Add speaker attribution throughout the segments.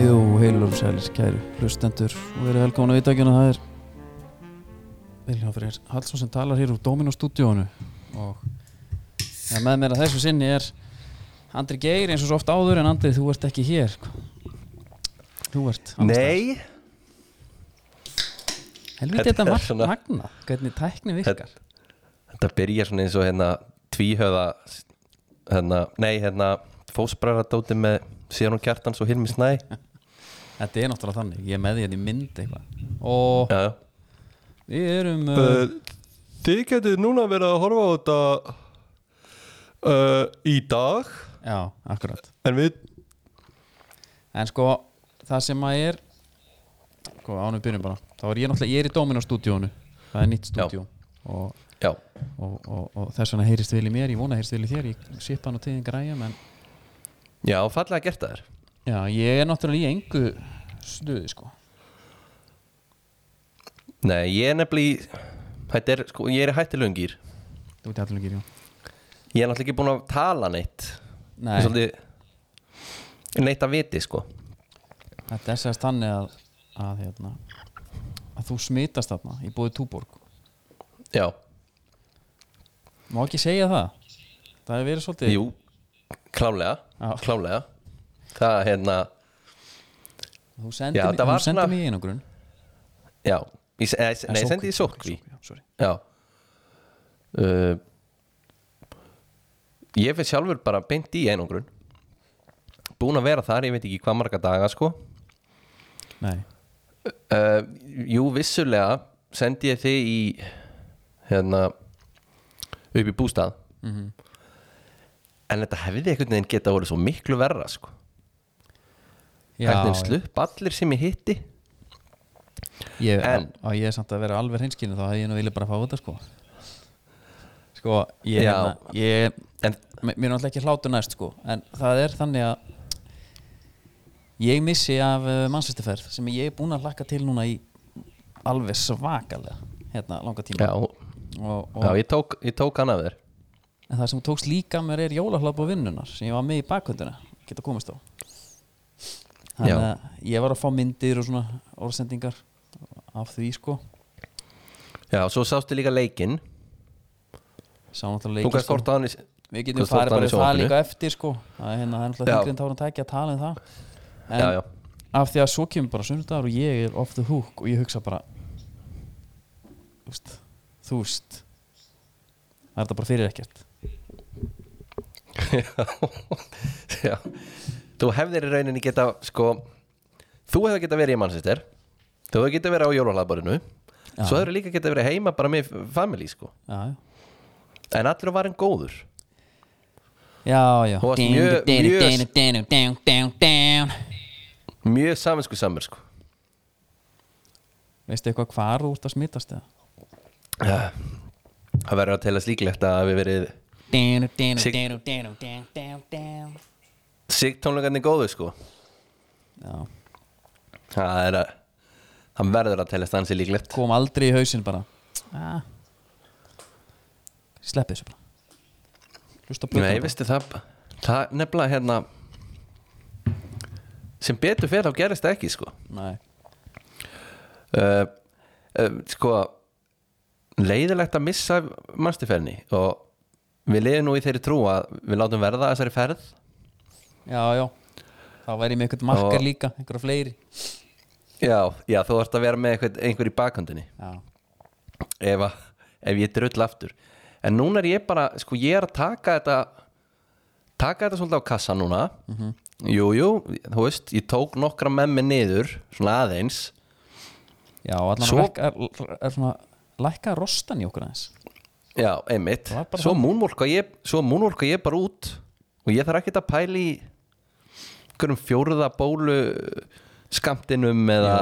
Speaker 1: Jú, heil og sælir, kæru hlustendur og verið velkomin að vitakjuna það er Viljóð Freyr Hallsson sem talar hér úr Dóminu stúdíónu og ja, með mér að þessu sinni er Andri Geir eins og svo oft áður en Andri þú ert ekki hér Þú ert annars staðar.
Speaker 2: Nei,
Speaker 1: Helviti
Speaker 2: Þetta
Speaker 1: þetta
Speaker 2: er
Speaker 1: margt
Speaker 2: svona-
Speaker 1: magna hvernig tækni virkar
Speaker 2: þetta byrjar svona eins og hérna tvíhöða hérna, nei, hérna fósbræðardóti með Sérun Kjartans og Hilmi Snæ
Speaker 1: Þetta er náttúrulega þannig, ég er með því hérna í mynd eitthvað og
Speaker 2: Já, já
Speaker 1: við erum uh,
Speaker 2: Eh, Þið getið núna verið að horfa á þetta uh, í dag
Speaker 1: eh, Já, akkurat
Speaker 2: en við
Speaker 1: En sko, það sem að er sko, ánum byrjum bara þá er ég náttúrulega, ég er í Dominó stúdíónu það er nýtt stúdíó og,
Speaker 2: Já,
Speaker 1: og, og, og þess vegna heyrist vel í mér, ég vona heyrist vel í þér ég sipa nú tíðin græja, menn
Speaker 2: já fallega gert það er
Speaker 1: já, ég er náttúrulega í engu stuði, sko
Speaker 2: Nei, ég er nefnilega í- þetta er, sko, ég er í hætti lungir
Speaker 1: þú veit allir ekki, já
Speaker 2: Ég er náttúrulega ekki búin að tala neitt
Speaker 1: Nei,
Speaker 2: Ég er svolítið neitt að viti sko
Speaker 1: þetta er sérst þannig að að, hérna, að þú smitast þarna í búið túborg
Speaker 2: Já,
Speaker 1: má ekki segja það það hefur verið svolítið
Speaker 2: Jú, klálega
Speaker 1: Já.
Speaker 2: Klálega Það hérna,
Speaker 1: þú sendi, já,
Speaker 2: Já, þetta var
Speaker 1: þú sendi
Speaker 2: svona-
Speaker 1: mig í einangrun
Speaker 2: já ég, se- eh, se- Nei,
Speaker 1: Eh,
Speaker 2: ég sendi ég sókví
Speaker 1: sótkví, já, sorry.
Speaker 2: Já uh, Ég fyrir sjálfur bara beint í einangrun Búin að vera þar, ég veit ekki hvað marga daga sko
Speaker 1: Nei,
Speaker 2: uh, Jú, vissulega sendi ég þig í hérna upp í bústað
Speaker 1: Mhm.
Speaker 2: En þetta hefði einhvern veginn geta voru svo miklu verra sko
Speaker 1: já,
Speaker 2: Hvernig slupp allir sem ég hitti
Speaker 1: ég, en,
Speaker 2: En-
Speaker 1: á, ég er samt að vera alveg hreinskinu þá hefði ég nú vilja bara fá þetta sko sko ég,
Speaker 2: Já.
Speaker 1: hérna, ég
Speaker 2: En
Speaker 1: mér mér er náttúrulega ekki hlátur næst sko en það er þannig að ég missi af uh, mannsvistaferð sem ég er búin að hlakka til núna í alveg svakalega hérna langa tíma
Speaker 2: Já,
Speaker 1: og, og,
Speaker 2: já ég, tók, ég tók hann af þér
Speaker 1: en það sem tókst líka mér er jólahlap og vinnunar sem ég var með í bakhundina geta komist á þannig
Speaker 2: Já.
Speaker 1: að ég var að fá myndir og svona orðsendingar af því sko
Speaker 2: Já, svo sástu líka leikinn
Speaker 1: sá náttúrulega
Speaker 2: Þú
Speaker 1: leikinn,
Speaker 2: gæst hort á hann í s-
Speaker 1: við getum
Speaker 2: Hvað stórt
Speaker 1: farið bara
Speaker 2: hann
Speaker 1: í
Speaker 2: í
Speaker 1: það
Speaker 2: sjónvarpinu?
Speaker 1: líka eftir sko það er hérna, það er náttúrulega
Speaker 2: Já.
Speaker 1: þingrið en tárum tæki að tala um það en
Speaker 2: Já, já,
Speaker 1: af því að svo kemur bara sunnudagur og ég er off the hook og ég hugsa bara þú veist þú veist það er þetta bara fyrir ekkert
Speaker 2: já Þú hefðir í rauninni geta sko, Þú hefði geta verið í mannsistir Þú hefði geta verið á jólahlaðborinu
Speaker 1: Já.
Speaker 2: Svo hefur líka geta verið heima bara með family sko.
Speaker 1: já, já
Speaker 2: En allir var en góður
Speaker 1: Já, já
Speaker 2: Þú varst mjög- mjög-
Speaker 1: mjög
Speaker 2: Mjög saminsku samur sko.
Speaker 1: Veistu eitthvað hvar þú ert að smitast eða?
Speaker 2: Já. Það verður að telast líklegt að hafi verið Sig-
Speaker 3: Sig
Speaker 2: Sig tónleikarnir góðu sko.
Speaker 1: Já,
Speaker 2: Það er að Það verður að telast ansi líklegt
Speaker 1: kom aldrei í hausinn bara ah. Sleppið þessu bara Hlusta á plötuna
Speaker 2: Nei,
Speaker 1: bara.
Speaker 2: veistu það Það nefnilega hérna sem betur fyrir þá gerist það ekki sko
Speaker 1: Nei.
Speaker 2: uh, uh, sko leiðilegt að missa mannstifærni og við leiðum nú í þeirri trú að við látum verða þessari ferð
Speaker 1: Já, já Þá væri ég með eitthvað markar
Speaker 2: Og-
Speaker 1: líka, einhverja fleiri
Speaker 2: Já, já þú ert að vera með einhver, einhver í bakhöndinni
Speaker 1: Já,
Speaker 2: ef, að- ef ég drull aftur en núna er ég bara, sko ég er að taka þetta taka þetta svolítið á kassa núna jú, jú, þú veist ég tók nokkra með mig niður svona aðeins
Speaker 1: já allan
Speaker 2: Svo-
Speaker 1: svo... er, er svona Lækka rostan í okkur aðeins
Speaker 2: Já, einmitt
Speaker 1: Það var bara
Speaker 2: Svo múnvorka ég, svo múnvorka ég bara út og ég þarf ekkert að pæla í einhverjum fjórða bólu skamtinum eða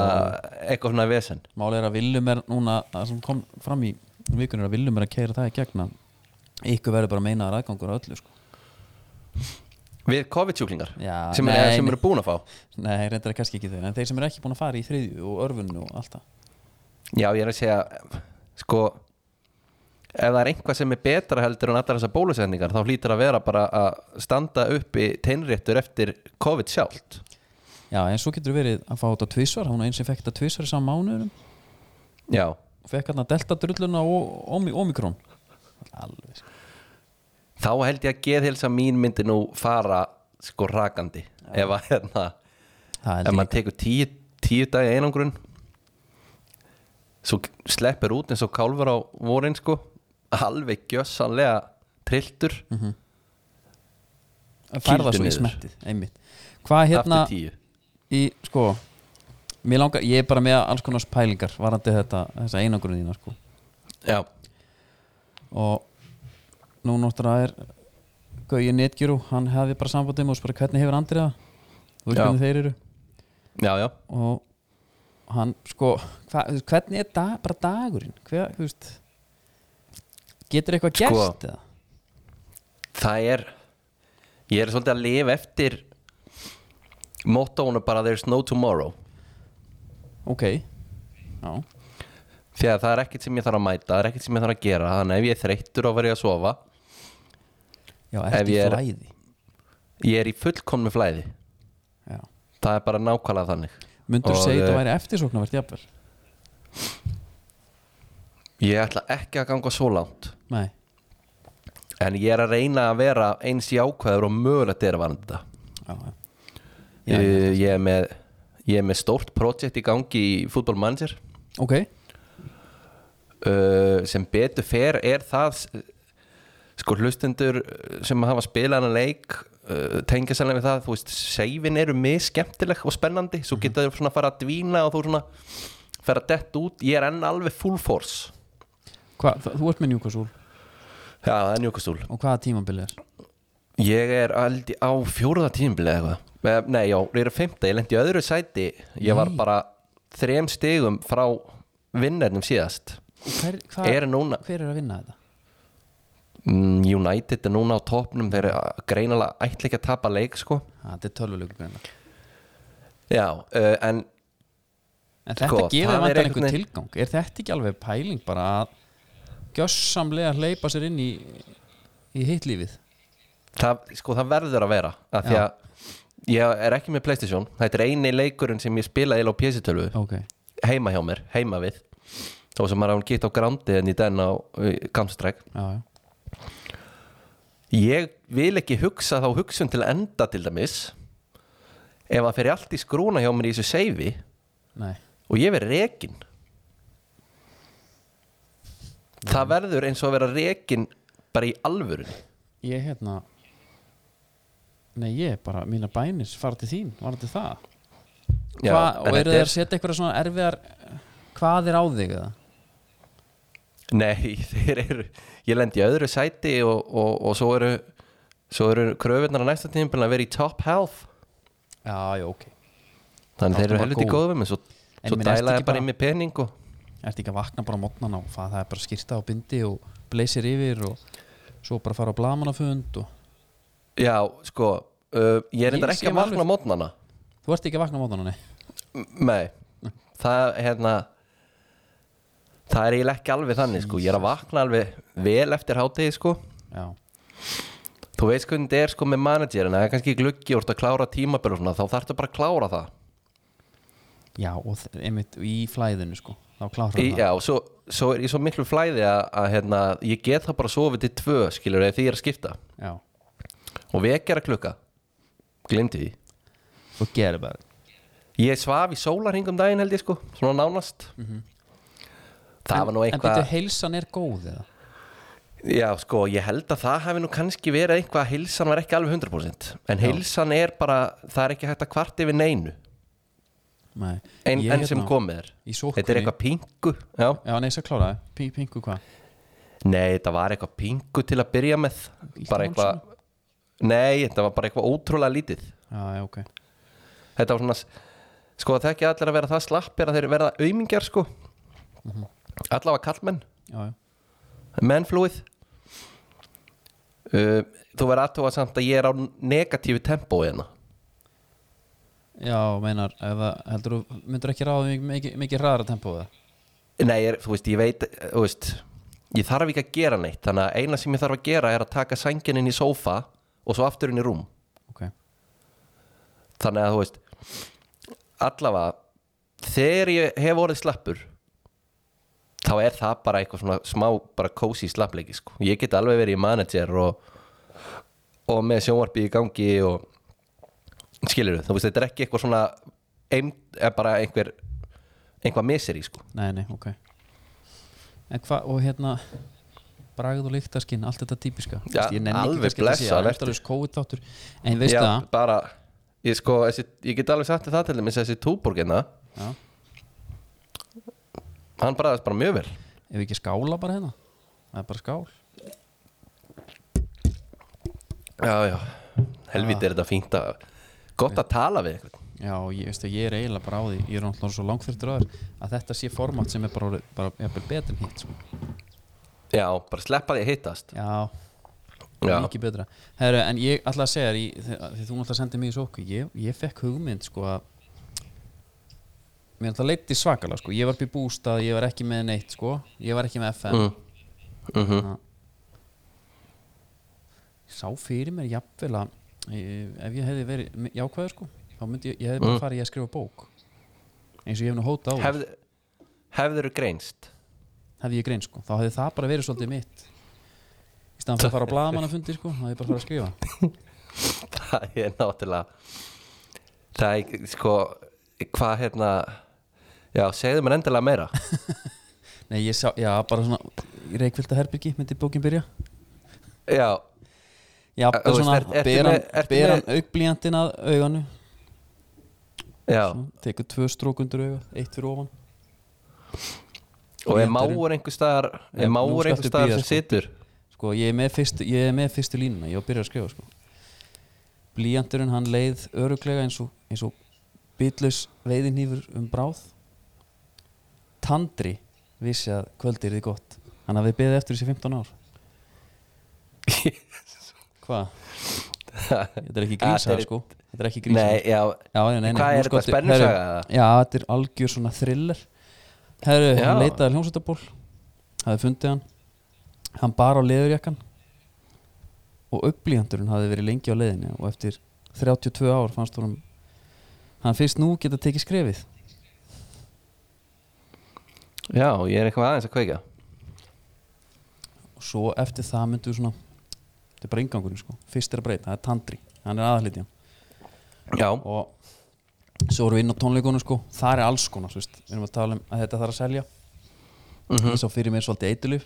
Speaker 2: eitthvað svona vesen
Speaker 1: Málið er að Willum er núna það sem kom fram í um vikunir að viljum er að keira það í gegna ykkur verður bara meinaðar aðgangur að öllu sko.
Speaker 2: Við COVID-sjúklingar
Speaker 1: Já,
Speaker 2: sem, er,
Speaker 1: nei,
Speaker 2: sem
Speaker 1: nei.
Speaker 2: eru búin að fá
Speaker 1: Nei, reyndar er kannski ekki þeir en þeir sem eru ekki búin að fara í þriðju og örfunnu og allt það
Speaker 2: Já, ég er að segja sko, ef það er einhvað sem er betra heldur en allar þessar bólusetningar þá hlýtur að vera bara að standa uppi teinréttur eftir COVID sjálft
Speaker 1: Já, en svo getur verið að fá þetta tvísvar hún er eins sem fekk þetta tvísvar í saman mánuðurum
Speaker 2: Já,
Speaker 1: og fekk hérna delta drulluna og Omi- omikron Alveg sko.
Speaker 2: þá held ég að geðhilsa mín myndi nú fara sko rakandi ef að hérna
Speaker 1: Það
Speaker 2: ef
Speaker 1: held ég
Speaker 2: maður tekur tíu, tíu dagi einangrun svo sleppir út eins og kálfur á vorin sko alveg gjössanlega trilltur
Speaker 1: Mhm. að færða
Speaker 2: kýldu
Speaker 1: svo í
Speaker 2: niður.
Speaker 1: smettið, einmitt Hvað hérna
Speaker 2: aftur tíu
Speaker 1: í, sko Mér langar, ég er bara með alls konar pælingar varandi þetta, þessa einangrun þína sko
Speaker 2: Já,
Speaker 1: og nú náttúrulega er Gauji Netgyrú, hann hefði bara sambandið og spara hvernig hefur Andrið það þú veist
Speaker 2: Já.
Speaker 1: hvernig þeir eru
Speaker 2: já, já
Speaker 1: og hann sko hva, þú veist, hvernig er dag, bara dagurinn hver, þú veist getur eitthvað
Speaker 2: Sko.
Speaker 1: gerst eða
Speaker 2: það er ég er svolítið að lifa eftir mottónu bara there's no tomorrow
Speaker 1: ok já,
Speaker 2: því að það er ekkert sem ég þarf að mæta það er ekkert sem ég þarf að gera þannig að ef ég er þreyttur á að vera ég að sofa
Speaker 1: já
Speaker 2: Ef
Speaker 1: ertu í
Speaker 2: ég er-
Speaker 1: flæði
Speaker 2: ég er í fullkomnu flæði
Speaker 1: já.
Speaker 2: það er bara nákvæmlega þannig
Speaker 1: myndur
Speaker 2: Og,
Speaker 1: segja
Speaker 2: eh,
Speaker 1: þetta væri eftirsóknarvert jafnvel
Speaker 2: ég ætla ekki að ganga svo langt
Speaker 1: nei,
Speaker 2: en ég er að reyna að vera eins jákvæður og mögulegt er að varna þetta
Speaker 1: já, já. Já, já.
Speaker 2: Uh, ég er með ég er með stórt projekt í gangi í Football Manager
Speaker 1: ok,
Speaker 2: uh, sem betur fer er það s- sko hlustendur uh, sem hafa spilað hann leik uh, tengja sérlega við það, þú veist seifin eru mjög skemmtileg og spennandi svo geta þau svona að fara að dvína og þú svona fer að dett út, ég er enn alveg full force
Speaker 1: Hva, þa- þú ert með Newcastle
Speaker 2: Já, það er njókastúl
Speaker 1: og hvaða tímabilið er
Speaker 2: Ég er aldrei á fjóruða tímbilið eitthvað Eh, Nei, já, ég er á fimmta, ég lendi í öðru sæti Ég var
Speaker 1: Nei.
Speaker 2: bara þrem stigum frá vinnernum síðast
Speaker 1: hver, hva,
Speaker 2: Eru núna
Speaker 1: hver er að vinna þetta?
Speaker 2: Mm, United er núna á topnum þeir eh, greinilega ætla ekki að tapa leik sko
Speaker 1: Ha, þetta er tölvuleikur greinlega
Speaker 2: Já, uh, en
Speaker 1: En þetta
Speaker 2: Sko,
Speaker 1: gefur
Speaker 2: það er
Speaker 1: vantan
Speaker 2: einhvern
Speaker 1: einhver
Speaker 2: veginn-
Speaker 1: tilgang Er þetta ekki alveg pæling bara að gjössamlega hleypa sér inn í í hitt lífið
Speaker 2: það, sko, það verður að vera af því
Speaker 1: Já.
Speaker 2: að ég er ekki með Playstation þetta er eini leikurinn sem ég spila eil á PS12
Speaker 1: Ok,
Speaker 2: heima hjá mér, heima við þó sem maður án gitt á grandi en í den á Gamstræk
Speaker 1: já, já
Speaker 2: ég vil ekki hugsa þá hugsun til enda til dæmis ef það fer allt í skrúna hjá mér í þessu seifi
Speaker 1: Nei,
Speaker 2: og ég verð rekin það verður eins og að vera rekin bara í alvörun
Speaker 1: ég hérna Nei, ég bara, mína bænis fara til þín, var til það Hva, Og eru þeir að setja eitthvað svona erfiðar Hvað er á þig eða?
Speaker 2: Nei, þeir eru Ég lendi í öðru sæti og, og, og svo eru Svo eru kröfunar á næsta tímpil að vera í top health
Speaker 1: Já, já, ok Já,
Speaker 2: Þannig þeir eru
Speaker 1: það var
Speaker 2: helviti
Speaker 1: góð.
Speaker 2: góðum En svo,
Speaker 1: En
Speaker 2: svo
Speaker 1: menn, ertu
Speaker 2: dæla
Speaker 1: ekki
Speaker 2: ég bara
Speaker 1: bara-
Speaker 2: inn með pening og
Speaker 1: Ertu ekki að vakna bara á mótnana og fað, það er bara skýrta og bindi og bleysir yfir og svo bara fara á blamanafund og
Speaker 2: Já, sko uh, Ég er
Speaker 1: Ég
Speaker 2: reyndar ekki
Speaker 1: sé
Speaker 2: að vakna
Speaker 1: alveg-
Speaker 2: á mótnana
Speaker 1: Þú ert ekki að vakna á mótnana, nei
Speaker 2: M- Nei, það hérna Það er eiginlega ekki alveg þannig sko Ég er að vakna alveg vel eftir hátegi sko
Speaker 1: Já,
Speaker 2: Þú veist hvernig þetta er sko með managerina Það er kannski gluggi og þú ert að klára tímabil og svona Þá þarftu bara að klára það
Speaker 1: já og þ- einmitt í flæðinu sko Þá klárar
Speaker 2: Í,
Speaker 1: það
Speaker 2: já, svo, svo er ég svo miklu flæði að, að hérna, ég get það bara sofið til tvö skilur ef því ég er að skipta
Speaker 1: já.
Speaker 2: og vekjara klukka, glimti því
Speaker 1: Og gera bara
Speaker 2: ég svaf í sólarhingum daginn held ég sko svona nánast það var nú
Speaker 1: Mhm. En býttu
Speaker 2: eitthvað
Speaker 1: heilsan er góð eða?
Speaker 2: já sko, ég held að það hafi nú kannski verið eitthvað að heilsan var ekki alveg 100% en
Speaker 1: Já.
Speaker 2: heilsan er bara, það er ekki hægt að kvart yfir neinu
Speaker 1: Nei Ég
Speaker 2: en, en
Speaker 1: hérna
Speaker 2: sem komið er
Speaker 1: Í sókkunni
Speaker 2: þetta er eitthvað pingu já.
Speaker 1: Já, nei, svo kláraði Pí, Pingu hvað?
Speaker 2: Nei, þetta var eitthvað pingu til að byrja með
Speaker 1: Lítið
Speaker 2: bara
Speaker 1: mál
Speaker 2: eitthvað Nei, þetta var bara eitthvað ótrúlega lítið
Speaker 1: Já, já, ok
Speaker 2: Þetta var svona sko það
Speaker 1: Mhm.
Speaker 2: ekki allir að vera það slappir að þeir verða aumingar sko mm -hmm. Allavega kallmenn
Speaker 1: Já, já
Speaker 2: mennflúið uh, þú verður aðtóa samt að ég er á negatífu tempó hérna
Speaker 1: Já, meinar, eða heldur þú myndur ekki ráða mikið, mikið, mikið ræðara tempóða
Speaker 2: nei, ég, er- þú veist, ég veit þú veist, ég þarf ekki að gera neitt þannig að eina sem ég þarf að gera er að taka sængin inn í sófa og svo aftur inn í rúm
Speaker 1: Ok,
Speaker 2: þannig að þú veist allavega þegar ég hef orðið slappur þá er það bara eitthvað svona smá bara kósi slappleiki sko. ég get alveg verið í manager og, og með sjónvarpi í gangi og skilur þú veist þetta er ekki eitthvað svona eim, bara einhver einhvað miseri sko
Speaker 1: nei, nei, ok En hvað, og hérna bragð og lyktaskinn, allt þetta típiska Þú
Speaker 2: Já,
Speaker 1: veist, ég nenni ekki
Speaker 2: alveg
Speaker 1: kannski að þetta sé
Speaker 2: blessað, vertu.
Speaker 1: endalaus COVID-þáttur. En veistu
Speaker 2: Já,
Speaker 1: það
Speaker 2: bara ég, sko, þessi, ég get alveg sagt þér það til þeim þessi túborginna,
Speaker 1: Já.
Speaker 2: hann bræðast bara mjög vel
Speaker 1: Ef við ekki skála bara hérna Það er bara skál
Speaker 2: Já, já, helviti er þetta fínt að gott að tala við einhvern
Speaker 1: Já, og ég, veistu, ég er eiginlega bara á því Ég er náttúrulega svo langfyrtur að þér að þetta sé format sem er bara, orðið- bara, bara betur en hitt sko.
Speaker 2: Já, bara sleppa því að hittast
Speaker 1: Já,
Speaker 2: Já,
Speaker 1: mikið betra Heru, en ég ætla að segja þér, í- þi- því þú náttúrulega sendið mig í sóku ég, ég fekk hugmynd sko að mér náttúrulega leitti svakalega sko ég var upp í bústað, ég var ekki með neitt sko ég var ekki með FM
Speaker 2: mm. Mm
Speaker 1: sá fyrir mér jafnvel að eh, ef ég hefði verið mi- jákvæður sko þá myndi ég, ég hefði
Speaker 2: Mm.
Speaker 1: bara farið í að skrifa bók eins og ég hef nú hóta á Hef...
Speaker 2: Hefð, Hefður greinst
Speaker 1: hefði ég grein sko, þá hefði það bara verið svolítið mitt í staðan fyrir að fara á blaðamannafundi sko þá hefði ég bara farið að skrifa
Speaker 2: Það er náttúrulega Það er, sko, hvað hérna Já, segðu mér endilega meira
Speaker 1: Nei, ég sá, já, bara svona í reikvilda herbyrgi myndi bókin byrja
Speaker 2: Já,
Speaker 1: Já,
Speaker 2: Þú
Speaker 1: bara
Speaker 2: veist,
Speaker 1: svona,
Speaker 2: ert- ertu
Speaker 1: ber
Speaker 2: með-
Speaker 1: hann-
Speaker 2: ertu
Speaker 1: ber
Speaker 2: með-
Speaker 1: hann augblíjandinn að auganu
Speaker 2: já
Speaker 1: Svo tekur tvö strókundur auga, eitt fyrir ofan
Speaker 2: Og er
Speaker 1: Rétturinn.
Speaker 2: máur einhver staðar
Speaker 1: Já,
Speaker 2: Er
Speaker 1: nú
Speaker 2: máur
Speaker 1: skaltu
Speaker 2: einhver staðar
Speaker 1: bíða,
Speaker 2: sem
Speaker 1: sko.
Speaker 2: situr
Speaker 1: Sko, ég er með fyrstu, ég er með fyrstu línuna, ég var að byrja að skrifa sko. Blíjandurinn, hann leið öruglega eins og, eins og bitlaus veiðinýfur um bráð Tandri vissi að kvöldi er þið gott Hann hafði beðið eftir þessi 15 ár Hvað? Þetta er ekki
Speaker 2: Þetta
Speaker 1: grísað
Speaker 2: er-
Speaker 1: sko Þetta er ekki grísað
Speaker 2: Nei, já,
Speaker 1: Já, nei, nei,
Speaker 2: Hvað
Speaker 1: nú
Speaker 2: er þetta,
Speaker 1: skolti-
Speaker 2: spennusaga,
Speaker 1: herru,
Speaker 2: eða?
Speaker 1: Já, þetta er algjör svona thriller Herru,
Speaker 2: Já.
Speaker 1: hann leitaði að hljómsveitarból hafði fundið hann hann bar á leðurjakkan og upplýjandurinn hafði verið lengi á leiðinni og eftir 32 ár fannst honum hann fyrst nú geta tekið skrefið
Speaker 2: já, ég er eitthvað aðeins að kveika
Speaker 1: og svo eftir það myndu við svona þetta er bara ingangurinn sko, fyrst er að breyta, það er Tandri hann er aðhlítjan
Speaker 2: Já,
Speaker 1: og svo erum við inn á tónleikunum sko þar er alls konar, þú veist, við erum að tala um að þetta þarf að selja
Speaker 2: mm
Speaker 1: ég sá fyrir mér svolítið eitulif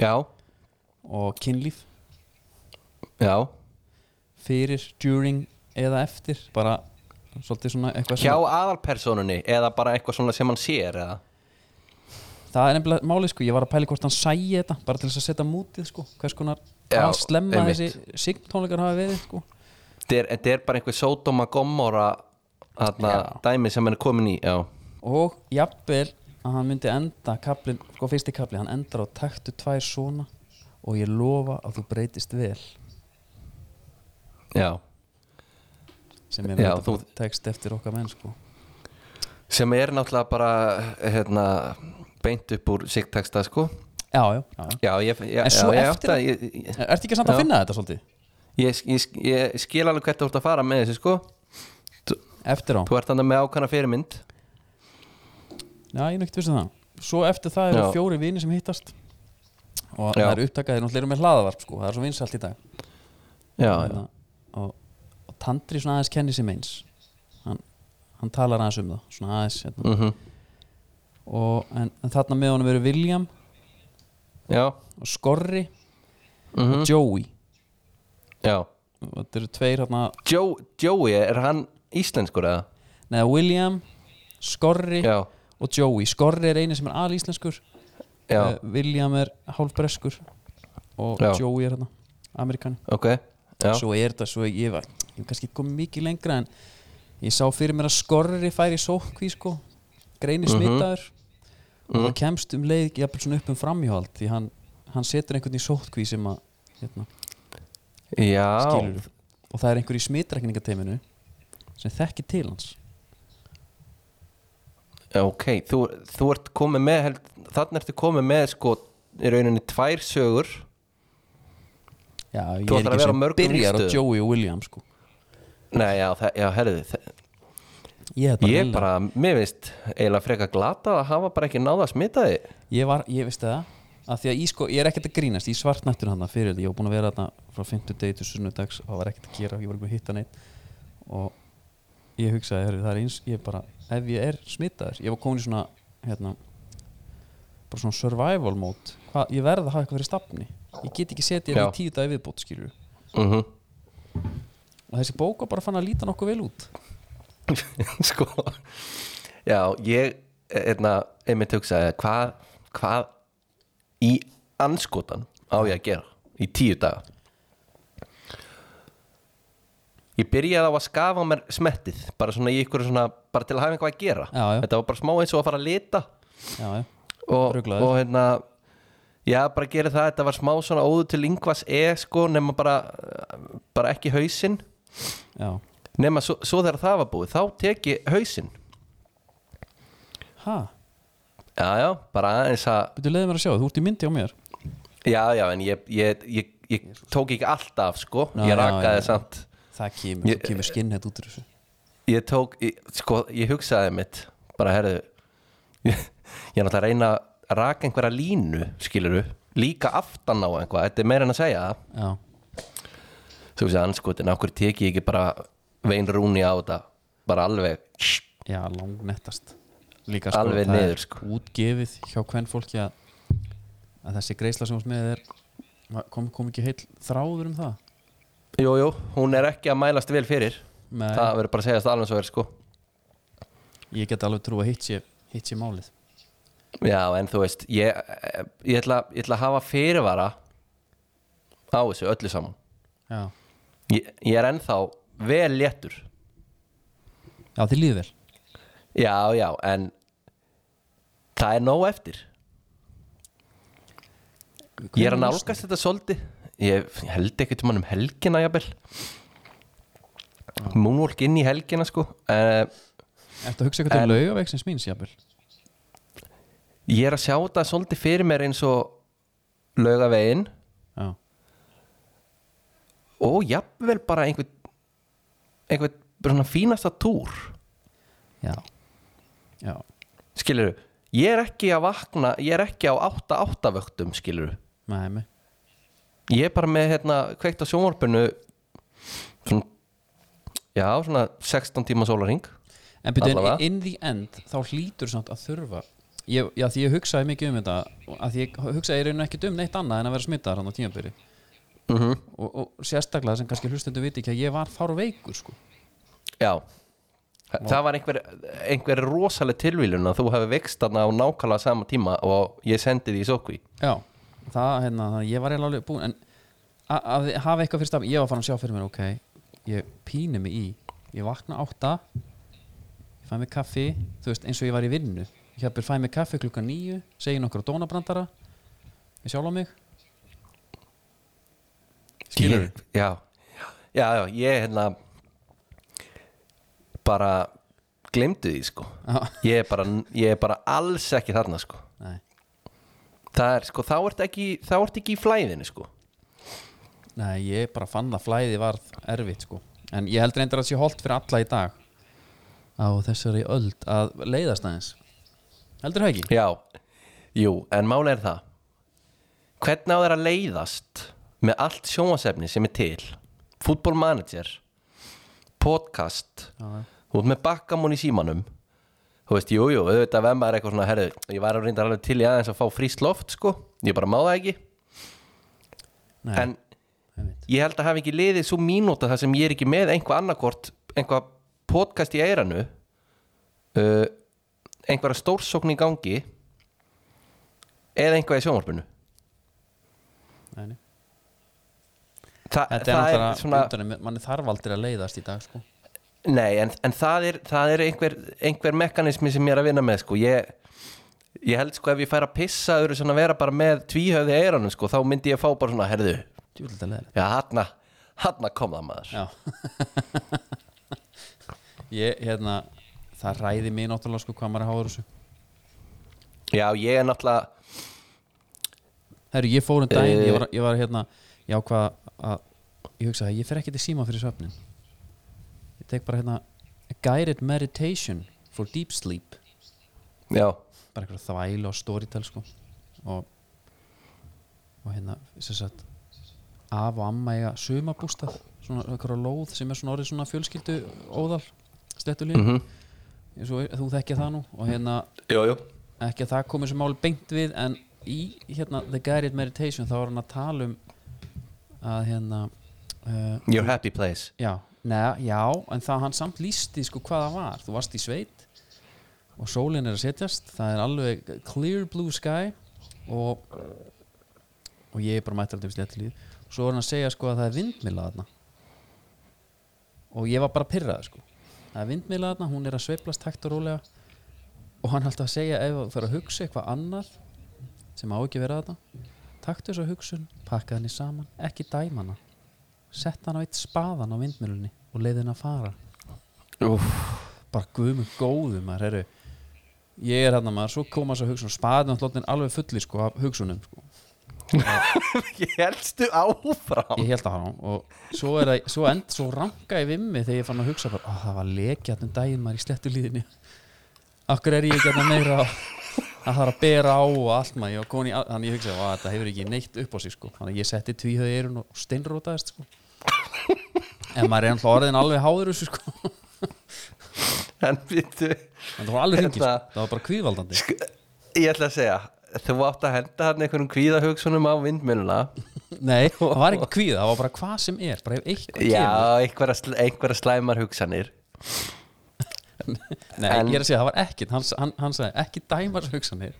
Speaker 2: já,
Speaker 1: og kynlíf
Speaker 2: já
Speaker 1: fyrir, during eða eftir bara svolítið svona eitthvað
Speaker 2: Hjá
Speaker 1: sem
Speaker 2: aðalpersonunni eða bara eitthvað svona sem hann sér eða
Speaker 1: það er nefnilega málið sko, ég var að pæla hvort hann sæi þetta bara til þess að setja mútið sko, hvers konar
Speaker 2: Já,
Speaker 1: að slemma
Speaker 2: einmitt.
Speaker 1: þessi sigmtónleikar hafa verið sko
Speaker 2: Þetta er, þetta er bara einhver sódóma gommora þarna dæmi sem hann er komin í Já,
Speaker 1: og jafnvel að hann myndi enda kaplin, sko fyrsti kapli, hann endar á taktu tvær svona og ég lofa að þú breytist vel
Speaker 2: já
Speaker 1: sem er
Speaker 2: Já,
Speaker 1: þetta
Speaker 2: þú-
Speaker 1: bara text eftir okkar menn sko
Speaker 2: Sem er náttúrulega bara hérna, beint upp úr sigteksta sko
Speaker 1: já, já, já, já.
Speaker 2: Já, ég, já,
Speaker 1: En svo
Speaker 2: já, ég,
Speaker 1: eftir
Speaker 2: átta-
Speaker 1: að-
Speaker 2: ég, ég,
Speaker 1: ertu ekki samt að
Speaker 2: Já.
Speaker 1: finna þetta svolítið?
Speaker 2: ég, ég, ég skil alveg hvert þú ert að fara með þessu sko
Speaker 1: eftir á,
Speaker 2: Þú ert þannig með ákvæmna fyrirmynd
Speaker 1: já ég er nögt vissi um það svo eftir það eru
Speaker 2: Já.
Speaker 1: fjóri vini sem hittast og
Speaker 2: Já.
Speaker 1: það eru upptakaðir náttúrulega eru með hlaðavarp sko, það er svo vinsalt í dag
Speaker 2: Já, já,
Speaker 1: Þannig að- og, og Tandri svona aðeins kennir sem eins hann, hann talar aðeins um það svona aðeins hérna.
Speaker 2: mhm,
Speaker 1: og, en, en þarna með honum eru William
Speaker 2: já,
Speaker 1: og Skorri
Speaker 2: mhm,
Speaker 1: og Joey
Speaker 2: já.
Speaker 1: og þetta eru tveir hérna
Speaker 2: Joe, Joey, er hann íslenskur eða?
Speaker 1: neða William, Skorri
Speaker 2: Já,
Speaker 1: og Joey, Skorri er eini sem er alíslenskur
Speaker 2: já,
Speaker 1: Eh, William er hálfbreskur og
Speaker 2: Já.
Speaker 1: Joey er hérna amerikani
Speaker 2: ok Já,
Speaker 1: svo er þetta, svo ég var ég var kannski komið mikið lengra en ég sá fyrir mér að skorri færi í sókví sko greini
Speaker 2: Mhm.
Speaker 1: smitaður og það kemst um leið jafnvel svona upp um framhjóhald því hann, hann setur einhvern í sótkví sem að hérna,
Speaker 2: já,
Speaker 1: skilur og það er einhver í smitrækningateiminu sem þekki til hans
Speaker 2: ok þú, þú ert komið með held, þannig ertu komið með sko í rauninni tvær sögur
Speaker 1: Já, ég
Speaker 2: Þú
Speaker 1: er ekki
Speaker 2: ætlar að vera á
Speaker 1: sem
Speaker 2: mörgum
Speaker 1: byrjar á
Speaker 2: vígstöðum.
Speaker 1: Joey og William sko.
Speaker 2: nei, já, það, já, herðu þið
Speaker 1: ég, er
Speaker 2: ég
Speaker 1: hreinlega-
Speaker 2: bara, mér finnst eiginlega freka glata að hafa bara ekki náða að smita þið
Speaker 1: ég, var, ég veisti það að því að ég, sko, ég er ekkert að grínast, ég svartnættur hann fyrir þetta, ég var búin að vera þarna frá 50 degi til sunnudags og það var ekkert að gera, ég var ekki að hitta neitt og ég hugsaði, heru, það er eins ég bara, ef ég er smitaður ég var komin í svona hérna, bara svona survival mode Hva, ég verð að hafa eitthvað fyrir stafni ég get ekki setið hérna í
Speaker 2: Já.
Speaker 1: tíu dagi viðbót skilur
Speaker 2: mm
Speaker 1: og þessi bók var bara fann að líta nokkuð vel út
Speaker 2: sko já, ég einna, einmitt hugsaði hvað hva í anskotan á ég að gera í tíu daga ég byrjaði á að skafa mér smettið bara svona í ykkur svona bara til að hafa eitthvað að gera
Speaker 1: Já, já.
Speaker 2: þetta var bara smá eins og að fara að lita
Speaker 1: já, já,
Speaker 2: og,
Speaker 1: Ruglaður.
Speaker 2: og hérna já, bara gera það, þetta var smá svona óður til yngvas e sko, nema bara bara ekki hausinn
Speaker 1: já.
Speaker 2: nema svo, svo þegar það var búið þá tek ég hausinn
Speaker 1: ha,
Speaker 2: Já, já, bara aðeins að
Speaker 1: betur leiðið mér að sjá, þú ert í myndi á mér
Speaker 2: Já, já, en ég, ég, ég, ég tók ekki allt af, sko
Speaker 1: Já,
Speaker 2: Ég
Speaker 1: já,
Speaker 2: rakaði
Speaker 1: já, já.
Speaker 2: samt
Speaker 1: það kemur,
Speaker 2: Ég-
Speaker 1: þú kemur skinnhet út úr þessu
Speaker 2: Ég tók, ég, sko, ég hugsaði mitt Bara, herðu Ég, ég er náttúrulega að reyna að raka einhverja línu Skiluru, líka aftan á einhvað Þetta er meira en að segja það
Speaker 1: já,
Speaker 2: Svo þessi anskotin, af hverju tek ég ekki bara Vein rúni á þetta Bara alveg,
Speaker 1: Já, langnettast Líka
Speaker 2: Alveg
Speaker 1: það er
Speaker 2: niður, sko.
Speaker 1: Útgefið hjá hvern fólki að, að þessi greisla sem hún smið er ma- kom, kom ekki heil þráður um það
Speaker 2: jú, jú, hún er ekki að mælast vel fyrir
Speaker 1: Nei,
Speaker 2: Það verður bara að segja það alveg svo er, sko
Speaker 1: ég get alveg trú að hitt sé, hitt sé málið
Speaker 2: Já, en þú veist ég, eh, ég, ætla, ég ætla að hafa fyrirvara á þessu öllu saman
Speaker 1: Já,
Speaker 2: ég, ég er ennþá vel léttur
Speaker 1: já þið líður vel
Speaker 2: Já, já, en það er nóg eftir Ég er að nálgast þetta svolítið Ég ég held ekkert um hann um helgina jafnvel Moonwalk inn í helgina sko uh,
Speaker 1: Ertu að hugsa eitthvað til laugaveiksins míns, jafnvel
Speaker 2: Ég er að sjá þetta svolítið fyrir mér eins og laugavegin
Speaker 1: Já,
Speaker 2: og jafnvel bara einhvern einhvern bara svona fínasta túr
Speaker 1: já Já,
Speaker 2: skilur ég er ekki að vakna, ég er ekki á 8-8 vöktum skilur
Speaker 1: með heimi
Speaker 2: ég er bara með hérna kveikt á sjónvarpinu svona, já, svona 16 tíma sólaring
Speaker 1: En byrju,
Speaker 2: Allavega.
Speaker 1: en in the end þá hlýtur samt að þurfa ég, Já, því ég hugsaði mikið um þetta að því ég hugsaði ég reynu ekki um neitt annað en að vera smitaðar hann á tímabili
Speaker 2: mm
Speaker 1: og, og sérstaklega sem kannski hlustendur viti ekki að ég var þár veikur sko.
Speaker 2: já Þa- það var einhver, einhver rosaleg tilvílun að þú hefði veikst þarna á nákvæmlega sama tíma og ég sendi því í sókví
Speaker 1: já, það hérna þannig að ég var eiginlega alveg búinn en a- að þið hafa eitthvað fyrir stafn ég var farin að sjá fyrir mér, ok ég pínu mig í, ég vakna átta ég fæ mig kaffi þú veist, eins og ég var í vinnu ég hefur fæ mig kaffi klukkan níu, segi nokkur á dónabrandara ég sjálf á mig Skilurðu?
Speaker 2: já, já, já, ég hérna bara glemdu því sko
Speaker 1: Já.
Speaker 2: ég er bara, ég er bara alls ekki þarna sko
Speaker 1: nei,
Speaker 2: það er sko, þá ert ekki þá ert ekki í flæðinu sko
Speaker 1: nei, ég bara fann að flæði varð erfitt sko en ég held reyndar að það sé holt fyrir alla í dag á þessari öld að leiðast aðeins heldur það ekki?
Speaker 2: já, jú, en máli er það hvernig á þeir að leiðast með allt sjónvasefni sem er til Football Manager podcast
Speaker 1: Já, já.
Speaker 2: þú ert með bakkamón í símanum þú veist, jú, jú, auðvitað vem er eitthvað svona herðu, ég var að reynda alveg til í aðeins að fá fríst loft sko, ég bara má það ekki
Speaker 1: Nei,
Speaker 2: en
Speaker 1: einmitt.
Speaker 2: ég held að hafa ekki liðið svo mínúta þar sem ég er ekki með einhvað annarkort einhvað podcast í eiranu uh, einhverja stórsókn í gangi eða einhvað í sjónvarpinu
Speaker 1: Nei, nei.
Speaker 2: Þa,
Speaker 1: Þetta er
Speaker 2: það er,
Speaker 1: náttúrulega
Speaker 2: svona
Speaker 1: svona... mann er þarf aldrei að leiðast í dag sko.
Speaker 2: nei, en, en það er, það er einhver, einhver mekanismi sem ég er að vinna með sko. ég, ég held sko ef ég fær að pissa öðru svona vera bara með tvíhöfði eiranum sko þá myndi ég fá bara svona herðu
Speaker 1: Djúlita leðilegt
Speaker 2: já hann að kom það maður
Speaker 1: Já Ég, hérna Það ræði mig náttúrulega sko hvað maður er háður þessu
Speaker 2: já ég er náttúrulega
Speaker 1: Herru, ég fór um daginn, ég var, ég var hérna Ég ákvað að Ég hugsaði að ég fer ekki til síma fyrir svefnin Ég tek bara hérna a Guided meditation for deep sleep
Speaker 2: já
Speaker 1: Bara eitthvað þvæl og storytel sko Og Og hérna, sem sagt Af og amma eiga sumabústað Svona eitthvað lóð sem er svona orðið svona fjölskyldu Óðal, stettulín
Speaker 2: mhm
Speaker 1: eins og þú þekkja það nú og hérna
Speaker 2: jú jú
Speaker 1: ekki að það komið sem máli beint við en í hérna The Guided Meditation þá var hann að tala um að hérna uh,
Speaker 2: your happy place
Speaker 1: já, neða, já en það hann samt lísti sko hvað það var þú varst í sveit og sólin er að setjast það er alveg clear blue sky og og ég er bara mættur að þetta líð og svo var hann að segja sko að það er vindmilla þarna og ég var bara pyrraði sko það er vindmilla þarna, hún er að sveiplast hægt og rólega og hann haldið að segja ef þú fyrir að hugsa eitthvað annar sem á ekki að vera þarna taktu þessa hugsun, pakka henni saman ekki dæma hana sett hann á eitt spaðan á vindmjölunni og leið henni að fara
Speaker 2: Úff.
Speaker 1: bara guðum góðum maður heru. ég er hann maður, svo koma þessa hugsun spaðan og hlóttin alveg fulli sko af hugsunum sko.
Speaker 2: ég heldstu áfram
Speaker 1: ég held að hann og svo, er það, svo end svo ranka ég vimmi þegar ég fann að hugsa bara, "Ó, það var lekjart um daginn maður í slettu líðinni akkur er ég ekki að meira að það er að bera á og allt maður ég var komin í, al- þannig ég hugsaði, "Vá, þetta hefur ekki neitt upp á sig sko. þannig að ég setti tvíhauði eirun og steinrótaðist sko. en maður er ennþá orðin alveg háður þessu sko.
Speaker 2: en býttu
Speaker 1: en það var alveg hringis,
Speaker 2: Hérna-
Speaker 1: það var bara kvíðvaldandi
Speaker 2: ég ætla að segja þú átt að henda hann einhverjum kvíðahugsunum á vindmjöluna
Speaker 1: nei, það var ekki kvíða, það var bara hvað sem er bara ef eitthvað kemur
Speaker 2: já einhverja, sl- einhverja slæmar hugsanir
Speaker 1: nei,
Speaker 2: en-
Speaker 1: ég er að segja, það var ekkit, hann, hann, hann sagði ekki dæmars hugsanir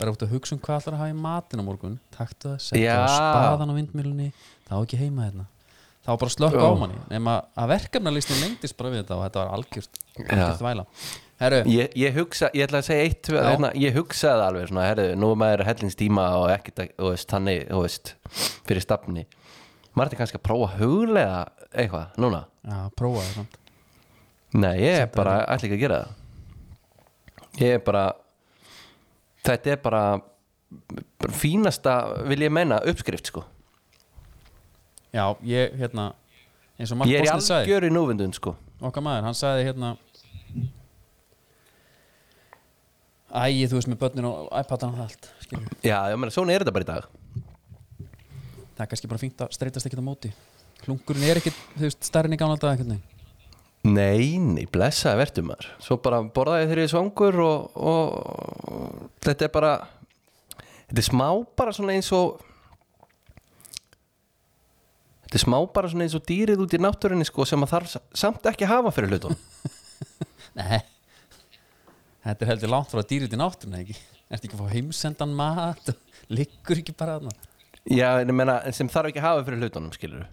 Speaker 1: bara út að hugsa um hvað ætlar að hafa í matin á morgun taktu það, settu það á
Speaker 2: Já.
Speaker 1: spaðan á vindmjölunni það á ekki heima hérna það var bara slökk á
Speaker 2: Ó.
Speaker 1: manni nema að verkefnarlistin lengdist bara við þetta og þetta var algjört, algjört væla herru,
Speaker 2: ég, ég hugsa, ég ætla að segja eitt
Speaker 1: Já.
Speaker 2: hérna, ég hugsaði alveg svona, herðu, nú er maður hellingstíma og ekkert, að- þú veist, þannig, þú veist fyrir stafni, maður er kannski að prófa að huglega eitthvað, núna
Speaker 1: já, prófa það samt
Speaker 2: nei, ég er bara, ætla ekki að gera það ég er bara þetta er bara bara fínasta, vil ég meina uppskrift, sko,
Speaker 1: já, ég, hérna, eins og Mark
Speaker 2: ég er í
Speaker 1: Bosnið sagði
Speaker 2: algjöru núvindun, sko
Speaker 1: okkar maður, hann sagði hérna æ, þú veist með börnin og iPad-an og allt, skilju
Speaker 2: já, ég meina, svona er þetta bara í dag
Speaker 1: það er kannski bara fínt að streytast ekkert á móti klungurinn er ekkert, þú veist, stærri en í gamla dag einhvern veginn
Speaker 2: Nei, nei, blessaði verður maður Svo bara borðaði þeirri svangur og, og þetta er bara þetta er smá bara svona eins og þetta er smá bara svona eins og dýrið út í náttúrinni sko sem maður þarf sa- samt ekki að hafa fyrir hlutum
Speaker 1: Nei Þetta er heldur langt frá að dýrið í náttúruna ekki Ertu ekki að fá heimsendan mat Liggur ekki bara þarna
Speaker 2: Já, en ég meina, en sem þarf ekki að hafa fyrir hlutunum skilur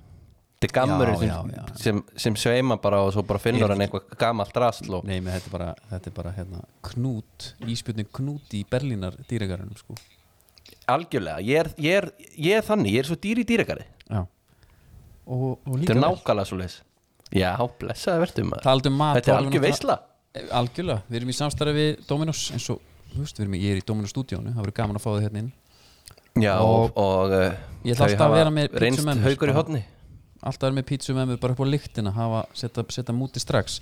Speaker 2: Þetta er gammurinn
Speaker 1: Já,
Speaker 2: sem,
Speaker 1: já, já.
Speaker 2: sem, sem sveima bara og svo bara finnur hann eitthvað gamalt rastl og
Speaker 1: Nei, með þetta er bara, þetta er bara hérna, knút Íspjörnum knút í Berlínar dýragarunum sko.
Speaker 2: algjörlega, ég er, ég, er, ég er þannig, ég er svo dýr í dýrakari
Speaker 1: Já Og, og
Speaker 2: Þetta
Speaker 1: líka
Speaker 2: er nákvæmlega svo leis Já, blessaði verður maður
Speaker 1: Taldum um mat
Speaker 2: Þetta
Speaker 1: þá
Speaker 2: er algjör
Speaker 1: náttúrulega-
Speaker 2: veisla
Speaker 1: Eh, Algjörlega, við erum í samstarfi við Dominos eins og, þú veist, við erum í, ég er í Dominos stúdíónu Það verður gaman að fá þau hérna inn
Speaker 2: Já, og, og uh,
Speaker 1: Ég ætla
Speaker 2: þau
Speaker 1: alltaf að
Speaker 2: hafa
Speaker 1: vera með sko. pizzu
Speaker 2: Reynst
Speaker 1: með mér,
Speaker 2: haugur í
Speaker 1: bara.
Speaker 2: hotni
Speaker 1: alltaf er með pítsu með mig bara upp á lyktina hafa, setja, setja múti strax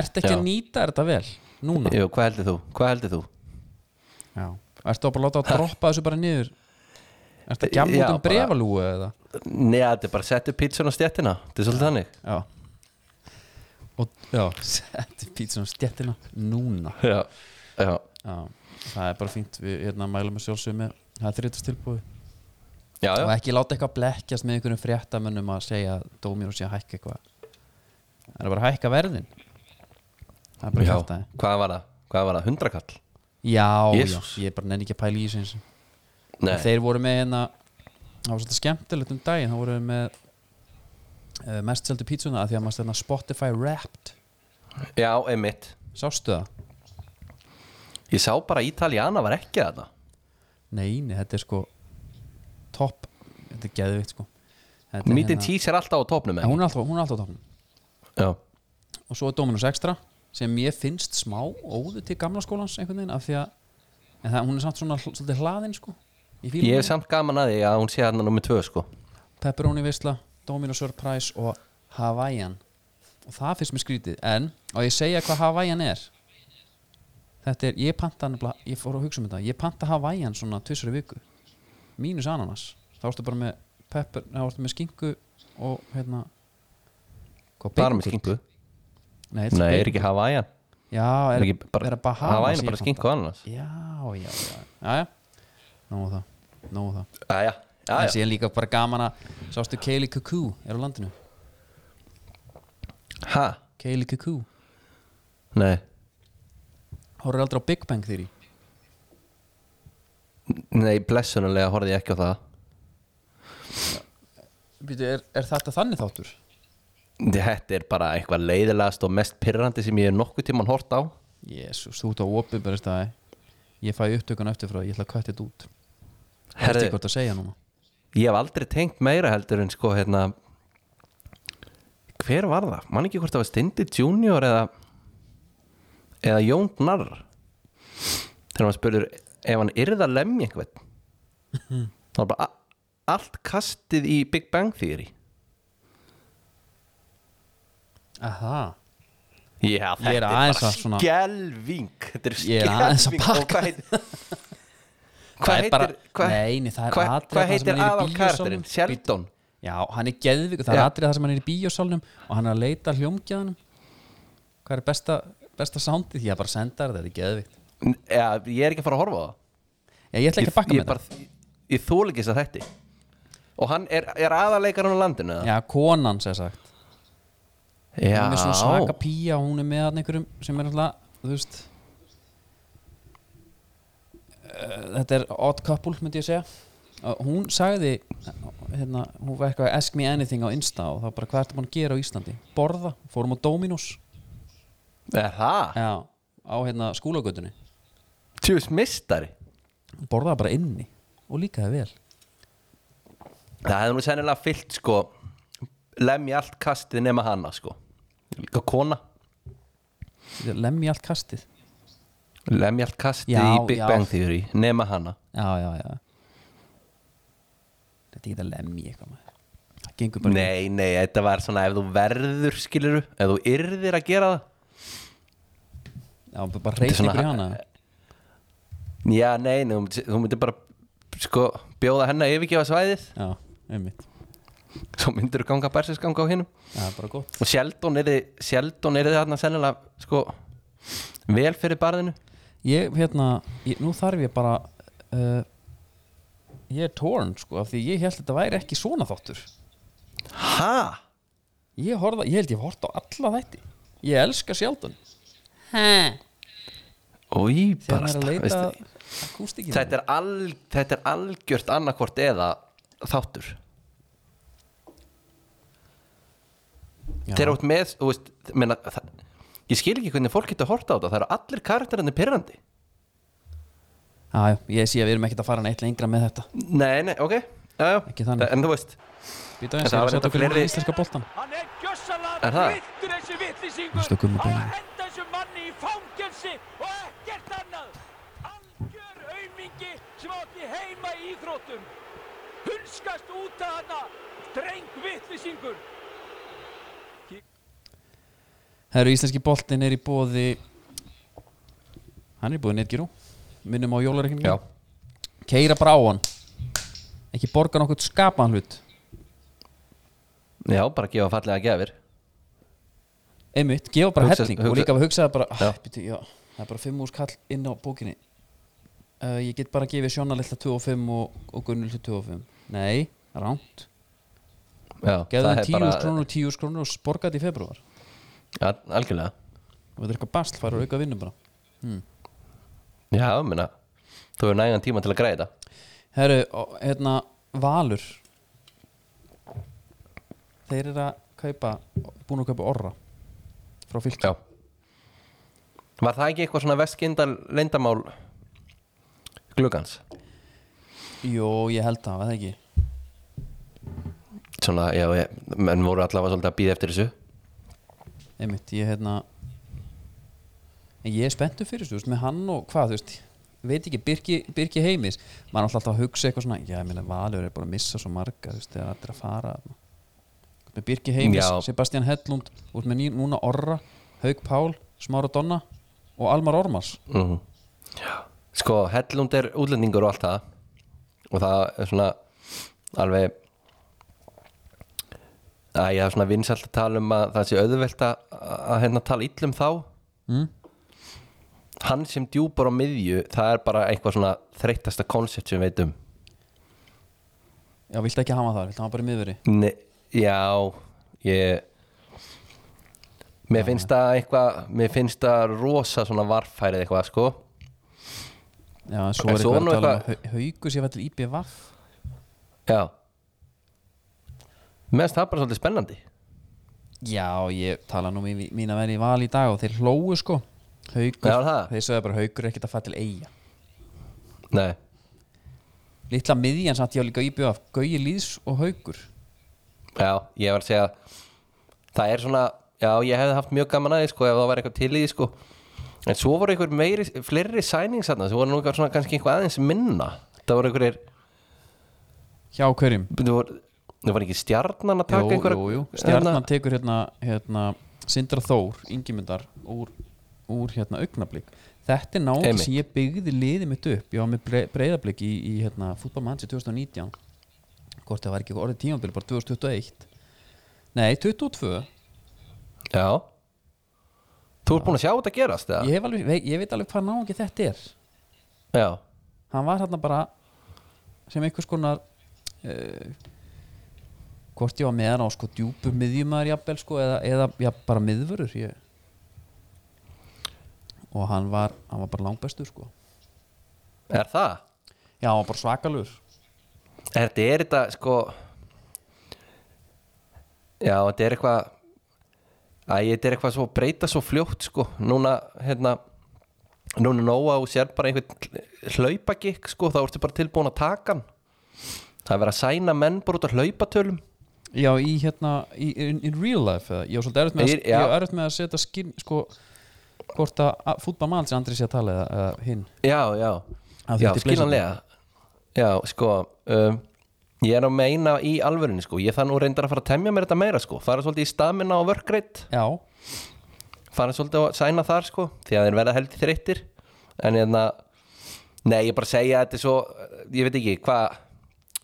Speaker 1: Ertu ekki
Speaker 2: Já.
Speaker 1: að nýta þetta vel núna?
Speaker 2: Jú, hvað heldur þú? Hvað heldur þú?
Speaker 1: Já. Ertu að bara láta að droppa þessu bara niður? Ertu að gjamma út
Speaker 2: Já,
Speaker 1: um
Speaker 2: bara-
Speaker 1: brefalúu eða?
Speaker 2: Nei, þetta er bara að setja pizzun á stjættina Þetta er svolítið þannig
Speaker 1: Já Og já, setja pítsun á stjettina núna
Speaker 2: Já, já,
Speaker 1: Já, það er bara fínt við hérna mælum við sjálfsögum með það er þrítast tilbúið
Speaker 2: já,
Speaker 1: og
Speaker 2: já.
Speaker 1: ekki láta eitthvað blekkjast með einhverjum fréttamönnum að segja að dómir og sé að hækka eitthvað Það er bara að hækka verðin Það er bara eh.
Speaker 2: já.
Speaker 1: að hækka
Speaker 2: Hvað var það? Hvað var það? Hundrakall?
Speaker 1: Já,
Speaker 2: Jesús.
Speaker 1: já, ég bara nenni ekki að pæla í þessu eins og-
Speaker 2: Nei,
Speaker 1: Þeir voru með hérna Það var svolítið skemmtilegt um daginn Það voru þeir með uh, mest seldu pítsuna af Því að maður hérna stæðna Spotify Wrapped
Speaker 2: já, einmitt
Speaker 1: Sástu það?
Speaker 2: Ég sá bara að Italiana var ekki þetta
Speaker 1: Nei, nei, þetta er sko topp, þetta er geðvikt sko Þetta er
Speaker 2: Meeting Cheese er alltaf á topnum
Speaker 1: Ja,
Speaker 2: eða?
Speaker 1: hún er alltaf, hún er alltaf á toppnum
Speaker 2: Já,
Speaker 1: og svo er Dominus Extra sem ég finnst smá óðu til gamla skólans einhvern veginn af því að en það, hún er samt svona hl- svolítið hlaðin sko í
Speaker 2: Ég
Speaker 1: fílum,
Speaker 2: hef samt gaman að því að hún sé hérna nummið tvö sko
Speaker 1: pepperoni visla Dominus Surprise og Hawaiian og það finnst mér skrítið en, og ég segja hvað Hawaiian er þetta er, ég panta nefnilega, ég fór að hugsa um þetta, ég panta Hawaiian svona tvisari viku, mínus ananas þá ertu bara með pepper, þá ertu með skinku og hérna hvað,
Speaker 2: Bara
Speaker 1: bacon?
Speaker 2: með skinku
Speaker 1: Nei, þetta
Speaker 2: Nei,
Speaker 1: bacon.
Speaker 2: er ekki Hawaiian
Speaker 1: Já, er,
Speaker 2: Er ekki bara-
Speaker 1: er að Bahamas
Speaker 2: Hawaiian
Speaker 1: í
Speaker 2: er bara
Speaker 1: Japan?
Speaker 2: skinku og ananas
Speaker 1: Já, já, já, já, já. Nóðu það, nóðu það
Speaker 2: Jæja,
Speaker 1: En
Speaker 2: jæja
Speaker 1: síðan líka bara gaman að Sástu Kaylee Cuckoo er á landinu
Speaker 2: Ha,
Speaker 1: Kaylee Cuckoo
Speaker 2: nei
Speaker 1: Hóruðu aldrei á Big Bang Theory
Speaker 2: Nei, blessunulega horfði ég ekki á það
Speaker 1: Býtu, er, er þetta þannig þáttur?
Speaker 2: Þetta er bara eitthvað leiðilegast og mest pyrrandi sem ég hef nokkuð tíman hort á
Speaker 1: Jésús, þú ert á opið bara staði Ég fæ upptökun eftir frá, ég ætla að kvætti þetta út Það er
Speaker 2: Herðu,
Speaker 1: ekki hvort að segja núna
Speaker 2: ég hef aldrei tengt meira heldur en sko hérna hver var það? Man ekki hvort það var Stindi Junior eða eða Jón Gnarr þegar maður spurður ef hann yrði að lemja einhvern þá var bara a- allt kastið í Big Bang Theory
Speaker 1: Aha,
Speaker 2: Já,
Speaker 1: Ég er
Speaker 2: þetta er
Speaker 1: aðeins
Speaker 2: bara
Speaker 1: að svona-
Speaker 2: skelving Þetta er
Speaker 1: Ég er aðeins að
Speaker 2: skelving og
Speaker 1: bakka.
Speaker 2: hvað heitir
Speaker 1: Það
Speaker 2: hvað
Speaker 1: er bara-
Speaker 2: heitir hvað-
Speaker 1: Nei, nei, það er
Speaker 2: hvað-
Speaker 1: atrið
Speaker 2: hvað
Speaker 1: þar sem
Speaker 2: heitir
Speaker 1: hann er í
Speaker 2: aðal karakterinn?
Speaker 1: bíósalnum.
Speaker 2: Sheldon
Speaker 1: já, hann er geðvík Það er
Speaker 2: Já.
Speaker 1: atrið það sem hann er í bíósalnum Og hann er að leita hljómgjöðanum Hvað er besta, besta soundið? Ég bara senda þér þetta, þetta er geðvíkt
Speaker 2: Já, ég er ekki að fara að horfa á það
Speaker 1: Ég ætla ekki að bakka
Speaker 2: ég
Speaker 1: með þetta
Speaker 2: bara, ég þól ekki þess að þetta og hann er, er aðarleikarinn á landinu
Speaker 1: Já,
Speaker 2: eða?
Speaker 1: konan sem sagt Hún er svona svaka pía og hún er með þarna einhverjum sem er alltaf, þú veist Eh, Þetta er odd couple, myndi ég segja Og Hún sagði hérna, hún var eitthvað ask me anything á Insta og þá bara hvað ertu búin að gera á Íslandi Borða, fórum á Dominos
Speaker 2: er það?
Speaker 1: Já, á hérna skúlagötunni
Speaker 2: tjús mistari
Speaker 1: Hún Borðaði bara inni og líkaði vel
Speaker 2: það hefði nú sennilega fyllt sko lemja allt kastið nema hana sko líka kona
Speaker 1: Lemmi allt kastið
Speaker 2: lemja allt kastið
Speaker 1: Já,
Speaker 2: í Big
Speaker 1: já.
Speaker 2: Bang Theory nema hana
Speaker 1: Já, já, já Þetta er ekki að lemmi eitthvað maður Það gengur bara
Speaker 2: nei, nei, þetta var svona ef þú verður skiluru ef þú yrðir að gera það
Speaker 1: Já, bara reyta
Speaker 2: svona-
Speaker 1: ykkur í hana
Speaker 2: já, nei, nei þú myndir- þú myndir bara sko bjóða henni að yfirgefa svæðið
Speaker 1: Já, einmitt
Speaker 2: svo myndir þú ganga bærsisganga á hinnum
Speaker 1: Það er bara gott
Speaker 2: og Sheldon er þið Sheldon er þið þarna sennilega sko vel fyrir barðinu
Speaker 1: Ég, hérna, ég, nú þarf ég bara uh, Ég er torn, sko af Því ég held að þetta væri ekki svona þáttur
Speaker 2: ha?
Speaker 1: Ég, horfða, ég held ég hort á alla þætti Ég elska Sheldon Hæ
Speaker 2: Új,
Speaker 1: Þegar hann er að leita
Speaker 2: veistu,
Speaker 1: akústikinu
Speaker 2: þetta, er al, þetta er algjört annarkvort eða þáttur
Speaker 1: Já.
Speaker 2: þeir eru út með þú veist, meina, það, ég skil ekki hvernig fólk getur að horta á þetta það eru allir karakterandi pyrrandi
Speaker 1: Já, já, ég sé að við erum ekkert að fara neitt lengra með þetta
Speaker 2: nei, nei, ok já, já.
Speaker 1: Ekki þannig.
Speaker 2: en þú veist
Speaker 1: Býta eins,
Speaker 2: En það
Speaker 1: ég
Speaker 2: var
Speaker 1: er að
Speaker 2: þetta
Speaker 1: setja okkur
Speaker 2: fleiri-
Speaker 1: í íslenska boltan
Speaker 3: Hann er gjössalega
Speaker 2: Er það?
Speaker 3: driftur þessi vittlisingur
Speaker 1: Veistu, Gummi
Speaker 3: á að
Speaker 1: Bóli?
Speaker 3: henda þessum manni í fangelsi og ekkert annað algjör aumingi sem átti heima í íþróttum hulskast út af hana dreng vittlisingur
Speaker 1: Herru, íslenski boltin er í bóði Hann er í bóði Netgyru Minnum á jólareikningum
Speaker 2: já.
Speaker 1: Keira bráan Ekki borga nokkuð skapaðan hlut
Speaker 2: já, bara gefa fallega gefir
Speaker 1: Einmitt, gefa bara
Speaker 2: Hugsa-
Speaker 1: helling og
Speaker 2: hugsa-
Speaker 1: líka að hugsaði bara
Speaker 2: Já.
Speaker 1: ah, býtu, já, Það er bara 5 úrs kall inn á bókinni uh, Ég get bara að gefa Sjóna lilla 2 og 5 og, og Gunnil 2 og 5 Nei, ránt
Speaker 2: já,
Speaker 1: Gefa
Speaker 2: það
Speaker 1: þeim
Speaker 2: er
Speaker 1: 10
Speaker 2: bara-
Speaker 1: bara... krónur, 10 krónur og borgaði í februar
Speaker 2: já, algjörlega
Speaker 1: og þetta er eitthvað basl, fara að auka vinnu bara
Speaker 2: já, minna, þú hefur nægan tíma til að græða
Speaker 1: Herru, og, hérna, Valur Þeir eru að kaupa búin að kaupa orra frá fylgjum
Speaker 2: já Var það ekki eitthvað svona vestkindal leyndamál gluggans?
Speaker 1: Jó, ég held það, var það ekki
Speaker 2: Svona, já, ég, menn voru allavega svolítið að býða eftir þessu
Speaker 1: einmitt, ég hérna en ég er spenntur fyrir þessu, þú veist, með hann og hvað, þú veist veit ekki, Birki, Birki heimis maður er alltaf að hugsa eitthvað svona já, ég meina, Valur er bara að missa svo marga, þú veist, þegar allir að fara þarna. með Birki heimis,
Speaker 2: Já.
Speaker 1: Sebastian Hellund út með ný, núna Orra, Haug Pál Smára Donna og Almar Ormars
Speaker 2: mm Sko, Hellund er útlendingur og allt það og það er svona alveg Æ, ég er svona vinsælt að tala um að það sé auðvelt að, að hérna tala illum þá
Speaker 1: Mm.
Speaker 2: Hann sem djúpar á miðju það er bara eitthvað svona þreyttasta koncept sem við veitum
Speaker 1: já, viltu ekki hafa það, viltu hafa bara í miðveri
Speaker 2: Ne, já, ég Mér finnst það eitthvað Mér finnst það rosa svona varfærið eitthvað sko
Speaker 1: já, en svo
Speaker 2: En
Speaker 1: er
Speaker 2: svo
Speaker 1: eitthvað
Speaker 2: nú
Speaker 1: að tala um Hau- Haukus, ég var til IBVF
Speaker 2: Já Mér finnst það bara svolítið spennandi
Speaker 1: Já, ég tala nú mín, mín að vera í val í dag og þeir hlóu sko Haukur,
Speaker 2: Já, það.
Speaker 1: þeir sögðu bara haukur er ekkert að fara til eiga
Speaker 2: Nei,
Speaker 1: Litla miðjan satt ég á líka íbjöð af Gauji Lýðs og Haukur
Speaker 2: já, ég var að segja Það er svona Já, ég hefði haft mjög gaman að því sko Ef það var eitthvað til í því sko En svo voru einhver meiri, fleiri sænings þarna Svo voru nú eitthvað svona kannski eitthvað aðeins minna Það voru einhverjir
Speaker 1: Hjá hverjum?
Speaker 2: Það voru, það voru ekki stjarnan að taka
Speaker 1: Jú,
Speaker 2: einhverja hérna-
Speaker 1: jú, jú, stjarnan tekur hérna, hérna Sindra Þór, Ingimundar úr, úr hérna augnablík Þetta er náttúrulega
Speaker 2: Einmitt.
Speaker 1: sem ég byggði liðið mitt upp Ég var með breyðablík í, í hérna, fútbolmannsi 2019 Hvort það var ekki orðið tímambil, bara 2021 Nei, 2022
Speaker 2: Já Þú ert búin að sjá þetta gerast eða?
Speaker 1: ég, hef alveg, vei- ég veit alveg hvað náungi þetta er
Speaker 2: Já,
Speaker 1: hann var hérna bara sem einhvers konar uh, hvort ég var með hann á sko djúpu miðjumæður jafnvel sko eða, eða já, bara miðvörur ég. og hann var hann var bara langbestur sko
Speaker 2: er það?
Speaker 1: já hann var bara svakalur
Speaker 2: Er þetta, er þetta sko Já, þetta er eitthvað Æ, þetta er eitthvað svo breyta svo fljótt sko Núna, hérna Núna nóa og sér bara einhvern hlaupagikk sko, þá ertu bara tilbúin að taka hann Það er verið að sæna menn bara út af hlaupatölum
Speaker 1: já í hérna í, in, in real life eða, ég var svolítið erfitt með,
Speaker 2: Ég-
Speaker 1: að-
Speaker 2: já.
Speaker 1: ég var erfitt með að setja skinn sko hvort að fútbalmann sem Andri sé að tala eða, eða hinn
Speaker 2: Já, já,
Speaker 1: Að þú
Speaker 2: já
Speaker 1: ert í
Speaker 2: skiljanlega Já, sko um, Ég er að meina í alvörinu sko Ég þannig reyndar að fara að temja mér þetta meira sko Fara svolítið í stamina og vörkreit
Speaker 1: já
Speaker 2: fara svolítið að sæna þar sko því að þeir verða heldur þreyttir en hérna, nei ég bara segja að þetta er svo, ég veit ekki hvað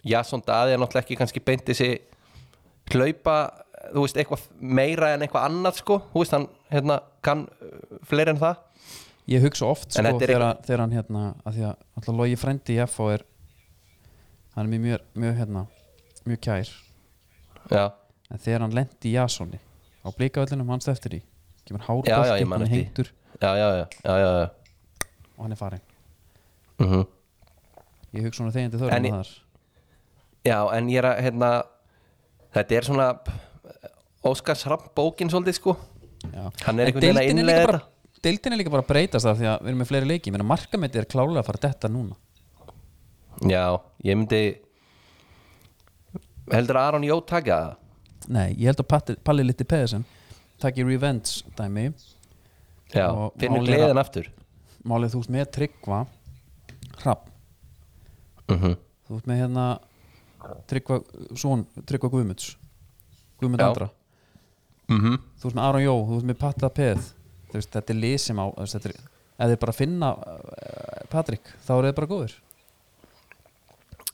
Speaker 2: Jason Daði er náttúrulega ekki kannski beint þessi hlaupa þú veist, eitthvað meira en eitthvað annað sko, þú veist, hann hérna kann uh, fleiri en það
Speaker 1: Ég hugsa oft sko
Speaker 2: En þetta er
Speaker 1: þegar, þegar hann hérna að því að alltaf logi frendi í FH er hann er mér mjög, mjög hérna mjög kær
Speaker 2: já,
Speaker 1: en þegar hann lendi í Jasoni á blíkavöllinum mannst eftir því kemur
Speaker 2: Já, já, ég
Speaker 1: hárbolti, hann
Speaker 2: man
Speaker 1: er
Speaker 2: eftir því.
Speaker 1: hengtur
Speaker 2: já, já, já, já, já, já.
Speaker 1: og hann er farinn
Speaker 2: Mm
Speaker 1: Ég hugsa hún að þegjandi
Speaker 2: En
Speaker 1: þörfum
Speaker 2: ég-
Speaker 1: þar
Speaker 2: já, en ég er að hérna, þetta er svona Óskars Rapp bókin svolítið sko
Speaker 1: Já.
Speaker 2: Hann
Speaker 1: En
Speaker 2: er einhvern veginn að
Speaker 1: deildin er
Speaker 2: innleiða
Speaker 1: líka bara- Deildin er líka bara að breytast það því að við erum með fleiri leiki menn að markamæti er klálega að fara að detta núna
Speaker 2: já, ég myndi heldur að Aron Jó taka það
Speaker 1: Nei, ég held að Patti- Palli Litti Pedersen takki Revenge dæmi
Speaker 2: Já,
Speaker 1: Og
Speaker 2: finnur
Speaker 1: málið er
Speaker 2: gleðin aftur
Speaker 1: málið þú ert með tryggva hrapp
Speaker 2: mm -hmm.
Speaker 1: þú ert með hérna Tryggva, svon, Tryggva Guðmunds Guðmund
Speaker 2: Já.
Speaker 1: Andra
Speaker 2: Mhm.
Speaker 1: þú ert með Aron Jó, þú ert með Patta Peð þú veist, þetta er lið sem á þú veist, þetta er, ef þið bara finna uh, Patrik, þá eru þið bara góður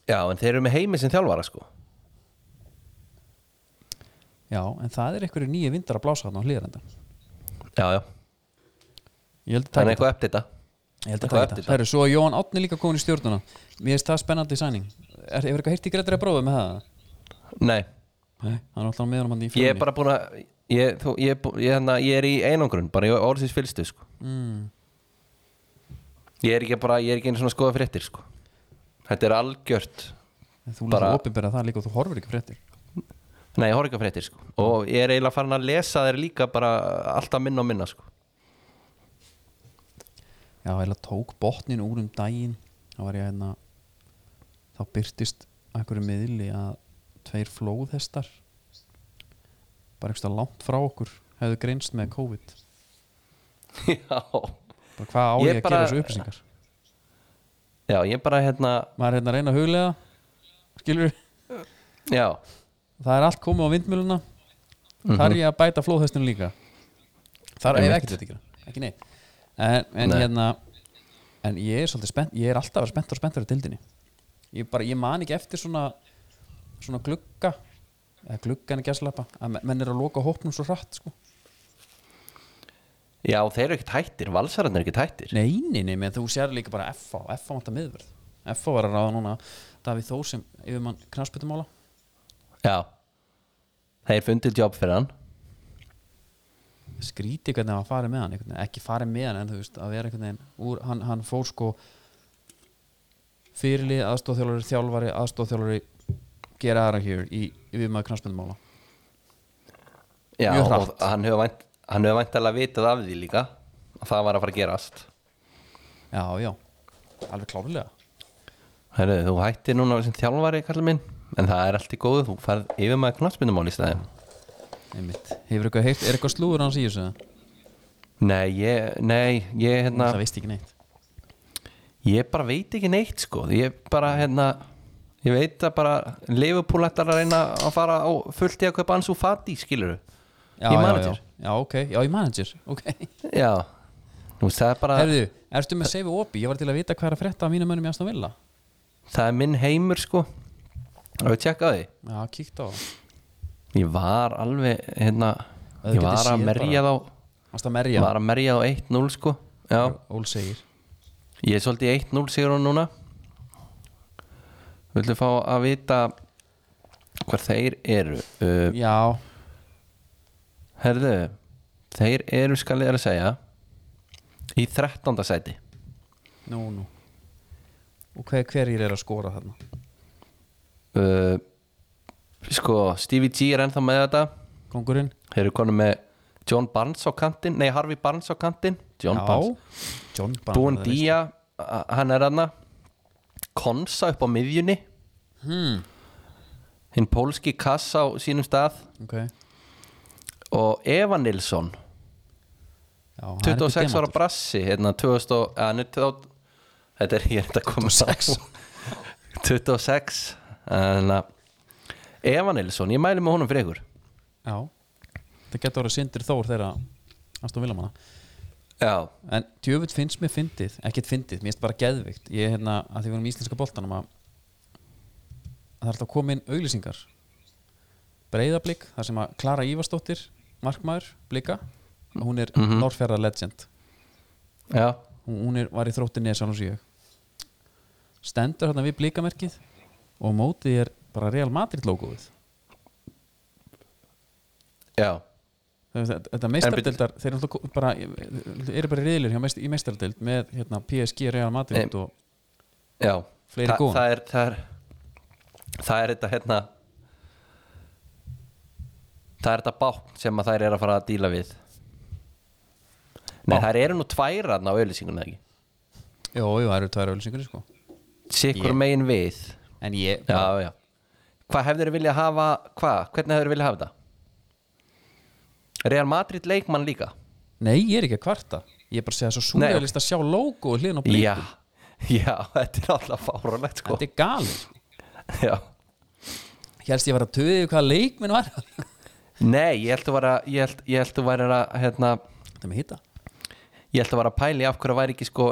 Speaker 2: Já, en þeir eru með heimi sem þjálfara sko
Speaker 1: já, en það er einhverju nýju vindar að blása hann á hlýðarenda
Speaker 2: Já, já,
Speaker 1: ég held að
Speaker 2: það
Speaker 1: taka þetta
Speaker 2: er eitthvað eftir þetta
Speaker 1: ég held að
Speaker 2: eitthvað
Speaker 1: taka
Speaker 2: eftir
Speaker 1: þetta, herru, svo er Jón Átni líka komin í stjórnuna mér finnst það spennandi sæning er, hefur eitthvað heyrt í Gretari að bróða með það?
Speaker 2: Nei,
Speaker 1: Nei, hann er alltaf með honum hann í
Speaker 2: ég er
Speaker 1: fjörunni.
Speaker 2: bara búin að ég, þú, ég, er bú- ég, hérna, ég er í einangrun bara ég orðsins fylgstu sko
Speaker 1: Mm.
Speaker 2: Ég er ekki bara, ég er ekki einu svona skoða fréttir sko Þetta er algjört
Speaker 1: En þú
Speaker 2: bara-
Speaker 1: bara... opinberða það líka og þú horfir ekki fréttir
Speaker 2: Nei, ég horf ekki að fréttir sko Og ég er eiginlega farin að lesa þeir líka bara alltaf minna og minna sko
Speaker 1: já, eða tók botnin úr um daginn þá var ég hérna þá byrtist einhverju miðli að tveir flóðhestar bara einhverstað langt frá okkur hefðu greinst með COVID
Speaker 2: já,
Speaker 1: bara hvað á ég,
Speaker 2: Ég
Speaker 1: að
Speaker 2: bara-
Speaker 1: gera þessu upplýsingar
Speaker 2: já, ég bara hérna
Speaker 1: maður er hérna að reyna að huglega skilur
Speaker 2: já,
Speaker 1: það er allt komið á vindmjöluna þar ég að bæta flóðhestinu líka þar er
Speaker 2: Mhm. Einmitt.
Speaker 1: ekkert þetta að gera ekki neitt en, en
Speaker 2: Nei.
Speaker 1: hérna en ég er svolítið spennt ég er alltaf að vera spennt og spenntur á dildinni ég, bara, ég man ekki eftir svona svona glugga eða gluggan er gæslappa að men- menn er að loka hópnum svo hratt sko.
Speaker 2: já, þeir eru ekkert hættir valsararnir eru ekkert hættir
Speaker 1: nei, nei, nei, menn þú sér líka bara FH FH vantar miðverð FH var að ráða núna Davíð Þór sem yfirmann knarspitumála
Speaker 2: já, þeir fundið jobb fyrir hann
Speaker 1: skríti hvernig hann farið með hann einhvern veginn, ekki farið með hann en þú veist að vera einhvern veginn úr, hann, hann fór sko fyrirlið, aðstóðþjálfari, þjálfari aðstóðþjálfari, gera aðra hér í, í við maður knarspöndmála
Speaker 2: já,
Speaker 1: Mjög
Speaker 2: og
Speaker 1: hratt.
Speaker 2: hann hefur vænt, hann hefur væntalega vitað af því líka að það var að fara að gerast
Speaker 1: já, já, alveg klárlega
Speaker 2: Herru, þú hættir núna sem þjálfari, kallið minn en það er allt í góðu, þú færð yfir maður knallspindumál í stæðin
Speaker 1: einmitt, hefur eitthvað heyrt, er eitthvað slúður hans í þessu
Speaker 2: Nei, ég, nei, ég hérna
Speaker 1: það veist ekki neitt
Speaker 2: Ég bara veit ekki neitt sko Ég bara hérna Ég veit að bara Liverpool ætlar að reyna að fara á fullt í að kaupa Ansu Fati skilur
Speaker 1: já,
Speaker 2: Í
Speaker 1: já,
Speaker 2: manager.
Speaker 1: já, já, ok, já, í manager ok,
Speaker 2: Já Þú veist það er bara
Speaker 1: herðu, ertu með save opi, ég var til að vita hvað er að frétta af mínum mönnum í Aston Villa
Speaker 2: Það er minn heimur sko Það við tjekka á því
Speaker 1: já, kíkt á það,
Speaker 2: Ég var alveg hérna
Speaker 1: Að þú
Speaker 2: Ég
Speaker 1: getir
Speaker 2: var að
Speaker 1: séð
Speaker 2: merja þá
Speaker 1: hans það merja
Speaker 2: Var að merja þá 1-0 sko Já
Speaker 1: Ól segir,
Speaker 2: Ég er svolítið í 1-0 sigur hún núna Viltu fá að vita Hvar þeir eru uh,
Speaker 1: já,
Speaker 2: Herðu, þeir eru skal ég er að segja í 13. sæti
Speaker 1: Nú, nú Og hver, hverjir er að skora þarna?
Speaker 2: uh, Sko, Stevie G er ennþá með þetta
Speaker 1: Kongurinn?
Speaker 2: Þeir eru konum með John Barnes á kantinn Nei, Harvey Barnes á kantinn John Barnes
Speaker 1: John Barnes
Speaker 2: Búin
Speaker 1: það er
Speaker 2: Día, hann er aðna Konsa upp á miðjunni
Speaker 1: Hmm.
Speaker 2: Hinn pólski kassa á sínum stað
Speaker 1: veist. Ok Já,
Speaker 2: Og Eva Nilsson
Speaker 1: hann er ekki
Speaker 2: 26 ára
Speaker 1: demantur.
Speaker 2: brassi hérna 2000 og, eða, hann er 2000 þetta er ég er þetta að koma 26 26 en að Eva Nilsson, ég mæli með honum fyrir ykkur
Speaker 1: Já Það getur orðið sindir þór þeirra Aston Villamanna
Speaker 2: já,
Speaker 1: En djöfull finnst mér fyndið Ekkert fyndið, mér finnst bara geðvikt Ég er hérna, að því við erum í íslenska boltanum að að það er alltaf komin auglýsingar Breiðablík, þar sem að Klara Ívarsdóttir Markmaður, blika Hún er mm
Speaker 2: Mhm.
Speaker 1: legend
Speaker 2: já,
Speaker 1: hún, hún er, var í þrótti nesan og síðan stendur hérna við blikamerkið og á móti er bara Real Madrid logoið
Speaker 2: já
Speaker 1: Þú veist, þetta, þetta
Speaker 2: En
Speaker 1: meistardildar þeir eru náttúrulega ko- bara, eru bara riðilir hjá meist, í meistardild með hérna, PSG, Real Madrid
Speaker 2: Nei.
Speaker 1: og
Speaker 2: já
Speaker 1: Fleiri
Speaker 2: Þa,
Speaker 1: góðan.
Speaker 2: það er það er, það er þetta hérna það er þetta bátt sem að þær eru að fara að díla við nei, þær eru nú tværa á auðlýsinguna ekki
Speaker 1: jú, jú, það eru tvær ölsingur sko.
Speaker 2: sikkur
Speaker 1: Ég-
Speaker 2: megin við
Speaker 1: en ég,
Speaker 2: já, já hvað hefur þeir viljað hafa, hvað, hvernig hefur þeir viljað hafa þetta Real Madrid leikmann líka
Speaker 1: nei, ég er ekki að kvarta ég er bara að segja svo
Speaker 2: Nei.
Speaker 1: súrjálist að sjá logo og hliðin á blík
Speaker 2: já, já, þetta er alltaf fáránlegt sko
Speaker 1: þetta er galið
Speaker 2: já.
Speaker 1: helst ég var að töðu hvaða leikminn var
Speaker 2: nei, ég held að vera ég held, ég held að vera að, hérna,
Speaker 1: þetta er með hitta
Speaker 2: ég held að vera að pæli af hverju væri ekki sko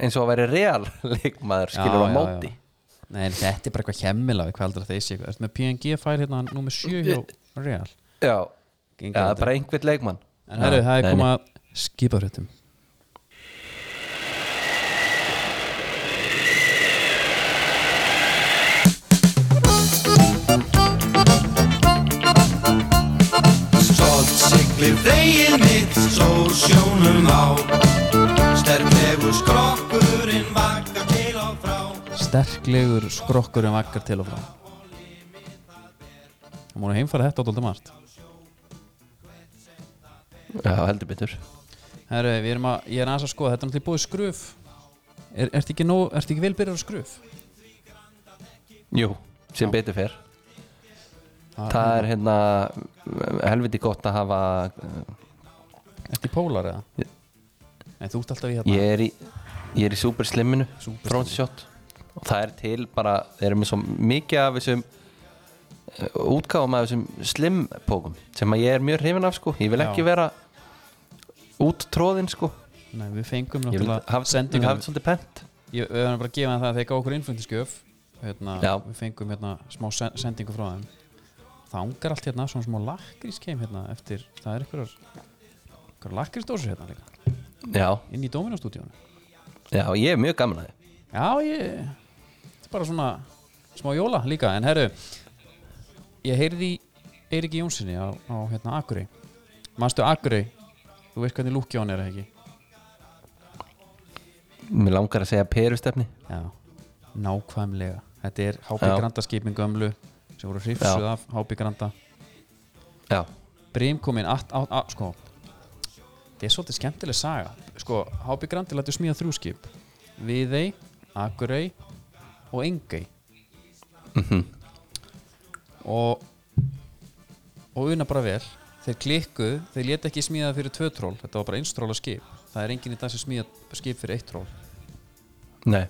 Speaker 2: eins og að væri real leikmaður skilur á móti
Speaker 1: Nei, en þetta er bara eitthvað hemmila við hvað heldur að þeir sé eitthvað Ertu með PNG fær hérna númer 7 hjá Real
Speaker 2: já, já,
Speaker 1: Gengur
Speaker 2: það er
Speaker 1: aldrei.
Speaker 2: bara einhvern leikmann
Speaker 1: En herru,
Speaker 2: Já,
Speaker 1: það er
Speaker 2: nei,
Speaker 1: komað skiparhjötum
Speaker 4: Stolt siglir vegið mitt, svo sjónum á Sterklegur skrokkurinn vaka til og frá
Speaker 1: Sterklegur skrokkur en vakkar til og frá Það múinu heimfæra þetta á dólda margt
Speaker 2: já, heldur betur
Speaker 1: Herru, við erum að, ég er aðeins að skoða, þetta er náttúrulega búið skröf er, Ertu ekki, nóg- ertu ekki velbyrjar á skröf?
Speaker 2: Jú, sem betur fer
Speaker 1: Það-
Speaker 2: Það er hérna helviti gott að hafa
Speaker 1: Ertu í pólar eða?
Speaker 2: Ég-
Speaker 1: Nei, þú ert alltaf í hérna
Speaker 2: Ég er í, ég er í super slimminu
Speaker 1: Super
Speaker 2: front shot og það er til bara, þeir eru með svo mikið af þessum eh, útgáfum af þessum slim pókum sem að ég er mjög hrifin af sko ég vil
Speaker 1: Já.
Speaker 2: ekki vera úttróðinn sko
Speaker 1: Nei, við fengum
Speaker 2: ég vil
Speaker 1: náttúrulega
Speaker 2: hafa
Speaker 1: sendingu
Speaker 2: hafa þetta svolítið pent
Speaker 1: Ég við verðum bara að gefa þeim það að þeir gá okkur innflutningsgjöf hérna,
Speaker 2: Já.
Speaker 1: Við fengum hérna smá sen- sendingu frá þeim Það angar allt hérna, svona smá lakrís kem hérna eftir, það er einhverjar einhverjar lakrísdósur hérna líka
Speaker 2: já,
Speaker 1: inn í Dominostúdíónu
Speaker 2: já, ég er mjög gaman að þið
Speaker 1: Já, ég þetta er bara svona smá jóla líka en herru, ég heyrði í Eiríki Jónssoni á, á hérna Akuri Manstu Akuri, þú veist hvernig lúkja hann er eða ekki
Speaker 2: mér langar að segja perustefni
Speaker 1: Já, nákvæmlega Þetta er HB
Speaker 2: Já.
Speaker 1: Granda skipin gömlu sem voru hrifsuð
Speaker 2: Já.
Speaker 1: af HB Granda
Speaker 2: já,
Speaker 1: Brim kom inn að, að, að, sko þetta er svolítið skemmtileg saga sko, HB Grandi lætur smíða þrjú skip Viðey, Akurey og Engey og og una bara vel þeir klikkuð, þeir leta ekki smíða fyrir tvö tról þetta var bara eins tróla skip það er enginn í dag sem smíða skip fyrir eitt tról
Speaker 2: nei,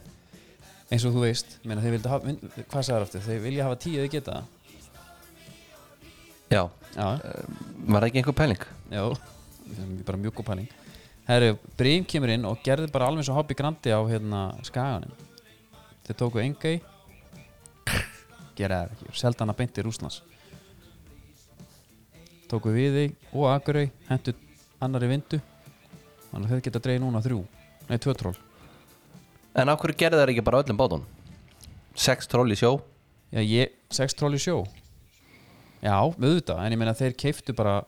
Speaker 1: eins og þú veist, meina þeir vilja hafa mynd, hvað sagðar aftur, þeir vilja hafa tíu eða geta Eh,
Speaker 2: já
Speaker 1: já,
Speaker 2: var það ekki einhver pæling
Speaker 1: Já, það er bara mjög góð pæling Herru, Brím kemur inn og gerði bara alveg svo hobby grandi á hérna skaganum Þeir tóku engei Gera það ekki, seldi hana beint í Rúslands Tóku við þig og Akurey Hentu annari vindu Þannig að þeir geta dreigð núna þrjú Nei, tvö tról
Speaker 2: en á hverju gerði það ekki bara öllum bátunum sex troll í sjó
Speaker 1: Já, ég, sex tról í sjó Já, auðvitað, en ég meina þeir keiftu bara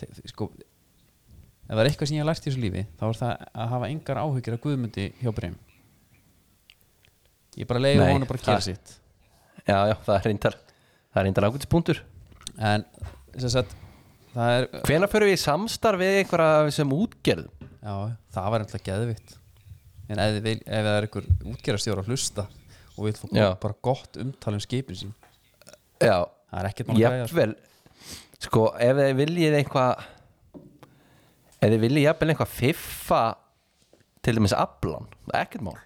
Speaker 1: þeir, þeir- sko, ef það er eitthvað sem ég hef lært í þessu lífi þá er það að hafa engar áhyggjur af guðmundi hjá breym Ég bara leiði
Speaker 2: Nei,
Speaker 1: honum bara að gera
Speaker 2: það-
Speaker 1: sitt
Speaker 2: já, já, það er reyndar það er reyndar ákveðtis punktur
Speaker 1: En, sem sagt það er,
Speaker 2: Hvenær fyrir við í samstarf við einhverja af þessum útgerð?
Speaker 1: já, það var eitthvað geðvitt En ef, þið vil, ef það er einhver útgerastjóra að hlusta og vil fá
Speaker 2: Já.
Speaker 1: gott, bara gott umtal um skipin sín
Speaker 2: Já,
Speaker 1: það er ekkert mál að græja sko.
Speaker 2: jafnvel Sko, ef þið viljið eitthvað Ef þið viljið jafnvel eitthvað fiffa Til dæmis aflan Ekkert mál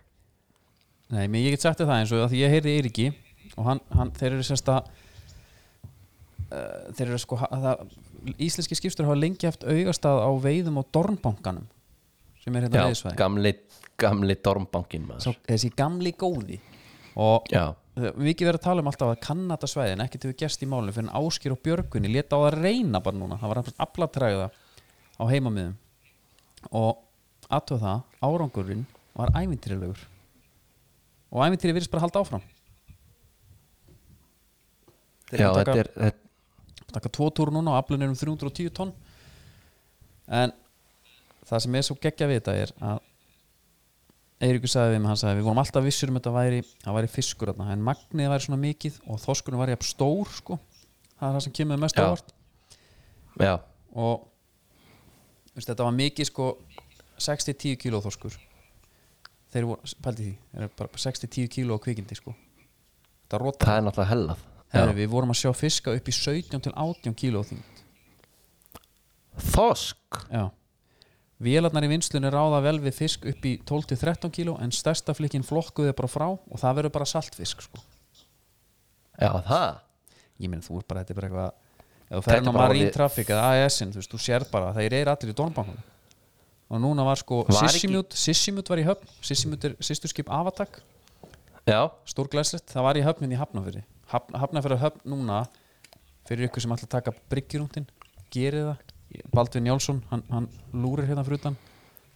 Speaker 1: Nei, mér ég get sagt þér það eins og að því ég heyrði Eiríki og hann, hann þeir eru sérst að uh, þeir eru sko að það, íslenski skipstur hafa lengi haft augastað á veiðum á Dornbankanum sem er hérna
Speaker 2: Já,
Speaker 1: veiðsvæði
Speaker 2: gamli, gamli dormbankin
Speaker 1: Sá,
Speaker 2: maður
Speaker 1: þessi gamli góði og
Speaker 2: Já,
Speaker 1: mikið verið að tala um alltaf að Kanadasvæðin ekkert hefur gerst í málinu fyrir en Áskir og Björgunni leta á að reyna bara núna það var aflatræða á heimamiðum og aðtöð það árangurinn var ævintýrilegur og ævintýri virðist bara halda áfram Þeir
Speaker 2: já
Speaker 1: eru að
Speaker 2: þetta
Speaker 1: taka-
Speaker 2: er þetta,
Speaker 1: taka tvo túr núna og aflun er um 310 tonn en það sem er svo geggja við þetta er að Eiríkur sagði við mig, hann sagði við vorum alltaf vissur um þetta væri, það væri fiskur þarna, en magnið væri svona mikið og þorskunum væri jafn stór sko, það er það sem kemur mest
Speaker 2: Já.
Speaker 1: ávart
Speaker 2: Já,
Speaker 1: og veist, þetta var mikið sko 6-10 kíló þorskur þeir voru, pældi því þeir eru bara 6-10 kíló á kvikindi sko þetta róta
Speaker 2: það er náttúrulega hellað
Speaker 1: Herri,
Speaker 2: Já.
Speaker 1: við vorum að sjá fiska upp í 17 til 18 kíló þyngd
Speaker 2: Þosk
Speaker 1: Já Vélarnar í vinslunni ráða vel við fisk upp í 12 til 13 kíló en stærsta flikkin flokkuði bara frá og það verður bara saltfisk sko.
Speaker 2: Já, það
Speaker 1: Ég meina þú er bara, þetta er bara eitthvað ef þú
Speaker 2: Þetta
Speaker 1: ferðin
Speaker 2: er
Speaker 1: á
Speaker 2: bara
Speaker 1: Marine
Speaker 2: orðið-
Speaker 1: Traffic eða AS-in, þú veist, þú sér bara þeir eru allir í Dornbankunum og núna var sko
Speaker 2: Var ekki-
Speaker 1: Sissimut, Sissimut var í höfn Sissimut er sýsturskip Avatak
Speaker 2: Já,
Speaker 1: stór glæslegt, það var í höfnin í Hafnafyrir Hafn, Hafnafyrir höfn núna fyrir ykkur sem ætla að taka bryggjurúndin gerir það, Baldvin Jálsson hann, hann lúrir hérna fyrir utan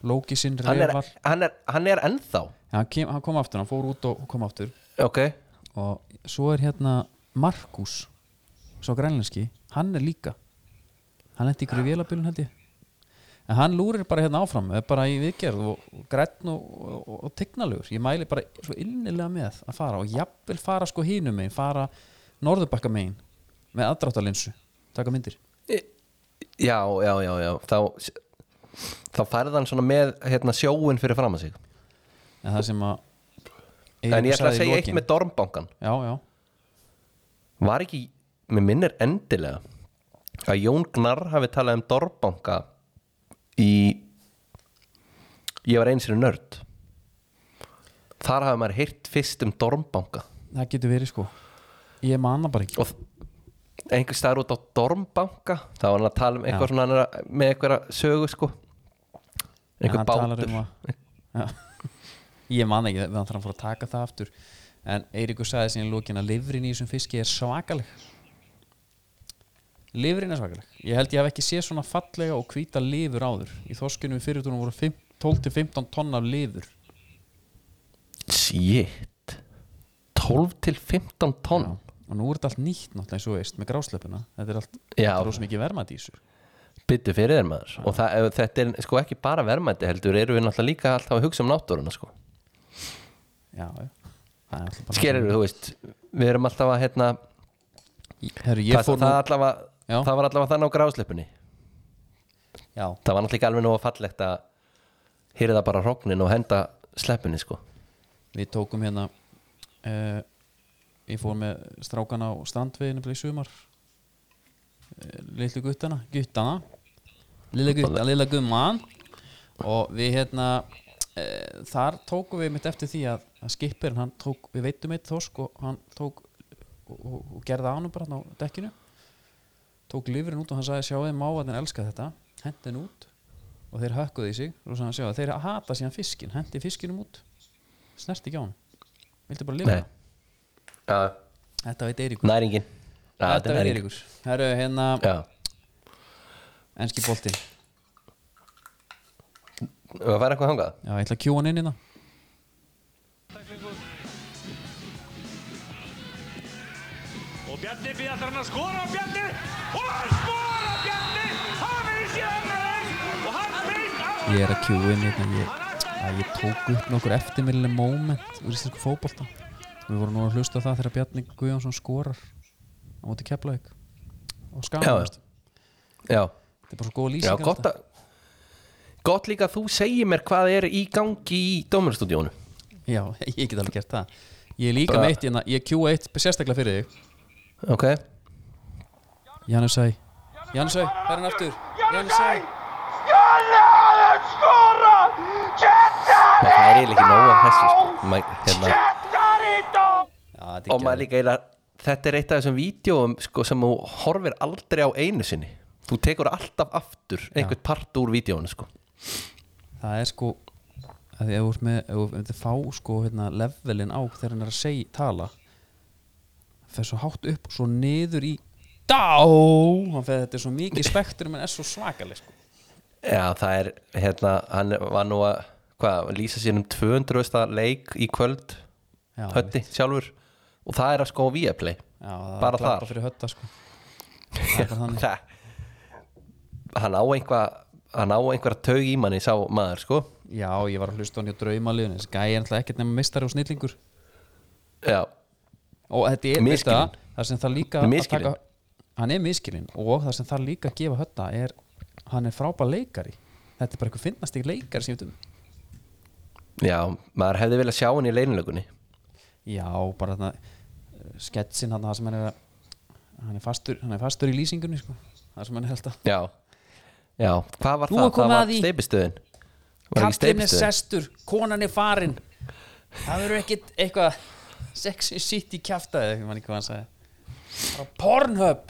Speaker 1: Lóki sinn
Speaker 2: hann er,
Speaker 1: refar
Speaker 2: hann, er, hann er ennþá
Speaker 1: ja, hann, kem, hann kom aftur, hann fór út og, og kom aftur
Speaker 2: Ok,
Speaker 1: og svo er hérna Markus svo grænlenski, hann er líka hann lendi ykkur í vélabilun held ég en hann lúrir bara hérna áfram er bara í viðgerð og, og grætn og, og, og tegnalur, ég mæli bara svo innilega með að fara og jafnvel fara sko hínum megin, fara norðurbakka megin með aðdráttalinsu taka myndir
Speaker 2: já, já, já, já Þá þá færði hann svona með hérna, sjóin fyrir fram að sig
Speaker 1: en það sem að
Speaker 2: en ég ætla
Speaker 1: sagði
Speaker 2: að
Speaker 1: í
Speaker 2: segja eitt
Speaker 1: lokin-
Speaker 2: með Dormbankan
Speaker 1: já, já,
Speaker 2: var ekki, mér minnir endilega að Jón Gnarr hafi talað um Dormbanka í ég var einsinu nörd þar hafi maður heyrt fyrst um Dormbanka
Speaker 1: það getur verið sko ég manna bara ekki
Speaker 2: og einhver staðar út á Dormbanka þá var hann að tala um eitthvað
Speaker 1: Já.
Speaker 2: svona hann er að- með einhverja sögu sko
Speaker 1: En
Speaker 2: einhver
Speaker 1: hann talar
Speaker 2: bátur
Speaker 1: um að, Já. ég manna ekki við hann þarf að fara að taka það aftur en Eiríkur sagði síðan í lókin að livrin í þessum fiski er svakaleg livrin er svakaleg ég held ég hef ekki séð svona fallega og hvíta lifur áður í þorskunum í fyrirtunum voru fimm- 12-15 tonn af lifur
Speaker 2: shit 12 til 15 tonn
Speaker 1: Já. og nú er þetta allt nýtt náttúrulega eins og þú veist með grásleppuna þetta er allt
Speaker 2: Já.
Speaker 1: rosa mikið vermaðísur
Speaker 2: byttu fyrir þér maður og það, ef- þetta er sko ekki bara verðmæti heldur eru við náttúrulega líka alltaf að hugsa um náttúruna sko.
Speaker 1: já, já. Það er alltaf bara-
Speaker 2: skerir þú veist við erum alltaf að hérna
Speaker 1: Herru, ég
Speaker 2: það,
Speaker 1: fór
Speaker 2: það,
Speaker 1: nú-
Speaker 2: allavega,
Speaker 1: Já.
Speaker 2: það var allavega þannig á grásleppunni
Speaker 1: já,
Speaker 2: það var náttúrulega ekki alveg nóg fallegt að hýrða bara hrognin og henda sleppinni sko
Speaker 1: við tókum hérna uh, ég fór með strákana á strandveginu í sumar uh, litlu guttana guttana lilla gutta, lilla gumman og við hérna uh, þar tókum við mitt eftir því að, að skipperinn hann tók, við veitum eitt þorsk og hann tók og, og, og gerði ánum bara hann á dekkinu tók lifurinn út og hann sagði sjáu þið mávarnir elska þetta hendin út og þeir hökkuðu í sig og svo hann sjáu þeir hata síðan fiskin hendi fiskinum út snerti ekki á hann viltu bara lifa
Speaker 2: Nei. Já,
Speaker 1: þetta veit Eiríkur
Speaker 2: næringin Já,
Speaker 1: þetta veit Eiríkur herru hérna
Speaker 2: Já.
Speaker 1: enski boltinn
Speaker 2: Eigum við að fara eitthvað hangað
Speaker 1: já ég ætla að kjú hann inn hérna
Speaker 5: Og Bjarni býðar hann að skora á Bjarni og hann skora Bjarni hann er í síðan með þeim og hann beint á
Speaker 1: ég er að kjú inn hérna ég, að ég tók upp nokkur eftirmilnileg moment úr íslensku fótbolta við vorum nú að hlusta á það þegar Bjarni Guðjónsson skorar á móti Keflavík og
Speaker 2: Já,
Speaker 1: skamast
Speaker 2: já. Já,
Speaker 1: þetta er bara svo góð
Speaker 2: já
Speaker 1: lýsing hérna.
Speaker 2: gott að gott líka að þú segir mér hvað er í gangi í dómurstudíónu
Speaker 1: já ég get alveg gert það ég er líka
Speaker 2: Bara-
Speaker 1: meitt hérna ég kjú eitt sérstaklega fyrir þig
Speaker 2: ok,
Speaker 1: Janusæ Janusæ það er hann aftur Janusæ
Speaker 2: það er eiginlega ekki nóg af þessu sko. Ma, hérna.
Speaker 1: Já, þetta er
Speaker 2: og maður
Speaker 1: geðveikt.
Speaker 2: líka eiginlega þetta er eitt af þessum vídjóum sko, sem þú horfir aldrei á einu sinni þú tekur alltaf aftur einhvern part úr vídjónu sko.
Speaker 1: það er sko að því ef þú ert með, ef þú myndir fá sko hérna levelin á þegar hann er að segja tala fer svo hátt upp og svo niður í dá hann fer þetta er svo mikið spektrum en er svo svakaleg sko
Speaker 2: já það er hérna, hann var nú að hvað, lýsa sér um 200. leik í kvöld
Speaker 1: Já,
Speaker 2: hötti sjálfur og það er að sko á Viaplay
Speaker 1: já, það
Speaker 2: Bara
Speaker 1: er klappa
Speaker 2: þar?
Speaker 1: fyrir hötta sko það er bara þannig
Speaker 2: það, hann á einhvað hann á einhverja taug í manni sá maður sko
Speaker 1: já, ég var að hlusta á hann hjá draumaliðun þessi gæi er alltaf ekkert nema mistari og snillingur
Speaker 2: já,
Speaker 1: og þetta er, veistu
Speaker 2: Misskilinn.
Speaker 1: það, það sem það líka
Speaker 2: Hann
Speaker 1: að
Speaker 2: er misskilinn.
Speaker 1: taka- hann er miskilinn og það sem það líka að gefa hötta er, hann er frábær leikari þetta er bara eitthvað finnast ekki leikari sem ég veit um
Speaker 2: já, maður hefði viljað sjá hann í leinilögunni
Speaker 1: Já, bara þarna eh, sketsin hann það sem hann er að hann er fastur, hann er fastur í lýsingunni sko. það sem hann er alltaf
Speaker 2: Já, já, hvað var
Speaker 1: Nú
Speaker 2: það?
Speaker 1: er komið
Speaker 2: það
Speaker 1: að því.
Speaker 2: var steypistöðin Var ekki
Speaker 1: kallinn er
Speaker 2: steypistöðin?
Speaker 1: sestur, konan er farin það verður ekkit eitthvað sexy shit í kjafta eða eitthvað mann ekki hvað hann sagði bara pornhub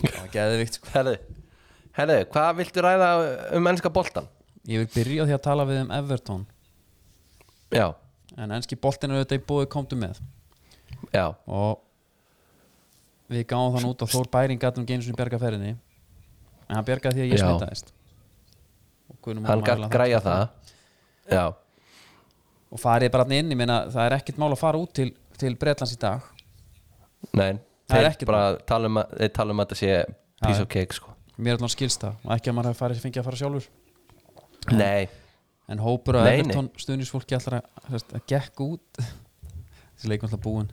Speaker 1: það var geðvikt sko.
Speaker 2: Herðu, herðu, hvað viltu ræða um mennska boltan?
Speaker 1: ég vil byrja á því að tala við um Everton
Speaker 2: Já,
Speaker 1: en ennski boltinn er auðvitað í bóði komdu með
Speaker 2: já,
Speaker 1: og við gáum þann út að Þór Bæring gat um geinu sinni bjarga ferðinni en hann bjargaði því að ég
Speaker 2: Já.
Speaker 1: smitaðist og Guðnum
Speaker 2: hann
Speaker 1: Ómar
Speaker 2: gætt
Speaker 1: Vala-
Speaker 2: græja það Já,
Speaker 1: og farið bara þarna inn, ég meina það er ekkert mál að fara út til, til Bretlands í dag
Speaker 2: nein
Speaker 1: Það er
Speaker 2: Þeir
Speaker 1: ekkert
Speaker 2: bara tala um að, þeir tala um að þetta sé piece
Speaker 1: Já.
Speaker 2: of cake sko
Speaker 1: mér er allan skilst það og ekki að maður hafi farið fengið að fara sjálfur
Speaker 2: Nei,
Speaker 1: en hópur að
Speaker 2: Nei, nei.
Speaker 1: Everton stuðnisfólki allra að, að gekk út þessi leikum alltaf búin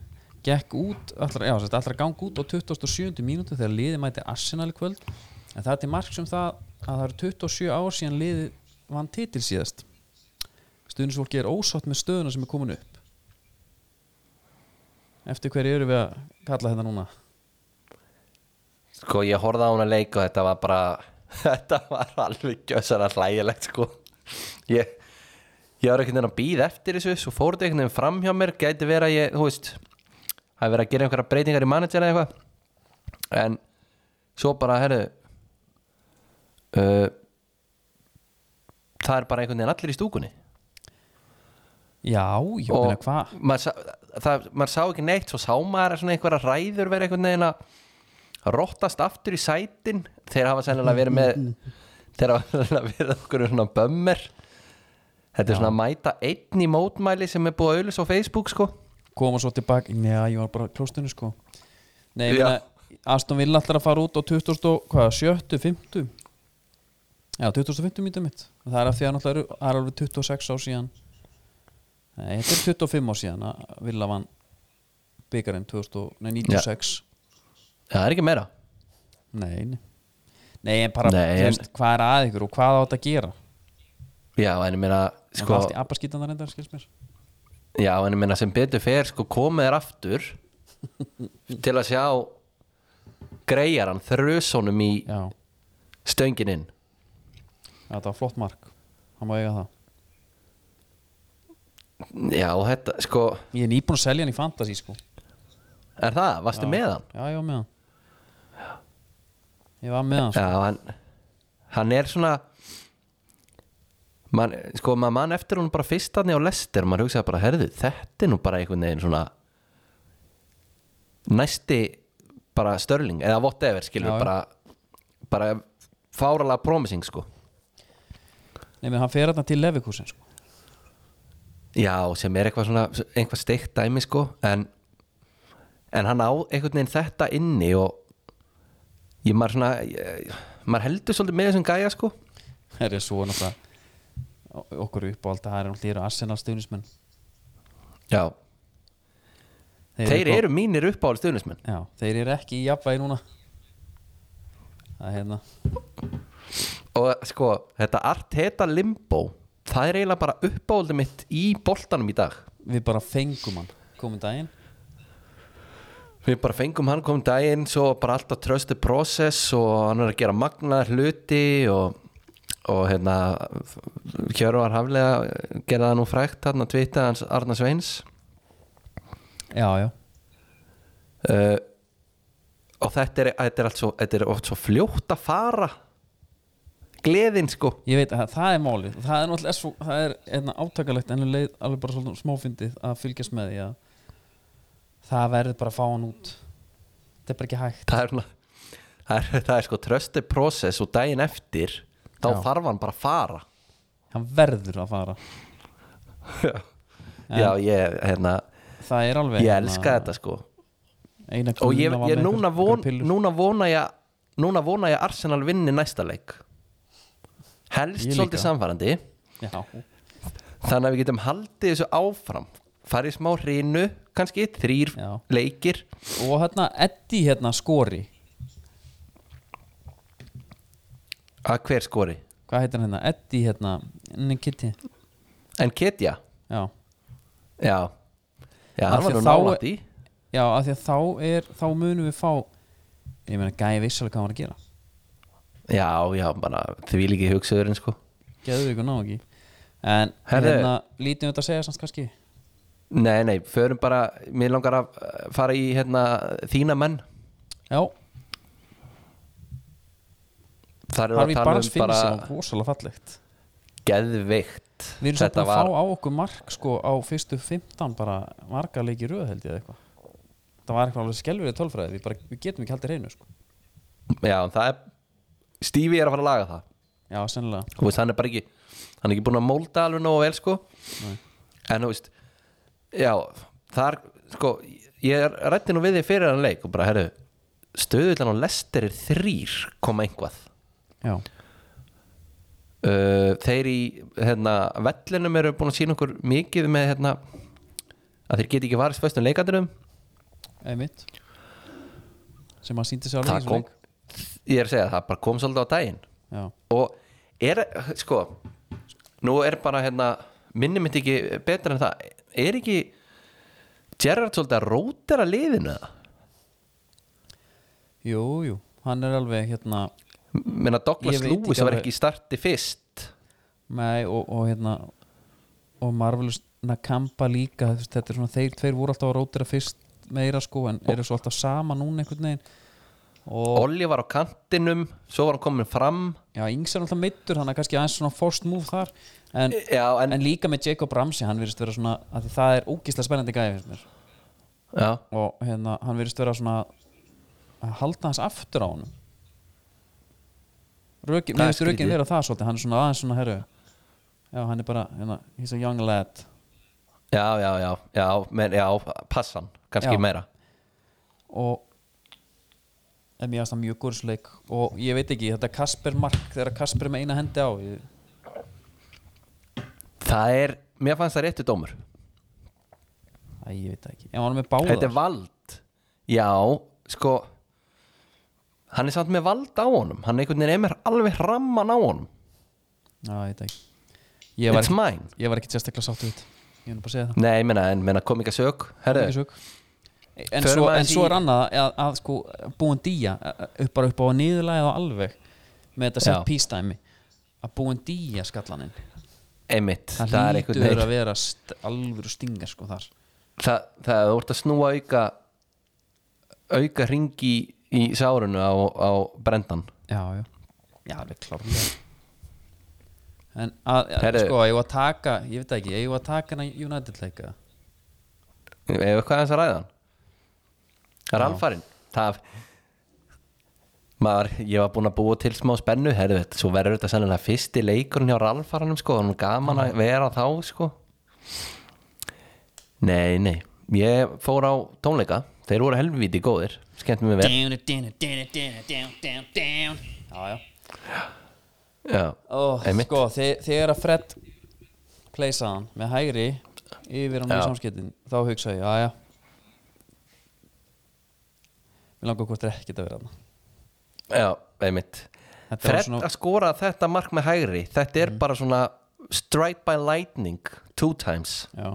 Speaker 1: gekk út, allra, já, allra gang út á 27. mínútu þegar liði mæti Arsenal í kvöld en það er til mark sem það að það eru 27 ár síðan liði vann titil síðast stuðnisfólki er ósátt með stöðuna sem er komin upp eftir hverju eru við að kalla þetta núna
Speaker 2: Sko ég horfði á hún að leika og þetta var bara Þetta var alveg gjössara hlægilegt sko Ég Ég var einhvern veginn að býða eftir þessu Svo fór þetta einhvern veginn fram hjá mér Gæti verið að ég, þú veist Hafi verið að gera einhverja breytingar í manager eða eitthvað En Svo bara, herru uh, Það er bara einhvern veginn allir í stúkunni
Speaker 1: já, ég
Speaker 2: og
Speaker 1: meina hvað
Speaker 2: maður sá, það, maður sá ekki neitt svo sá maður svona einhverja ræður verið einhvern veginn að rottast aftur í sætin þeir hafa sennilega verið með þeir hafa sennilega verið okkur svona bömmir þetta er svona að mæta einn í mótmæli sem er búið að auðlis á Facebook sko
Speaker 1: koma svo tilbaka, neða, ég var bara klóstinu sko nei, ég
Speaker 2: Já.
Speaker 1: meina Aston Villa ætlar að fara út á 20. og- hvað, 7. 50 já, 2050 mítið mitt það er af því að náttúrulega eru- það er alveg 26 ár síðan nei, þetta er 25 ár síðan að Villa vann byggarinn 1996
Speaker 2: Já, það er ekki meira
Speaker 1: nei, nei nei, en bara,
Speaker 2: Nei,
Speaker 1: þú
Speaker 2: en-
Speaker 1: veist, hvað er að ykkur og hvað á þetta að gera
Speaker 2: já, en ég meina
Speaker 1: sko,
Speaker 2: sko,
Speaker 1: allt í abaskítan það reyndar, skils mér
Speaker 2: já, en ég meina sem betur fer sko komið er aftur til að sjá greijaran þrösunum í
Speaker 1: já,
Speaker 2: stöngininn
Speaker 1: já, þetta var flott mark hann má eiga það
Speaker 2: já, þetta, sko,
Speaker 1: ég er nýbúin að selja hann í fantasy sko
Speaker 2: er það, varstu með hann?
Speaker 1: Já, ég var með hann Ég var með hann sko.
Speaker 2: Já, hann, hann er svona man, sko, maður mann eftir hún bara fyrst hann á lestir, maður hugsaði bara, herðu þetta er nú bara einhvern veginn svona næsti bara störling, eða whatever skilur,
Speaker 1: Já, já.
Speaker 2: bara, bara fáralega promising, sko
Speaker 1: Nei, menn hann fer þarna til Levikúsin sko.
Speaker 2: já, sem er eitthvað svona einhvað steikt dæmi, sko en, en hann á einhvern veginn þetta inni og ég maður svona ég, maður heldur svolítið með þessum gæja, sko
Speaker 1: Það er svo náttúrulega o- okkur upp á allt það er náttúrulega eru Arsenal stuðnismenn
Speaker 2: já, Þeir
Speaker 1: upp á-
Speaker 2: eru mínir uppáhaldi stuðnismenn
Speaker 1: Já, þeir eru ekki í jafnvægi núna Það er hérna
Speaker 2: Og sko, þetta Arteta Limbo Það er eiginlega bara uppáhaldi mitt í boltanum í dag
Speaker 1: Við bara fengum hann komin daginn
Speaker 2: Við bara fengum hann komum daginn Svo bara alltaf tröstu process Og hann er að gera magnaðar hluti Og, og hérna Hjörvar Haflega Gerða það nú frægt hann að tvita hans Arna Sveins
Speaker 1: Já, já,
Speaker 2: uh, Og þetta er, þetta er allt svo Þetta er oft svo fljótt að fara Gleðin sko
Speaker 1: ég veit að það er málið Það er náttúrulega svo, það er hérna, átakalegt en um leið alveg bara svolítið smáfyndið að fylgjast með því að það verður bara að fá hann út Þetta er bara ekki hægt
Speaker 2: það er, svona- það er, það er sko trösti process og daginn eftir þá
Speaker 1: Já.
Speaker 2: þarf hann bara að fara
Speaker 1: Hann verður að fara
Speaker 2: já, ég, hérna,
Speaker 1: Það er alveg
Speaker 2: ég
Speaker 1: hérna,
Speaker 2: elska þetta sko
Speaker 1: eina
Speaker 2: og ég,
Speaker 1: krúna var
Speaker 2: ég
Speaker 1: með einhver-
Speaker 2: núna, von,
Speaker 1: einhverjar pillur.
Speaker 2: núna vona ég núna vona ég að Arsenal vinni næsta leik helst
Speaker 1: Ég líka.
Speaker 2: svolítið samfærandi
Speaker 1: Já,
Speaker 2: þannig að við getum haldið þessu áfram farið smá hreinu, kannski þrýr
Speaker 1: Já.
Speaker 2: leikir
Speaker 1: og hérna Eddi hérna skori
Speaker 2: að hver skori
Speaker 1: Hvað heitir hann hérna? Eddi hérna Nikitti
Speaker 2: en Ketja,
Speaker 1: Já,
Speaker 2: já já,
Speaker 1: Af
Speaker 2: hann
Speaker 1: því
Speaker 2: var nú
Speaker 1: þá-
Speaker 2: nálægt í
Speaker 1: já af því að þá er þá munum við fá ég meina gæði vissalega hvað hann var að gera
Speaker 2: já, já, bara því líki hugsaðurinn sko
Speaker 1: Geðu ykkur ná ekki En
Speaker 2: Herðu.
Speaker 1: hérna lítið um þetta að segja samt kannski
Speaker 2: Nei, nei, förum bara Mér langar að eh, fara í hérna, þína menn
Speaker 1: Já,
Speaker 2: Það
Speaker 1: þar
Speaker 2: eru að
Speaker 1: við
Speaker 2: tala
Speaker 1: bara
Speaker 2: um
Speaker 1: finnum
Speaker 2: bara
Speaker 1: sem rosalega fallegt
Speaker 2: geðveikt
Speaker 1: Við erum samt
Speaker 2: Þetta
Speaker 1: að
Speaker 2: var,
Speaker 1: fá á okkur mark sko á fyrstu 15 bara marga leiki röð held ég eða eitthvað Það var eitthvað alveg skelfurið tölfræði við, bara, við getum ekki haldið reynu sko
Speaker 2: já, það er Stífi er að fara að laga það
Speaker 1: Já, sennilega
Speaker 2: Þú veist, hann er bara ekki Hann er ekki búin að mólda alveg nógu vel, sko En þú veist Já, þar, sko Ég rætti nú við því fyrir hann leik og bara, herru Stöðullan og lester er þrýr koma einhvað
Speaker 1: Já,
Speaker 2: uh, þeir í hérna, vellinum eru búin að sína okkur mikið með hérna, að þeir geti ekki varist föstum leikandunum
Speaker 1: einmitt sem að síndi sér alveg í
Speaker 2: það
Speaker 1: þessum
Speaker 2: kom,
Speaker 1: leik
Speaker 2: ég er að segja það bara kom svolítið á daginn
Speaker 1: já,
Speaker 2: og er, sko nú er bara hérna minni mitt ekki betur en það er ekki Gerrard svolítið að rótera liðinu eða?
Speaker 1: jú, jú hann er alveg hérna
Speaker 2: meina Douglas
Speaker 1: Ég veit
Speaker 2: Lewis
Speaker 1: ekki
Speaker 2: var
Speaker 1: alveg.
Speaker 2: ekki í starti fyrst
Speaker 1: nei, og, og hérna og Marvelous Nakamba líka þú veist, þetta er svona, þeir tveir voru alltaf að rótira fyrst meira sko, en eru svo alltaf sama núna einhvern veginn og
Speaker 2: Olli var á kantinum, svo var hann komin fram
Speaker 1: já, Ings er alltaf meittur, hann er kannski aðeins svona forced move þar, en,
Speaker 2: Já, en-
Speaker 1: en, líka með Jacob Ramsey, hann virðist vera svona af því það er ógislega spennandi gæði finnst mér
Speaker 2: já,
Speaker 1: og hérna, hann virðist vera svona að halda hans aftur á honum Rökin,
Speaker 2: Það
Speaker 1: mér
Speaker 2: er
Speaker 1: finnst rökin
Speaker 2: skrítið.
Speaker 1: vera það svolítið hann er svona aðeins svona herru já, hann er bara, hérna, he's a young lad
Speaker 2: já, já, já, já, men, já passan, kannski
Speaker 1: Já.
Speaker 2: meira
Speaker 1: og en mér finnst það mjög góðsleik og ég veit ekki, þetta Kasper Mark þegar Kasper er með eina hendi á ég,
Speaker 2: það er, mér fannst það réttu dómur
Speaker 1: æ, ég veit það ekki, ef hann er með báða
Speaker 2: þetta er vald já, sko hann er samt með vald á honum hann einhvern veginn er mér alveg hramman á honum
Speaker 1: já, ég veit það ekki ég var,
Speaker 2: It's mine.
Speaker 1: ekki, ég var ekki sérstaklega sáttu út ég vil bara segja það
Speaker 2: nei, menna, en menna kom ekki að sög
Speaker 1: Ekki
Speaker 2: herru,
Speaker 1: sök. en,
Speaker 2: Förum
Speaker 1: svo, en
Speaker 2: aðeins
Speaker 1: svo
Speaker 2: í-
Speaker 1: er annað að, að sko, búin dýja upp bara upp á að niðurlæða alveg með þetta
Speaker 2: Já.
Speaker 1: set piece dæmi að búin dýja skallaninn
Speaker 2: einmitt
Speaker 1: það,
Speaker 2: það, er einhvern
Speaker 1: lítur
Speaker 2: veginn
Speaker 1: að vera st alvöru stingar sko þar
Speaker 2: það, það er úrt að snúa auka auka ringi í sárunu á, á brendan
Speaker 1: já, já, já, alveg klárlega en að, að,
Speaker 2: Herru.
Speaker 1: sko, ég var að taka ég veit ekki, ég var að taka hana United leika
Speaker 2: ef eitthvað hans að ræða hann það er alfarinn það Maður, ég var búinn að búa til smá spennu herðu þetta, svo verður þetta sennilega fyrsti leikurinn hjá Ralfaranum sko, hann gaman að vera þá sko nei, nei ég fór á tónleika, þeir voru helviti góðir skemmt mér vel
Speaker 1: down, down, down, down, down, down, down já, já
Speaker 2: Já,
Speaker 1: oh,
Speaker 2: einmitt.
Speaker 1: sko, þe- þegar að Fred pleysa hann með hægri yfir hann í
Speaker 2: Já.
Speaker 1: samskiptin þá hugsa ég, aðja við langar hvort er ekkert að vera hann
Speaker 2: Já, einmitt
Speaker 1: Þetta var
Speaker 2: Fred
Speaker 1: svona- Mm.
Speaker 2: að skora þetta mark með hægri þetta er bara svona strike by lightning two times
Speaker 1: já.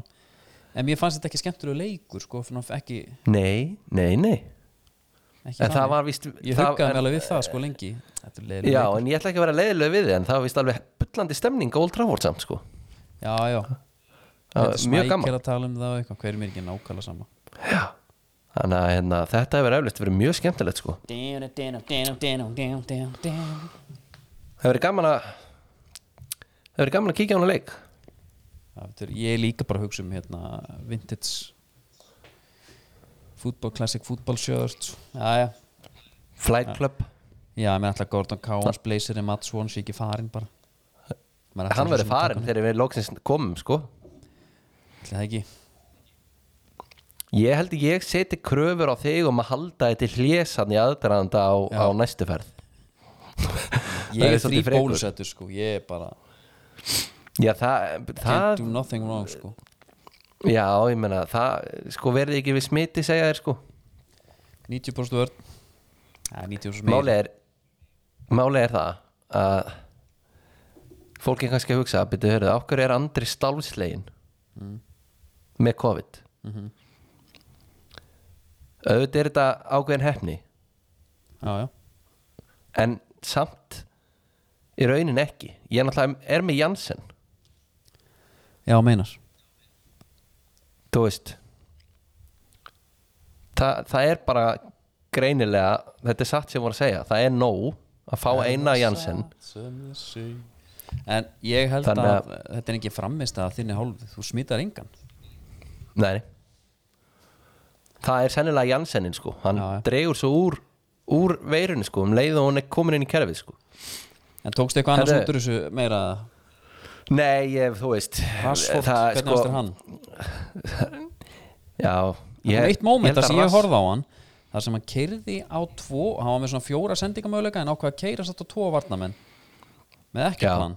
Speaker 1: en mér fannst þetta ekki skemmtilegu leikur sko, svona ekki,
Speaker 2: nei, nei, nei
Speaker 1: ekki
Speaker 2: En það
Speaker 1: þannig.
Speaker 2: var víst
Speaker 1: ég
Speaker 2: það-
Speaker 1: huggaði
Speaker 2: en-
Speaker 1: mig alveg við það sko lengi Þetta er leiðilegur
Speaker 2: Já,
Speaker 1: leikur.
Speaker 2: en ég ætla ekki að vera leiðilega við þið en það var vist alveg bullandi stemning á Old Trafford samt sko
Speaker 1: já, já Þetta
Speaker 2: Það var
Speaker 1: er
Speaker 2: Mjög gaman
Speaker 1: smækir að tala um það og eitthvað, hver er mér ekki nákvæmlega sama
Speaker 2: Þannig að hérna, þetta hefur eflust verið mjög skemmtilegt sko
Speaker 6: Down, down, down, down, down, down, down.
Speaker 2: Það hefur verið gaman að Það hefur verið gaman að kíkja á hana leik
Speaker 1: Já, þetta er, ég er líka bara að hugsa um hérna, vintage fútbol, classic fútbol shirts já, já,
Speaker 2: Flight Club
Speaker 1: já, mér ætla Gordon Cowans, Blazer í Mats Svons, ég ekki farin bara Maður ætlar
Speaker 2: Hann
Speaker 1: svo
Speaker 2: verið
Speaker 1: sem að taka
Speaker 2: farinn þegar við lóksins komum sko
Speaker 1: hann. Ætli það ekki,
Speaker 2: Ég held að ég seti kröfur á þig um að halda þetta hlésan í aðdraðanda á, á næstu ferð Það
Speaker 1: ég
Speaker 2: er
Speaker 1: er frí
Speaker 2: svolítið frekur.
Speaker 1: bólusettur sko, ég er bara
Speaker 2: Já, það,
Speaker 1: can't
Speaker 2: það
Speaker 1: do nothing wrong sko
Speaker 2: Já, ég meina, það sko verði ekki við smiti segja þér sko
Speaker 1: 90% vörn Æ, 90% meir
Speaker 2: Málið er Málið er það að fólk er kannski að hugsa að byrja hörðu, okkur er andri stálslegin með COVID auðvitað er þetta ákveðin hefni
Speaker 1: já, já,
Speaker 2: en samt í raunin ekki ég náttúrulega er með Janssen
Speaker 1: já, meinar
Speaker 2: þú veist Þa, það er bara greinilega, þetta er satt sem ég voru að segja það er nóg að fá eina Janssen
Speaker 1: en ég held
Speaker 2: Þannig
Speaker 1: að,
Speaker 2: að-
Speaker 1: þetta er ekki framist að þinni hálf þú smitar engan
Speaker 2: Nei Það er sennilega Jansenin sko Hann
Speaker 1: Já, já.
Speaker 2: dregur svo úr, úr veirunni sko um leið og hún er komin inn í kerfið sko
Speaker 1: en tókstu eitthvað annars
Speaker 2: Herðu.
Speaker 1: út úr þessu meira eða?
Speaker 2: Nei, ég, þú veist
Speaker 1: Rashford,
Speaker 2: það, sko,
Speaker 1: hvernig fannst þér hann?
Speaker 2: Já
Speaker 1: Það var eitt móment þar sem ég
Speaker 2: Rass-
Speaker 1: horfði á hann þar sem hann keirði á tvo hann var með svona fjóra sendingamöguleika en ákvað að keira satt á tvo varnamenn með ekki
Speaker 2: Já.
Speaker 1: plan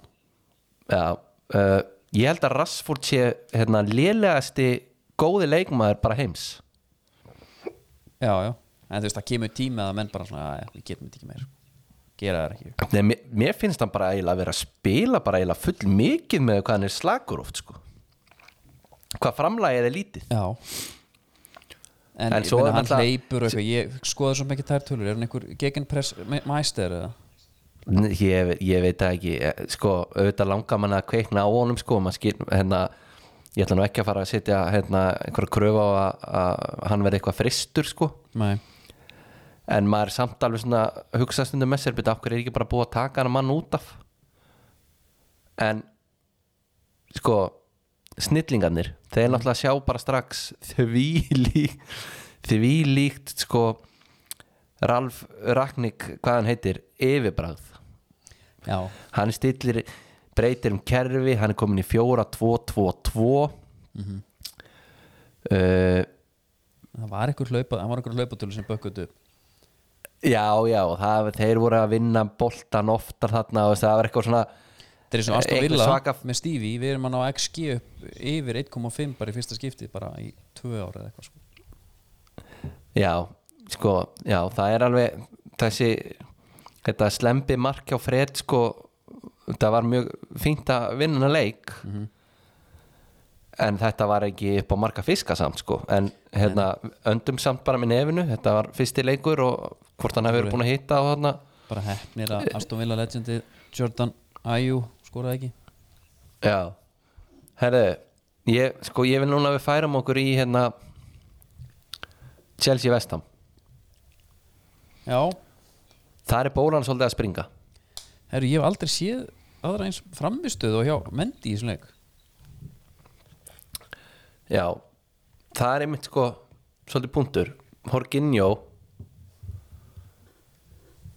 Speaker 2: Já, uh, ég held að Rassford sé hérna lélegasti góði leikmaður bara heims
Speaker 1: já, já. en þú veist það kemur tími að menn bara svona, "Æ, við getum þetta ekki meir
Speaker 7: gera það ekki
Speaker 2: Nei, mér, mér finnst hann bara eiginlega að vera að spila bara eiginlega full mikið með hvað hann er slagur oft sko. hvað framlægir er lítið
Speaker 1: Já En,
Speaker 2: En
Speaker 1: en
Speaker 2: svo
Speaker 1: svo
Speaker 2: er
Speaker 1: hann
Speaker 2: náttúrulega-
Speaker 1: hleypur og eitthvað Ég skoða svo mikið þær tölur Er hann einhver gegenpress mæster eða?
Speaker 2: Nei, ég, ég veit það ekki eh, sko, auðvitað langar mann að kveikna á honum sko, maður skil, hérna, ég ætla nú ekki að fara að setja hérna, einhverja kröfu á að, að hann verði eitthvað fristur sko.
Speaker 1: Nei
Speaker 2: en maður er samt alveg svona hugsa stundum með sér, byrja, okkur er ekki bara búið að taka hann mann út af en sko snillingarnir, þeir náttúrulega sjá bara strax því líkt því líkt sko Ralf Ragnik, hvað hann heitir yfirbragð
Speaker 1: Já
Speaker 2: hann stillir breytir um kerfi, hann er komin í 4-2-2-2 uh,
Speaker 1: Það var einhver hlaupa Það var einhver hlaupatölu sem bökkuðu upp
Speaker 2: já, já það, þeir voru að vinna boltan oftar þarna, þú veist, það var eitthvað svona
Speaker 1: Þetta er svona Aston
Speaker 2: Einhver
Speaker 1: Villa
Speaker 2: svaka-
Speaker 1: með Stevie Við erum að ná XG upp yfir 1,5 bara í fyrsta skipti bara í tvö ára eða eitthvað sko.
Speaker 2: já, sko, já, það er alveg þessi, þetta slempi mark hjá Fred, sko það var mjög fínt að vinna þennan leik en þetta var ekki upp á marga fiska samt, sko, en hérna öndum samt bara með nefinu, þetta var fyrsti leikur og hvort hann hefur verið búin að hitta og þarna,
Speaker 1: Bara hefnir að Aston Villa legendi Jordan Ayew skoraði ekki
Speaker 2: já herðu, ég, sko, ég vil núna að við færum okkur í hérna Chelsea Vestam
Speaker 1: Já
Speaker 2: þar er bólan svolítið að springa
Speaker 1: Herru, ég hef aldrei séð aðra eins framistuð og hjá Mendy í svona leik
Speaker 2: Já, það er einmitt sko svolítið punktur Jorginho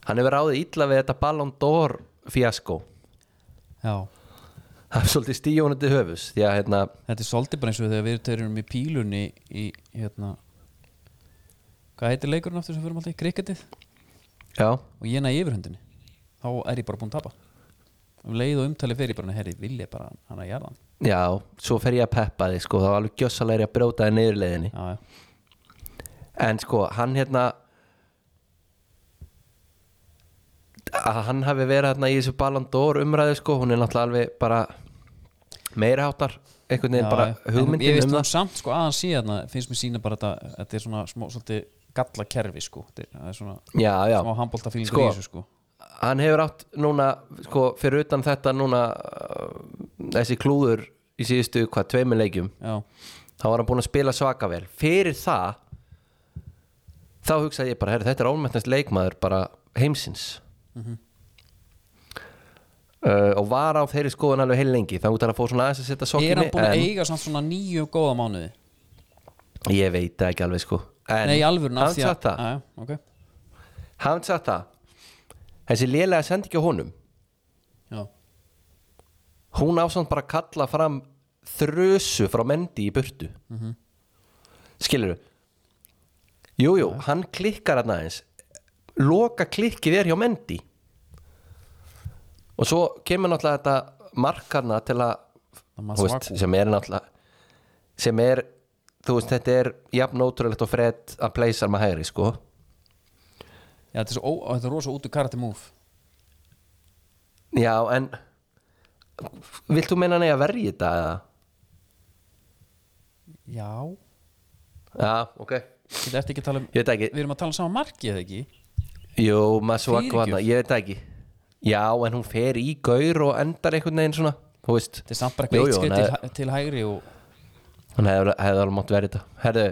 Speaker 2: hann hefur ráðið illa við þetta Ballon d'Or fiasko
Speaker 1: Já
Speaker 2: það er svolítið stíjónandi höfus því að hérna,
Speaker 1: Þetta er svolítið bara eins og þegar við törum í pílunni í hérna hvað heitir leikurinn aftur sem fyrir alltaf í kriketið
Speaker 2: já,
Speaker 1: og ég næ yfirhundinni þá er ég bara búinn að tapa um leið og umtali fyrir bara herri vilja bara hann að jarðan
Speaker 2: já, svo fer ég að peppa þig sko, það var alveg gjössalegri að brjóta þig niður í leiðinni
Speaker 1: já, já.
Speaker 2: en sko, hann hérna að hann hafi verið hérna í þessu Ballon d'Or umræðu sko, hún er náttúrulega alveg bara meirháttar einhvern
Speaker 1: Já,
Speaker 2: veginn bara
Speaker 1: já. En ég
Speaker 2: hugmyndin
Speaker 1: veist
Speaker 2: um
Speaker 1: nú
Speaker 2: það
Speaker 1: samt sko að hann sé hérna finnst mér sína bara þetta þetta er svona smá svolítið galla kerfi sko Þetta er- það er svona
Speaker 2: já, já.
Speaker 1: smá handbólta fílingur
Speaker 2: Sko,
Speaker 1: í þessu sko
Speaker 2: hann hefur átt núna sko, fyrir utan þetta núna uh, þessi klúður í síðustu hvað tveimur leikjum
Speaker 1: já
Speaker 2: þá var hann búin að spila svaka vel fyrir það þá hugsaði ég bara herri, þetta er ómættnast leikmaður bara heimsins
Speaker 1: Mhm.
Speaker 2: uh, og var á þeirri skoðun alveg heil lengi þá út að fór svona aðeins að setja
Speaker 1: er hann
Speaker 2: sokkinni
Speaker 1: búinn að eiga samt svona nýju góða mánuði
Speaker 2: ég veit það ekki alveg sko en
Speaker 1: nei í alvörun af
Speaker 2: hann
Speaker 1: því að
Speaker 2: satt það
Speaker 1: Já, já, ok.
Speaker 2: hann satt það þessi lélega sendi ekki á honum
Speaker 1: já.
Speaker 2: hún ásand bara að kalla fram þrösu frá Mendy í burtu mm -hmm. skilur jújú, jú, hann klikkar hann aðeins loka klikkið er hjá Mendy og svo kemur náttúrulega þetta markarna til að
Speaker 1: Það
Speaker 2: þú veist,
Speaker 1: Masuaku.
Speaker 2: sem er náttúrulega sem er, þú veist, þetta er jafn ótrúlegt og fred að pleysar maður hægri sko
Speaker 1: Já, þetta er, svo, ó, þetta er rosa út úr karate move
Speaker 2: já, en vilt þú meina hann eigi að verja þetta eða?
Speaker 1: Já,
Speaker 2: já, ok,
Speaker 1: þetta ertu ekki að tala um
Speaker 2: ég veit það ekki
Speaker 1: Við erum að tala um sama marki eða ekki
Speaker 2: Jú, Masuaku
Speaker 1: Fyrirgjöf.
Speaker 2: hann, ég veit það ekki Já, en hún fer í gaur og endar einhvern veginn svona, þú veist
Speaker 1: Þetta er samt bara
Speaker 2: Jú,
Speaker 1: eitthvað
Speaker 2: jú,
Speaker 1: eitt skrið
Speaker 2: nei.
Speaker 1: til, hæ- til hægri og
Speaker 2: Hann hefði hef alveg mátt verið þetta Herðu,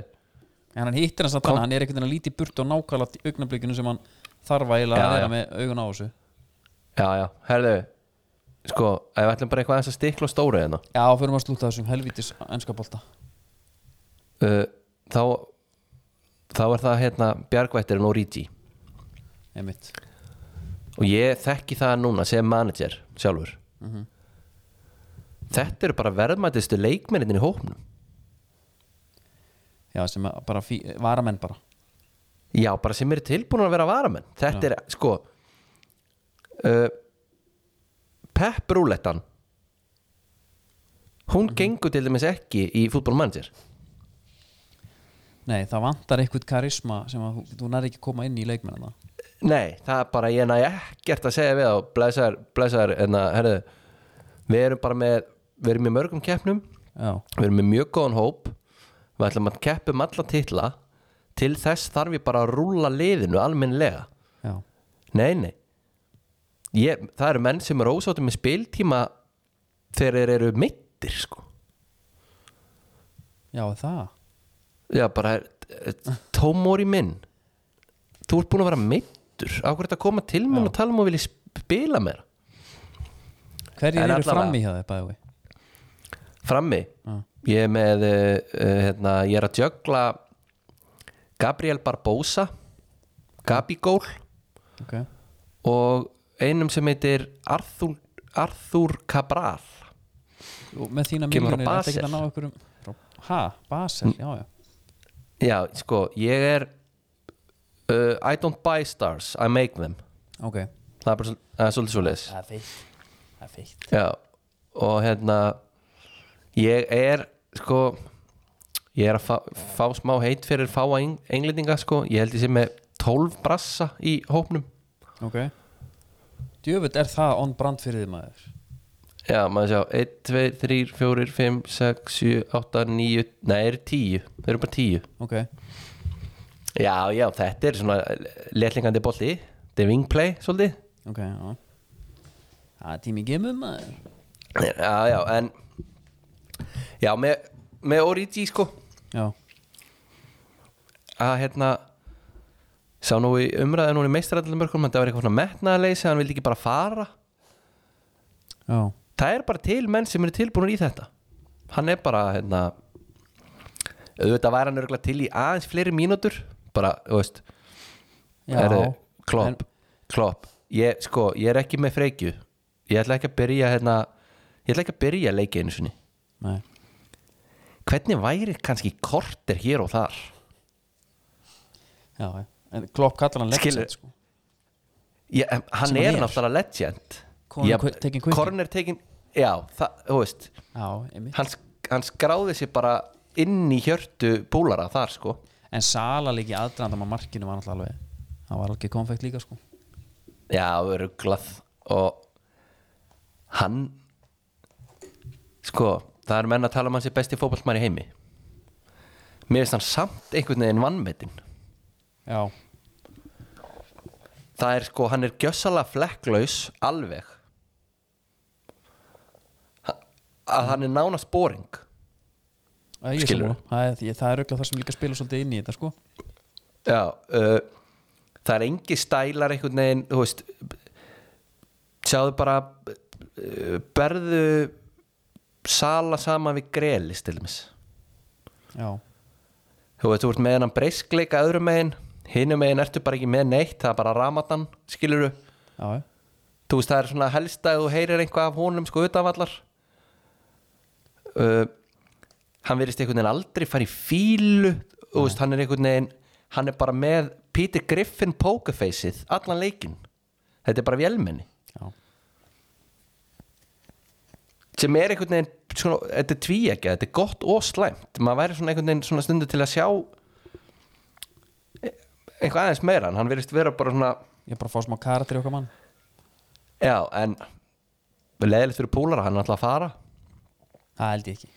Speaker 1: en hann hittir hann satt hann, hann er einhvern veginn að líti burt og nákvæmlega í augnablikinu sem hann þarf eiginlega
Speaker 2: Já,
Speaker 1: að
Speaker 2: já.
Speaker 1: vera með augun á þessu
Speaker 2: já, já, herðu Sko, ef við ætlum bara eitthvað eins að stikla og stóra hérna
Speaker 1: Já, fyrir maður að slúta þessum helvítis ennska bolta
Speaker 2: uh, Þá Þá er það hérna Bjargvættirinn og Ríti
Speaker 1: einmitt.
Speaker 2: Og ég þekki það núna sem manager sjálfur Þetta eru bara verðmættistu leikmennin í hópnum
Speaker 1: Já, sem að bara fí, varamenn bara
Speaker 2: Já, bara sem eru tilbúin að vera varamenn Þetta er, sko uh, Pep Rúlettan Hún gengur til dæmis ekki í fútbolmanager
Speaker 1: Nei, það vantar eitthvað karisma sem að þú, þú nær ekki að koma inn í leikmennina
Speaker 2: Nei, það er bara, ég næ ekkert að segja við þá Blessaður, blessaður, enna, hérna, herðu Við erum bara með, við erum í mörgum keppnum
Speaker 1: Já,
Speaker 2: Við erum með mjög góðan hóp Við ætlum að keppum alla titla Til þess þarf ég bara að rúlla liðinu almennlega
Speaker 1: já,
Speaker 2: Nei, nei ég, Það eru menn sem eru ósáttum með spiltíma Þegar þeir eru mittir, sko
Speaker 1: já er það
Speaker 2: Já, bara eh, Tómori minn Þú ert búin að vera mittur Á hverju þetta að koma til minn og tala um að vilja spila meira
Speaker 1: Hverjir
Speaker 2: En
Speaker 1: eru
Speaker 2: allavega.
Speaker 1: frammi hjá þeir bæði?
Speaker 2: Frammi Ég er með eh, eh, hérna, Ég er að jögla Gabriel Barbosa Gabi Gól
Speaker 1: Ok,
Speaker 2: Og einum sem heitir Arthur, Arthur Cabral
Speaker 1: og með þína
Speaker 2: Kemur frá
Speaker 1: miljónir er þetta ekki
Speaker 2: Basel. Mm.
Speaker 1: að ná okkur um Ha, Basel, já, já
Speaker 2: Já, sko, ég er uh, I don't buy stars, I make them
Speaker 1: Ok,
Speaker 2: Það er bara svol- það er svolítið svo leis
Speaker 6: Það er feitt Það er feitt
Speaker 2: Já, og hérna ég er sko ég er að fá, fá smá heit fyrir fáa eng- englendinga sko, ég held ég sé með 12 brassa í hópnum
Speaker 1: ok Djöfull er það on brand fyrir þið maður
Speaker 2: Já, maður sjá, 1, 2, 3, 4, 5, 6, 7, 8, 9 Nei, eru 10, þeir eru bara 10
Speaker 1: Ok,
Speaker 2: Já, já, þetta er svona letlingandi bolli, þetta er wingplay svolítið
Speaker 1: ok, já Það er tími gemum maður
Speaker 2: Já, já, en Já, með, með Origi sko
Speaker 1: Já,
Speaker 2: að hérna sá nú í umræðu núna í meistarætlumbörkum þetta var eitthvað svona metnaðarleysi hann vildi ekki bara fara
Speaker 1: já,
Speaker 2: það er bara til menn sem eru tilbúinur í þetta hann er bara hérna auðvitað væri hann örgulega til í aðeins fleiri mínútur bara, þú veist
Speaker 1: já
Speaker 2: heyrðu, klopp, klopp ég, sko, ég er ekki með freykju ég ætla ekki að byrja hérna ég ætla ekki að byrja að leika einu sinni
Speaker 1: Nei,
Speaker 2: hvernig væri kannski korter hér og þar
Speaker 1: já, já En Klopp kallar hann
Speaker 2: Skilur-
Speaker 1: leggsett sko
Speaker 2: ég, en hann
Speaker 1: Sem hann
Speaker 2: er,
Speaker 1: er.
Speaker 2: náttúrulega legend
Speaker 1: Corner
Speaker 2: Já,
Speaker 1: qui- taken quickly.
Speaker 2: corner taken já, það, þú veist
Speaker 1: Já, einmitt
Speaker 2: hann, sk- hann skráði sér bara inn í hjörtu búlara þar sko
Speaker 1: En Sala líki aðdrandam að markinu var náttúrulega alveg Það var alveg konfekt líka sko
Speaker 2: já, örglað og hann sko, það er menn að tala um hans er besti fótballtmar í heimi mér finnst hann samt einhvern veginn vannmetinn
Speaker 1: Já,
Speaker 2: það er sko, hann er gjössalega flekklaus alveg Ha- að hann er nánast boring
Speaker 1: Æ, ég
Speaker 2: Skilurðu?
Speaker 1: skilur Það er, ég- það er auðvitað það sem líka spila svolítið inn í þetta sko
Speaker 2: Já, uh, það er engi stælar einhvern veginn, þú veist sjáðu bara uh, berðu sala saman við grelis til dæmis
Speaker 1: Já,
Speaker 2: þú veist, þú ert með hennan breyskleika öðrum megin, hinum megin ertu bara ekki með neitt það er bara ramadan, skilurðu
Speaker 1: já, já.
Speaker 2: þú veist, það er svona helst að þú heyrir eitthvað af honum sko utanvallar uh, hann verist einhvern veginn aldrei fara í fílu þú veist, hann er einhvern veginn hann er bara með Peter Griffin pokerfaceið allan leikinn þetta er bara vélmenni
Speaker 1: já.
Speaker 2: sem er einhvern veginn, svona, þetta er tví ekki þetta er gott og slæmt, maður væri svona einhvern veginn svona stundu til að sjá eitthvað aðeins meira en hann verist vera bara svona
Speaker 1: Ég er bara að fá smá karatri okkar mann
Speaker 2: já, en leðilegt fyrir púlara, hann er alltaf að fara
Speaker 1: Það held ég ekki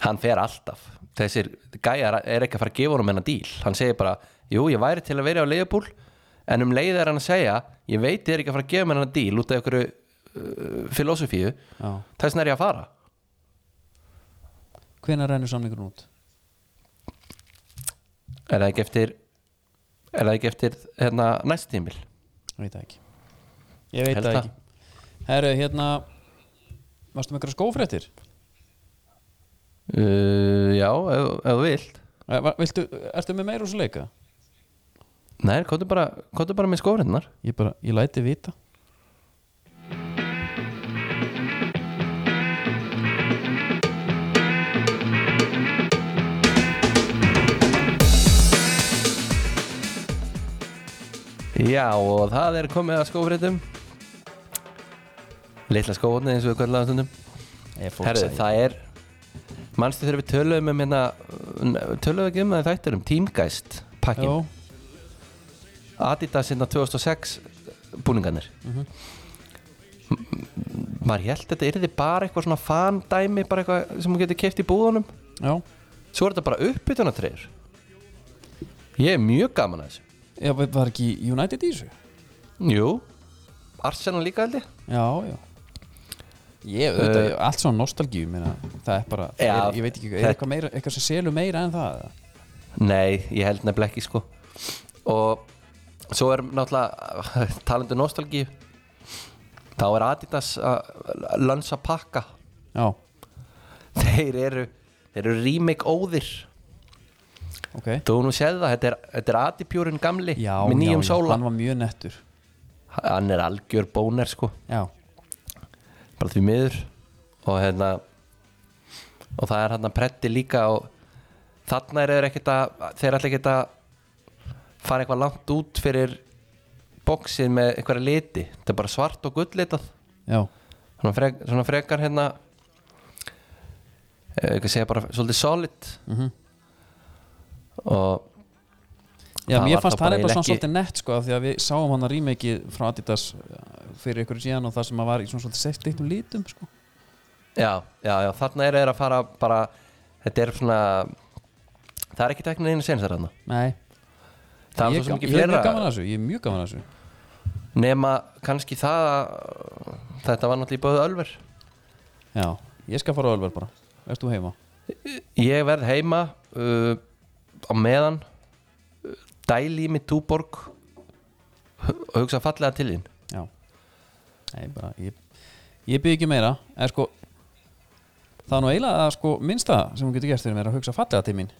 Speaker 2: hann fer alltaf þessir gæjar er ekki að fara að gefa honum hennar díl hann segir bara, jú ég væri til að vera á leiðbúl en um leið er hann að segja ég veit ég er ekki að fara að gefa mér hennar díl út af ykkur uh, filosofíu
Speaker 1: Já.
Speaker 2: þess vegna er ég að fara
Speaker 1: Hvenær rennur samningurinn út?
Speaker 2: er það ekki eftir er það ekki eftir hérna, næst tímil
Speaker 1: Ég veit það ekki Ég veit
Speaker 2: Held
Speaker 1: það
Speaker 2: það.
Speaker 1: ekki Herru, hérna Varstu með einhverja skófréttir?
Speaker 2: uh, já, ef, ef þú vilt
Speaker 1: Eh, var- Viltu, ertu með meira úr svo leika?
Speaker 2: nei, komdu bara, komdu bara með skórinnar
Speaker 1: Ég bara, ég læti vita
Speaker 2: já, og það er komið að skófréttum litla skófréttum eins og við kvöldlega stundum
Speaker 1: Ég
Speaker 2: Herru, það er Manstu þegar við töluðum um hérna uh, Töluðum við ekki um það í þættinum Teamgeist pakkin
Speaker 1: Jó,
Speaker 2: Adidas hérna 2006 búningarnir M- maður held þetta yrði bara eitthvað svona fandæmi bara eitthvað sem hún getur keft í búðunum
Speaker 1: já
Speaker 2: svo er þetta bara uppbytunatreyður ég er mjög gaman að þessu
Speaker 1: Já, var- var ekki United í þessu?
Speaker 2: jú, Arsenal líka held ég
Speaker 1: Já, já Ég, auðvitað, ég- allt svona nostalgíu minna, það er bara, það
Speaker 2: Eh, Já,
Speaker 1: er, ég veit ekki, er
Speaker 2: þetta-
Speaker 1: eitthvað, meira, eitthvað sem selur meira en það? eða?
Speaker 2: nei, ég held nefnilega ekki sko og svo er náttúrulega talandi um nostalgíu þá er Adidas að lansa pakka
Speaker 1: Já,
Speaker 2: þeir eru, þeir eru remake óðir
Speaker 1: ok
Speaker 2: Þú hefur nú séð það, þetta er, þetta er Adipjúrin gamli
Speaker 1: Já,
Speaker 2: með
Speaker 1: já,
Speaker 2: nýjum
Speaker 1: já,
Speaker 2: sóla
Speaker 1: hann var mjög nettur
Speaker 2: Hann er algjör bóner sko,
Speaker 1: Já,
Speaker 2: bara því miður og hérna og það er hérna pretti líka og þarna er þeir ekkert að þeir allir ekkert að fara eitthvað langt út fyrir bóksið með einhverja liti þetta er bara svart og gulllitað
Speaker 1: já,
Speaker 2: svona, frek, svona frekar hérna eh, hvað segja bara svolítið solid
Speaker 1: Mhm.
Speaker 2: og
Speaker 1: já
Speaker 2: Það
Speaker 1: mér
Speaker 2: var
Speaker 1: fannst
Speaker 2: þá
Speaker 1: hann
Speaker 2: bara
Speaker 1: eitthvað
Speaker 2: eiginlega
Speaker 1: svona svolítið nett sko af því að við sáum hann að rýmeki frá Adidas uh, fyrir ykkur síðan og það sem að var í svona svolítið sett eittum lítum sko
Speaker 2: Já, já, já, þarna eru þeir að fara bara, þetta er svona það er ekki teknir einu senast þarna
Speaker 1: Nei,
Speaker 2: það er
Speaker 1: ég,
Speaker 2: svo sem ekki
Speaker 1: ég er mjög gaman
Speaker 2: fleira
Speaker 1: að þessu, ég er mjög gaman að þessu
Speaker 2: nema kannski það að þetta var náttúrulega í bóðu ölver
Speaker 1: Já, ég skal fara á Ölver bara, veist þú heima
Speaker 2: ég verð heima uh, á meðan uh, dæli í mig túborg og hugsa fallega til þín
Speaker 1: Já Nei, bara, ég, ég bygg ekki meira en sko það er nú eiginlega að sko minnsta sem hún getur gert fyrir mér er að hugsa fallega til mín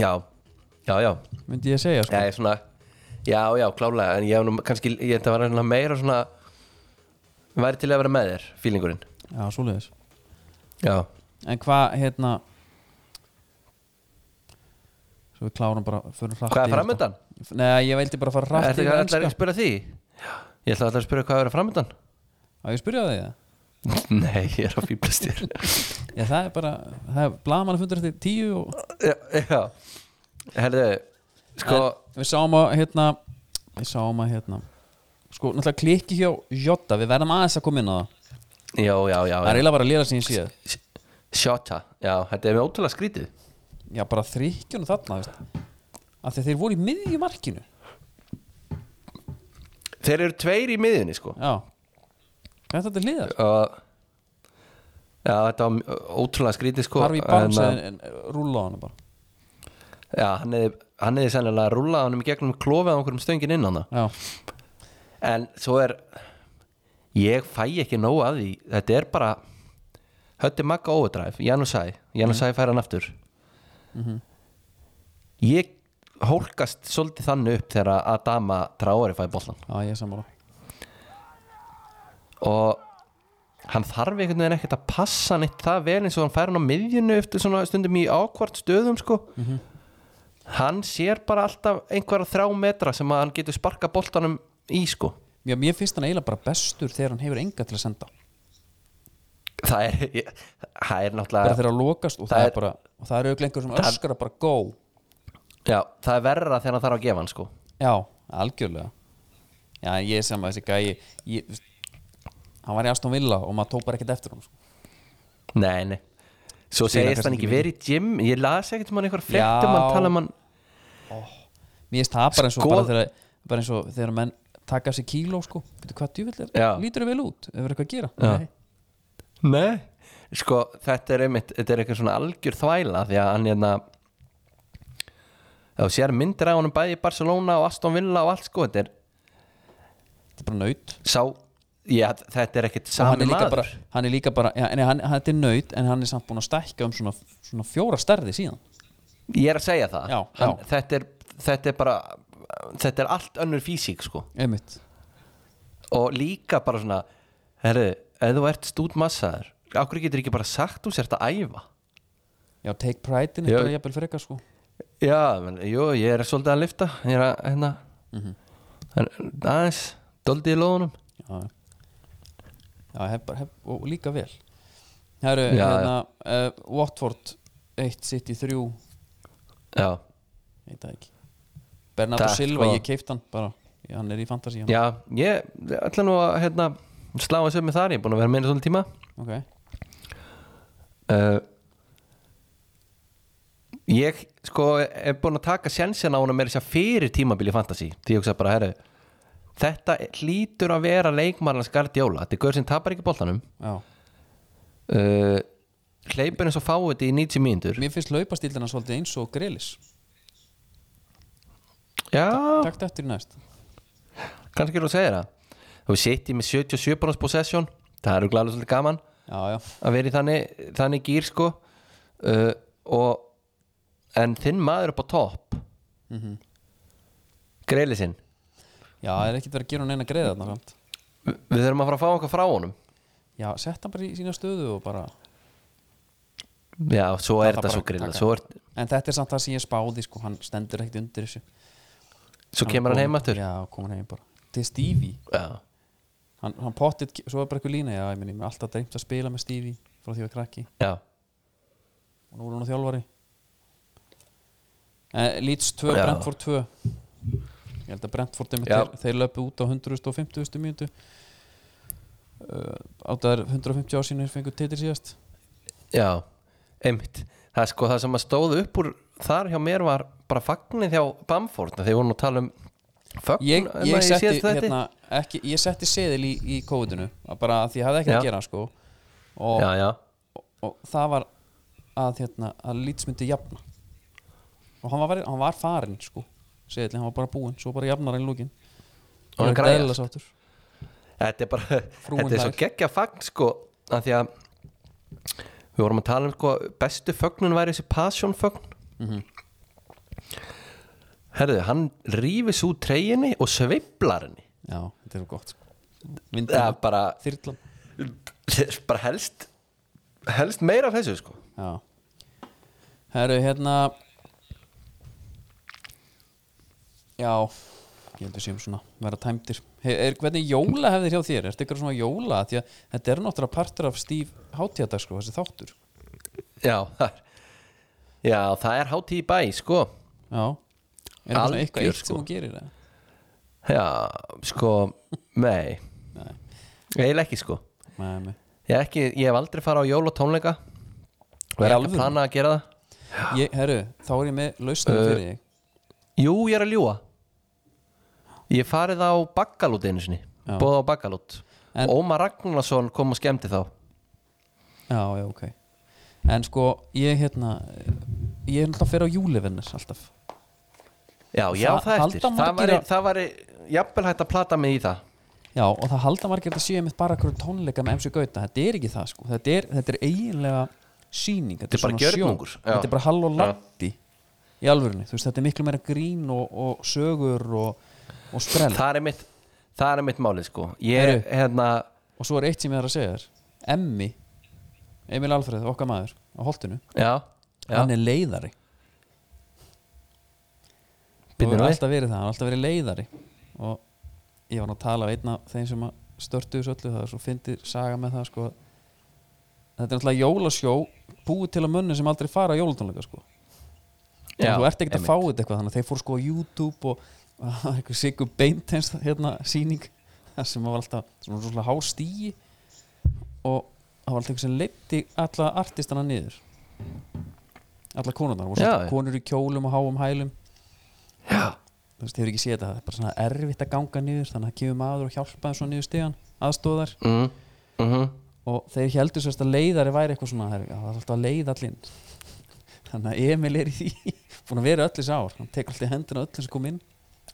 Speaker 2: já, já, já,
Speaker 1: myndi ég segja sko
Speaker 2: já, ég svona já, já, klálega, en ég hef nú kannski ég, þetta var svona meira svona væri til að vera með þér, fílingurinn
Speaker 1: Já, svoleiðis
Speaker 2: já,
Speaker 1: En hvað, hérna Svo við klárum bara förum hratt
Speaker 2: hvað
Speaker 1: yfir
Speaker 2: er framöndan?
Speaker 1: þetta. Nei, ég veldi bara að fara
Speaker 2: Er
Speaker 1: hratt
Speaker 2: þetta
Speaker 1: yfir
Speaker 2: allar ekki að
Speaker 1: enska
Speaker 2: spyrja því? Ég ætla allar að spyrja hvað er að framöndan
Speaker 1: Á, ég spyrja þig það
Speaker 2: Nei, ég er að fýblast þér
Speaker 1: Já, það er bara, það er blaman fundur eftir tíu og
Speaker 2: Já, já Herðu, sko
Speaker 1: En Við sáum að, hérna Við sáum að, hérna Sko, náttúrulega klikki hjá Jota Við verðum aðeins að koma inn á það
Speaker 2: Já, já, já,
Speaker 1: Það er
Speaker 2: já.
Speaker 1: eiginlega bara að lera sín síðan
Speaker 2: Shota, já, þetta er með ótrúlega skrítið
Speaker 1: Já, bara þrykkjunum þarna veist. Af því að þeir voru í miðju markinu
Speaker 2: Þeir eru tveir í miðjunni, sko
Speaker 1: Já Þetta er hliðar
Speaker 2: og, Já, þetta var mj- ótrúlega skrítið, sko
Speaker 1: Harfi Barnes
Speaker 2: en,
Speaker 1: en, en, rúla á hana bara
Speaker 2: að- Já, hann hefði, hann hefði sennilega rúlað honum í gegnum klofið á einhverjum stöngin inn hana
Speaker 1: Já,
Speaker 2: En svo er Ég fæ ekki nóg að því Þetta er bara Hötti Magga Overdrive, Janusæ Janusæ fær hann aftur Ég hólkast svolítið þannig upp þegar að Adama Traori fæ bollan
Speaker 1: já ég er sammála
Speaker 2: og hann þarf einhvern veginn ekkert að passa neitt það vel eins og hann fær hann á miðjunu eftir svona stundum í ákvart stöðum sko hann sér bara alltaf einhverja þrjá metra sem að hann getur sparka boltanum í sko
Speaker 1: Já, mér finnst hann eiginlega bara bestur þegar hann hefur enga til að senda
Speaker 2: það er, ég, það er náttúrulega
Speaker 1: bara þegar hann lokast og það,
Speaker 2: Það
Speaker 1: er
Speaker 2: er-
Speaker 1: bara og það er auðvitað einhver sem öskar að bara go
Speaker 2: Já, það er verra þegar hann þarf að gefa hann sko
Speaker 1: Já, algjörlega Já, en ég er saman þessi gæi ég, veist, hann var í Aston Villa og maður tók bara ekkert eftir hann sko.
Speaker 2: Nei, nei Svo
Speaker 1: Spila
Speaker 2: segist hann
Speaker 1: kannski ekki
Speaker 2: ekki verið í gym Ég las ekkert um hann einhver frétt
Speaker 1: Já.
Speaker 2: um hann tala um hann
Speaker 1: Mér finnst það bara eins og,
Speaker 2: Skoð-
Speaker 1: bara þegar, bara eins og þegar menn taka sér kíló sko. Veitu hvað djúvill er?
Speaker 2: Já.
Speaker 1: Lítur þau vel út? Hefur eitthvað að gera?
Speaker 2: Já.
Speaker 1: Nei.
Speaker 2: Nei Sko, þetta er einmitt, þetta er eitthvað svona algjör þvæla Því að hann hérna Þá sér myndir á hann bæði í Barcelona og Aston Villa og allt sko Þetta er
Speaker 1: Þetta er bara naut
Speaker 2: sá Já, þetta er ekkert
Speaker 1: Og hann
Speaker 2: sami
Speaker 1: er líka
Speaker 2: maður
Speaker 1: bara, hann er líka bara já, en hann, hann, þetta er naut en hann er samt búin að stækka um svona, svona fjóra stærði síðan
Speaker 2: Ég er að segja það
Speaker 1: Já,
Speaker 2: hann,
Speaker 1: já.
Speaker 2: Þetta, er, þetta er bara Þetta er allt önnur físík sko
Speaker 1: einmitt
Speaker 2: og líka bara svona herru, ef þú ert stúdmassaður okkur getur ekki bara sagt þú sért að æfa
Speaker 1: já, take pride in
Speaker 2: Já.
Speaker 1: þetta er jafnvel frekar sko
Speaker 2: já, men, jú, ég er svolítið að lifta ég er að, hérna mm -hmm. aðeins, doldið í lóðunum
Speaker 1: já, já hef, bara- hef, og líka vel Herru,
Speaker 2: Já,
Speaker 1: hérna, uh, Watford 1, City 3
Speaker 2: já,
Speaker 1: Ég veit það ekki Bernardo
Speaker 2: Takk,
Speaker 1: Silva,
Speaker 2: sko.
Speaker 1: ég keift hann bara Já, Hann er í fantasy hérna. hann.
Speaker 2: já ég ætla nú að hérna, slá þessu upp með þar, ég er búin að vera meina svolítið tíma
Speaker 1: Ok.
Speaker 2: uh, ég sko er búin að taka sjensin á honum meira þess að segja fyrir tímabili fantasy því ég hugsa bara, herru þetta hlýtur að vera leikmarnans gardjóla þetta er gaur sem tapar ekki boltanum
Speaker 1: Já.
Speaker 2: uh, hleypur eins og fáið þetta í 90 mínútur
Speaker 1: Mér finnst laupastílina svolítið eins og grillis
Speaker 2: já,
Speaker 1: Takt eftir í næst
Speaker 2: kannski er þú að segja það þú setjið með 77 bónus possession það eru glæðilega svolítið gaman
Speaker 1: Já, já,
Speaker 2: að vera í þannig, þannig gýr sko uh, og en þinn maður upp á topp mm -hmm. greili sinn
Speaker 1: já, það er ekkert verið að gera hann eina greiða þarna samt
Speaker 2: Vi- við þurfum að fara að fá okkar frá honum
Speaker 1: Já, sett hann bara í sína stöðu og bara
Speaker 2: já, svo
Speaker 1: þarf
Speaker 2: er þetta
Speaker 1: bara
Speaker 2: svo
Speaker 1: að
Speaker 2: grilla
Speaker 1: taka.
Speaker 2: svo, er,
Speaker 1: En þetta er samt það sem ég spáði sko, hann stendur ekkert undir þessu
Speaker 2: svo kemur hann heim aftur já.
Speaker 1: Já, kom hann heim bara Til Stevie, hann, hann pottit, svo er bara eitthvað lína Já, ég meni, mér er alltaf dreymt að spila með Stevie frá því að ég var krakki
Speaker 2: já,
Speaker 1: og nú er hann á þjálfari eh, Leeds 2,
Speaker 2: Já.
Speaker 1: Brentford 2 ég held að Brentford einmitt,
Speaker 2: Já.
Speaker 1: þeir, þeir löpu út á 150. mínútu uh, áttaðar 150 ár sínir fengur titir síðast
Speaker 2: já, einmitt það er sko það sem að stóð upp úr þar hjá mér var bara fagnir hjá Bamford þegar voru nú að tala um fögn
Speaker 1: ég,
Speaker 2: um
Speaker 1: ég,
Speaker 2: að
Speaker 1: setti,
Speaker 2: síðasta þætti.
Speaker 1: hérna, ekki, ég setti seðil í, í kóðinu bara að því ég hafði ekkert að
Speaker 2: Já.
Speaker 1: gera sko og,
Speaker 2: já, já,
Speaker 1: og, og það var að, hérna, að Leeds myndi jafna og hann var, verið- hann var farinn sko seðilin, hann var bara búinn, svo bara jafnar hann í lúkin
Speaker 2: Og hann græjar.
Speaker 1: sáttur
Speaker 2: þetta er bara
Speaker 1: Frúin
Speaker 2: þetta er svo
Speaker 1: hlær.
Speaker 2: geggja fagn sko að því að við vorum að tala um sko bestu fögnun væri þessi passion fögn
Speaker 1: Mhm.
Speaker 2: herðu, hann rífis út treyjunni og sveiflar henni
Speaker 1: Já, þetta er svo gott sko.
Speaker 2: það er
Speaker 1: Vindurinn,
Speaker 2: bara,
Speaker 1: þyrlan
Speaker 2: bara helst helst meira af þessu sko
Speaker 1: Já Herru, hérna Já Ég held við séum svona vera tæmdir He- er, Hvernig jóla hefðir hjá þér? Er ykkur svona jóla? Því að þetta er náttúrulega partur af stíf hátíðardag sko, þessi þáttur
Speaker 2: já, það er já, það er hátíð í bæ sko
Speaker 1: Já Er það svona
Speaker 2: Algjör,
Speaker 1: eitthvað eitt
Speaker 2: sko.
Speaker 1: sem hún gerir? eða?
Speaker 2: já, sko, nei
Speaker 1: Nei,
Speaker 2: eiginlega ekki sko
Speaker 1: nei, nei.
Speaker 2: ég, ekki, ég hef aldrei fara á jólatónleika
Speaker 1: Í
Speaker 2: og er ekki að
Speaker 1: alvöru?
Speaker 2: plana að gera það
Speaker 1: Ég, herru, þá er ég með lausnum
Speaker 2: Uh,
Speaker 1: fyrir þig
Speaker 2: Jú, ég er að ljúa Ég farið á Baggalút einu sinni
Speaker 1: Já.
Speaker 2: Bóða á Baggalút
Speaker 1: En-
Speaker 2: Ómar Ragnarsson kom og skemmti þá
Speaker 1: Já, já, ok En sko, ég hérna Ég er náttúrulega að fyrir á júlivinnis alltaf
Speaker 2: Já, já,
Speaker 1: Það-
Speaker 2: það eftir
Speaker 1: halda
Speaker 2: Það
Speaker 1: margir
Speaker 2: væri,
Speaker 1: að-
Speaker 2: það væri jafnvel hægt að plata mig í það
Speaker 1: Já, og það halda margir að þetta séu mitt bara hverju tónleika með MC Gauta, þetta er ekki það sko Þetta er, þetta er eiginlega sýning Þetta
Speaker 2: Þetta er bara
Speaker 1: svona
Speaker 2: gjörningur,
Speaker 1: sjó.
Speaker 2: já.
Speaker 1: Þetta er bara hall og
Speaker 2: Já.
Speaker 1: landi í alvörunni, þú veist, þetta er miklu meira grín og, og sögur og, og sprell
Speaker 2: Það er mitt, það er mitt málið sko Ég er
Speaker 1: Heyrðu.
Speaker 2: hérna
Speaker 1: Og svo er eitt sem ég er að segja þér Emmi, Emil Alfreð, okkar maður á holtinu,
Speaker 2: Já, já
Speaker 1: hann er leiðari og
Speaker 2: Býttu
Speaker 1: hefur
Speaker 2: nú við.
Speaker 1: alltaf verið það, hann hefur alltaf verið leiðari og ég var nú að tala við einna þeim sem að störtu þessu öllu það er svo fyndið saga með það sko. þetta er náttúrulega jólasjó búið til að munni sem aldrei fara á jólatónleika sko.
Speaker 2: Já,
Speaker 1: og þú ert ekkert að
Speaker 2: einmitt.
Speaker 1: fá þetta eitthvað þannig að þeir fór sko á YouTube og og það var eitthvað sigur beintens hérna síning þar sem var alltaf svona svona há stíi og það var alltaf eitthvað sem leiddi alla artistana niður alla konurnar, það voru
Speaker 2: Já,
Speaker 1: svona
Speaker 2: já.
Speaker 1: konur í kjólum og háum hælum
Speaker 2: Já,
Speaker 1: þú veist, hefur ekki séð þetta, það er bara svona erfitt að ganga niður þannig að það kemur maður og hjálpa þeim svo niður stegan aðstóðar
Speaker 2: mm, mm
Speaker 1: og þeir heldur sérst að leiðari væri eitthvað svona það er það er alltaf að leiða allin þannig að Emil er í því búin að vera öll þessi ár, hann tekur alltaf í hendina öll sem kom inn,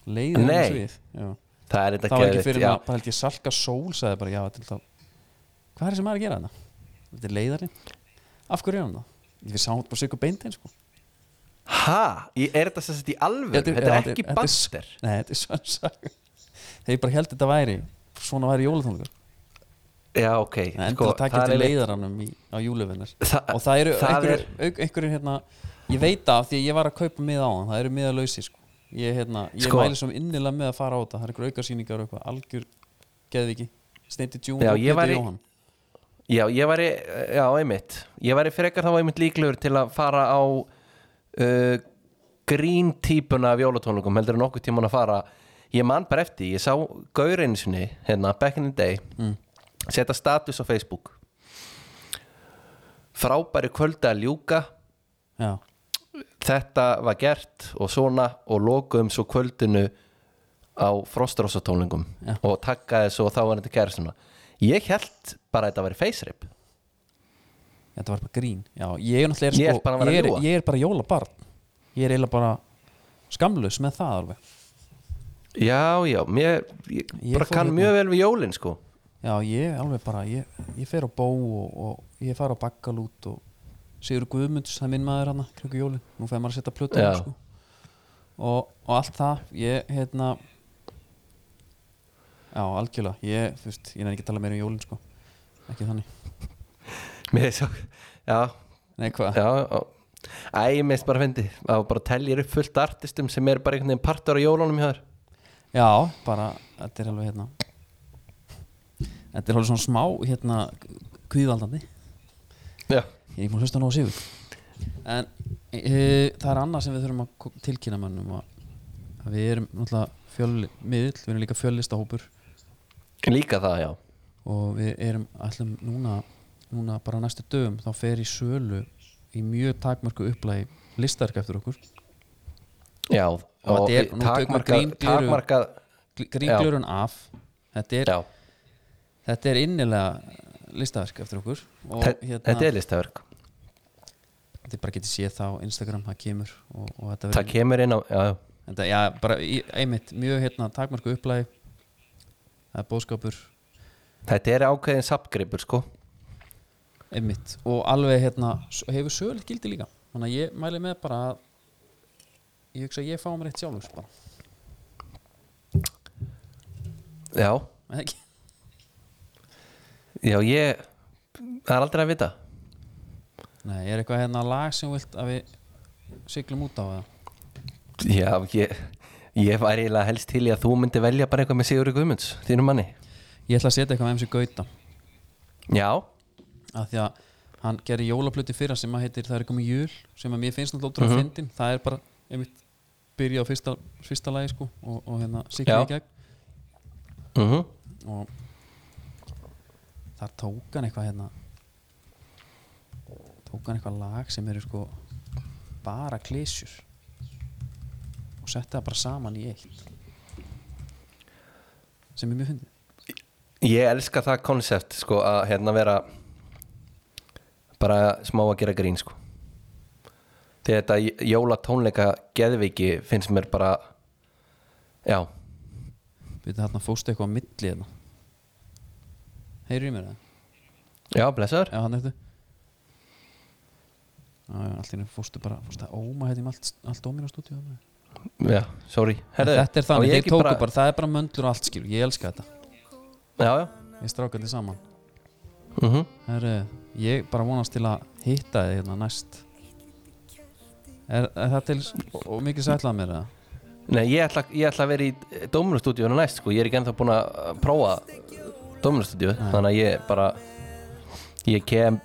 Speaker 1: leiðir hann
Speaker 2: Nei.
Speaker 1: í svið Já.
Speaker 2: það er þetta
Speaker 1: það var ekki
Speaker 2: geðveikt,
Speaker 1: fyrir
Speaker 2: já.
Speaker 1: maður, bara held ég salka sól sagði bara, já, þetta er alltaf hvað er þessi maður að gera þetta? Þetta er leiðarinn, af hverju er hann það? Við sáum þetta bara sigur beintein sko
Speaker 2: Ha, Ég- er þetta sem sett í alveg
Speaker 1: Já,
Speaker 2: Þetta er
Speaker 1: já,
Speaker 2: ekki
Speaker 1: þetta er-
Speaker 2: baster
Speaker 1: Nei, þetta er sönn saga Þegar bara held þetta væri Svona væri jólatónleikar
Speaker 2: Já, ok
Speaker 1: En
Speaker 2: sko,
Speaker 1: endilega takk
Speaker 2: það er
Speaker 1: eftir
Speaker 2: eiginlega-
Speaker 1: leiðaranum í, á júluvinnar
Speaker 2: Það-
Speaker 1: Og það eru
Speaker 2: það
Speaker 1: einhverjir er... einhverjir hérna Ég veit það af því að ég var að kaupa miða á hann Það eru miða lausi sko Ég, hérna, ég
Speaker 2: Sko.
Speaker 1: mæli svo innilega með að fara á þetta Það eru einhverjur aukarsýningar og eitthvað Algjör geðviki Steindi Djún
Speaker 2: Já,
Speaker 1: og
Speaker 2: ég
Speaker 1: Pétur
Speaker 2: væri-
Speaker 1: Jóhann
Speaker 2: Já, ég væri, eh, já, einmitt Ég væri frekar þá einmitt líklegur til að fara á uh, grín típuna af jólatónleikum heldur en okkur tíman að fara Ég man bara eftir, ég sá gaurinu sinni hérna, back in the day setja status á Facebook Frábæri kvöldi að ljúka
Speaker 1: Já,
Speaker 2: þetta var gert og svona og lokuðum svo kvöldinu á frostrósatónlingum
Speaker 1: Já.
Speaker 2: og takkaði svo og þá var þetta kæristuna ég held bara að þetta væri face-rip
Speaker 1: þetta var bara grín Já, ég er náttúrulega
Speaker 2: Ég
Speaker 1: er
Speaker 2: er bara að vera að
Speaker 1: ég, er,
Speaker 2: ljúga.
Speaker 1: ég er bara jólabarn Ég er eiginlega bara skamlaus með það alveg
Speaker 2: já, já, mér, ég,
Speaker 1: Ég
Speaker 2: bara
Speaker 1: fór
Speaker 2: kann
Speaker 1: hérna.
Speaker 2: mjög vel við jólin sko
Speaker 1: Já, ég alveg bara, ég, ég fer á bó og, og ég fer á bakkalút og Sigur Guðmunds, það er minn maður hann kringu jólin, nú fer maður að setja plötu á
Speaker 2: Já.
Speaker 1: hann, sko. og, og allt það ég, hérna Já, algjörlega, ég, þú veist, ég nefnir ekki að tala meira um jólin, sko ekki þannig,
Speaker 2: mér er svo, já,
Speaker 1: nei hvað
Speaker 2: já á, æ, ég meðist bara fyndi að bara teljir upp fullt artistum sem er bara einhvern veginn partur á jólunum hjá þér
Speaker 1: Já, bara, þetta er alveg, hérna Þetta er alveg svona smá, hérna kvíðvaldandi
Speaker 2: já,
Speaker 1: Ég er ekki múin að hlusta nóg síður En e, það er annað sem við þurfum að ko- tilkynna mönnum um að, að við erum náttúrulega fjölmiðl, við erum líka fjöllistahópur
Speaker 2: líka það, já
Speaker 1: og við erum allum núna, núna bara á næstu dögum þá fer í sölu í mjög takmörku upplægi listaverk eftir okkur
Speaker 2: já,
Speaker 1: Og þetta er- nú tökum við
Speaker 2: takmarkað
Speaker 1: grín gleru.
Speaker 2: takmarkað,
Speaker 1: gríglurinn af þetta er,
Speaker 2: já,
Speaker 1: þetta er innilega listaverk eftir okkur og hérna
Speaker 2: þe- þetta er listaverk
Speaker 1: þið bara getið séð það á Instagram, það kemur og, og þetta verður-
Speaker 2: það kemur inn á, já, já
Speaker 1: Þetta, já, bara í- einmitt mjög hérna takmarku upplæði það er bóðskapur
Speaker 2: Þetta er ákveðin sapgripur sko
Speaker 1: einmitt og alveg hérna s- hefur sögulegt gildi líka þannig að ég mæli með bara að ég hugsa að ég fá mér eitt sjálfur bara
Speaker 2: Já,
Speaker 1: Er það ekki?
Speaker 2: já ég Það er aldrei að vita
Speaker 1: Nei, er eitthvað hérna lag sem þú vilt að við siglum út á það
Speaker 2: Já, ég, ég var eiginlega helst til í að þú myndi velja bara eitthvað með Sigurður Guðmunds Þínum manni
Speaker 1: ég ætla að setja eitthvað með MC Gauta
Speaker 2: Já,
Speaker 1: af því að hann gerir jólapluti fyrra sem að heitir Það er komið jól sem að mér finnst náttúrulega ótrúlega mm fyndin það er bara, einmitt, byrja á fyrsta, fyrsta lagi sko og, og hérna siglum
Speaker 2: Já.
Speaker 1: í gegn
Speaker 2: mhm
Speaker 1: og þar tók hann eitthvað hérna tók hann eitthvað lag sem eru sko bara klísjur og setti það bara saman í eitt sem er mjög fyndið
Speaker 2: Ég elska það konsept sko að hérna vera bara smá að gera grín sko Þegar þetta jólatónleika geðviki finnst mér bara Já,
Speaker 1: við þetta þarna fóstu eitthvað á milli hérna heyrðu í mér það?
Speaker 2: já blessaður
Speaker 1: Já, hann eftir Já, já, allt í henni fóstu bara fóstu að óma hérna um allt, allt ómina stúdíu
Speaker 2: Já, sorry Herðu,
Speaker 1: Þetta er
Speaker 2: á
Speaker 1: þannig,
Speaker 2: ég
Speaker 1: þeir
Speaker 2: ekki
Speaker 1: tóku
Speaker 2: bara-
Speaker 1: bara, það er bara möndlur og allt skil, ég elska þetta
Speaker 2: Já, já,
Speaker 1: Ég stráka þetta saman
Speaker 2: mhm
Speaker 1: Herru, ég bara vonast til að hitta þig hérna næst Er, er það til og- og mikið sætlað mér það?
Speaker 2: Nei, ég ætla, ég ætla að vera í Dóminustúdíónu næst sko, ég er ekki ennþá búinn að prófa Dóminustúdíó þannig að ég bara ég kem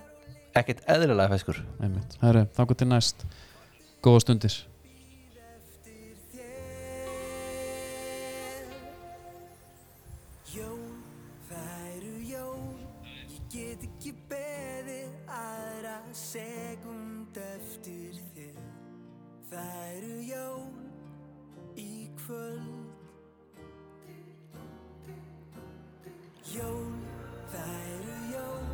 Speaker 2: ekkert eðlilega feskur
Speaker 1: Einmitt. Herru, þakku til næst Góða stundir
Speaker 7: Jól, það eru jól Ég get ekki beðið aðra sekund eftir þér Það eru jól í kvöld Jól, það eru jól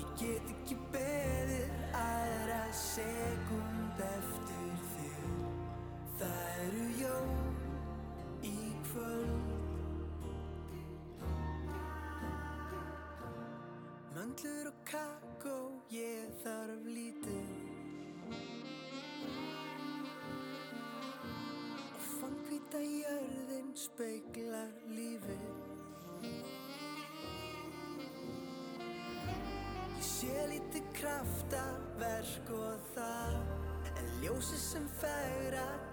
Speaker 7: Ég get ekki beðið aðra sekund eftir þér Það eru jól í kvöld Möndlur og kakó, ég þarf lítið Og fangvita jörðin speiklar lífið Ég sé lítið kraftaverk og það En ljósið sem fegra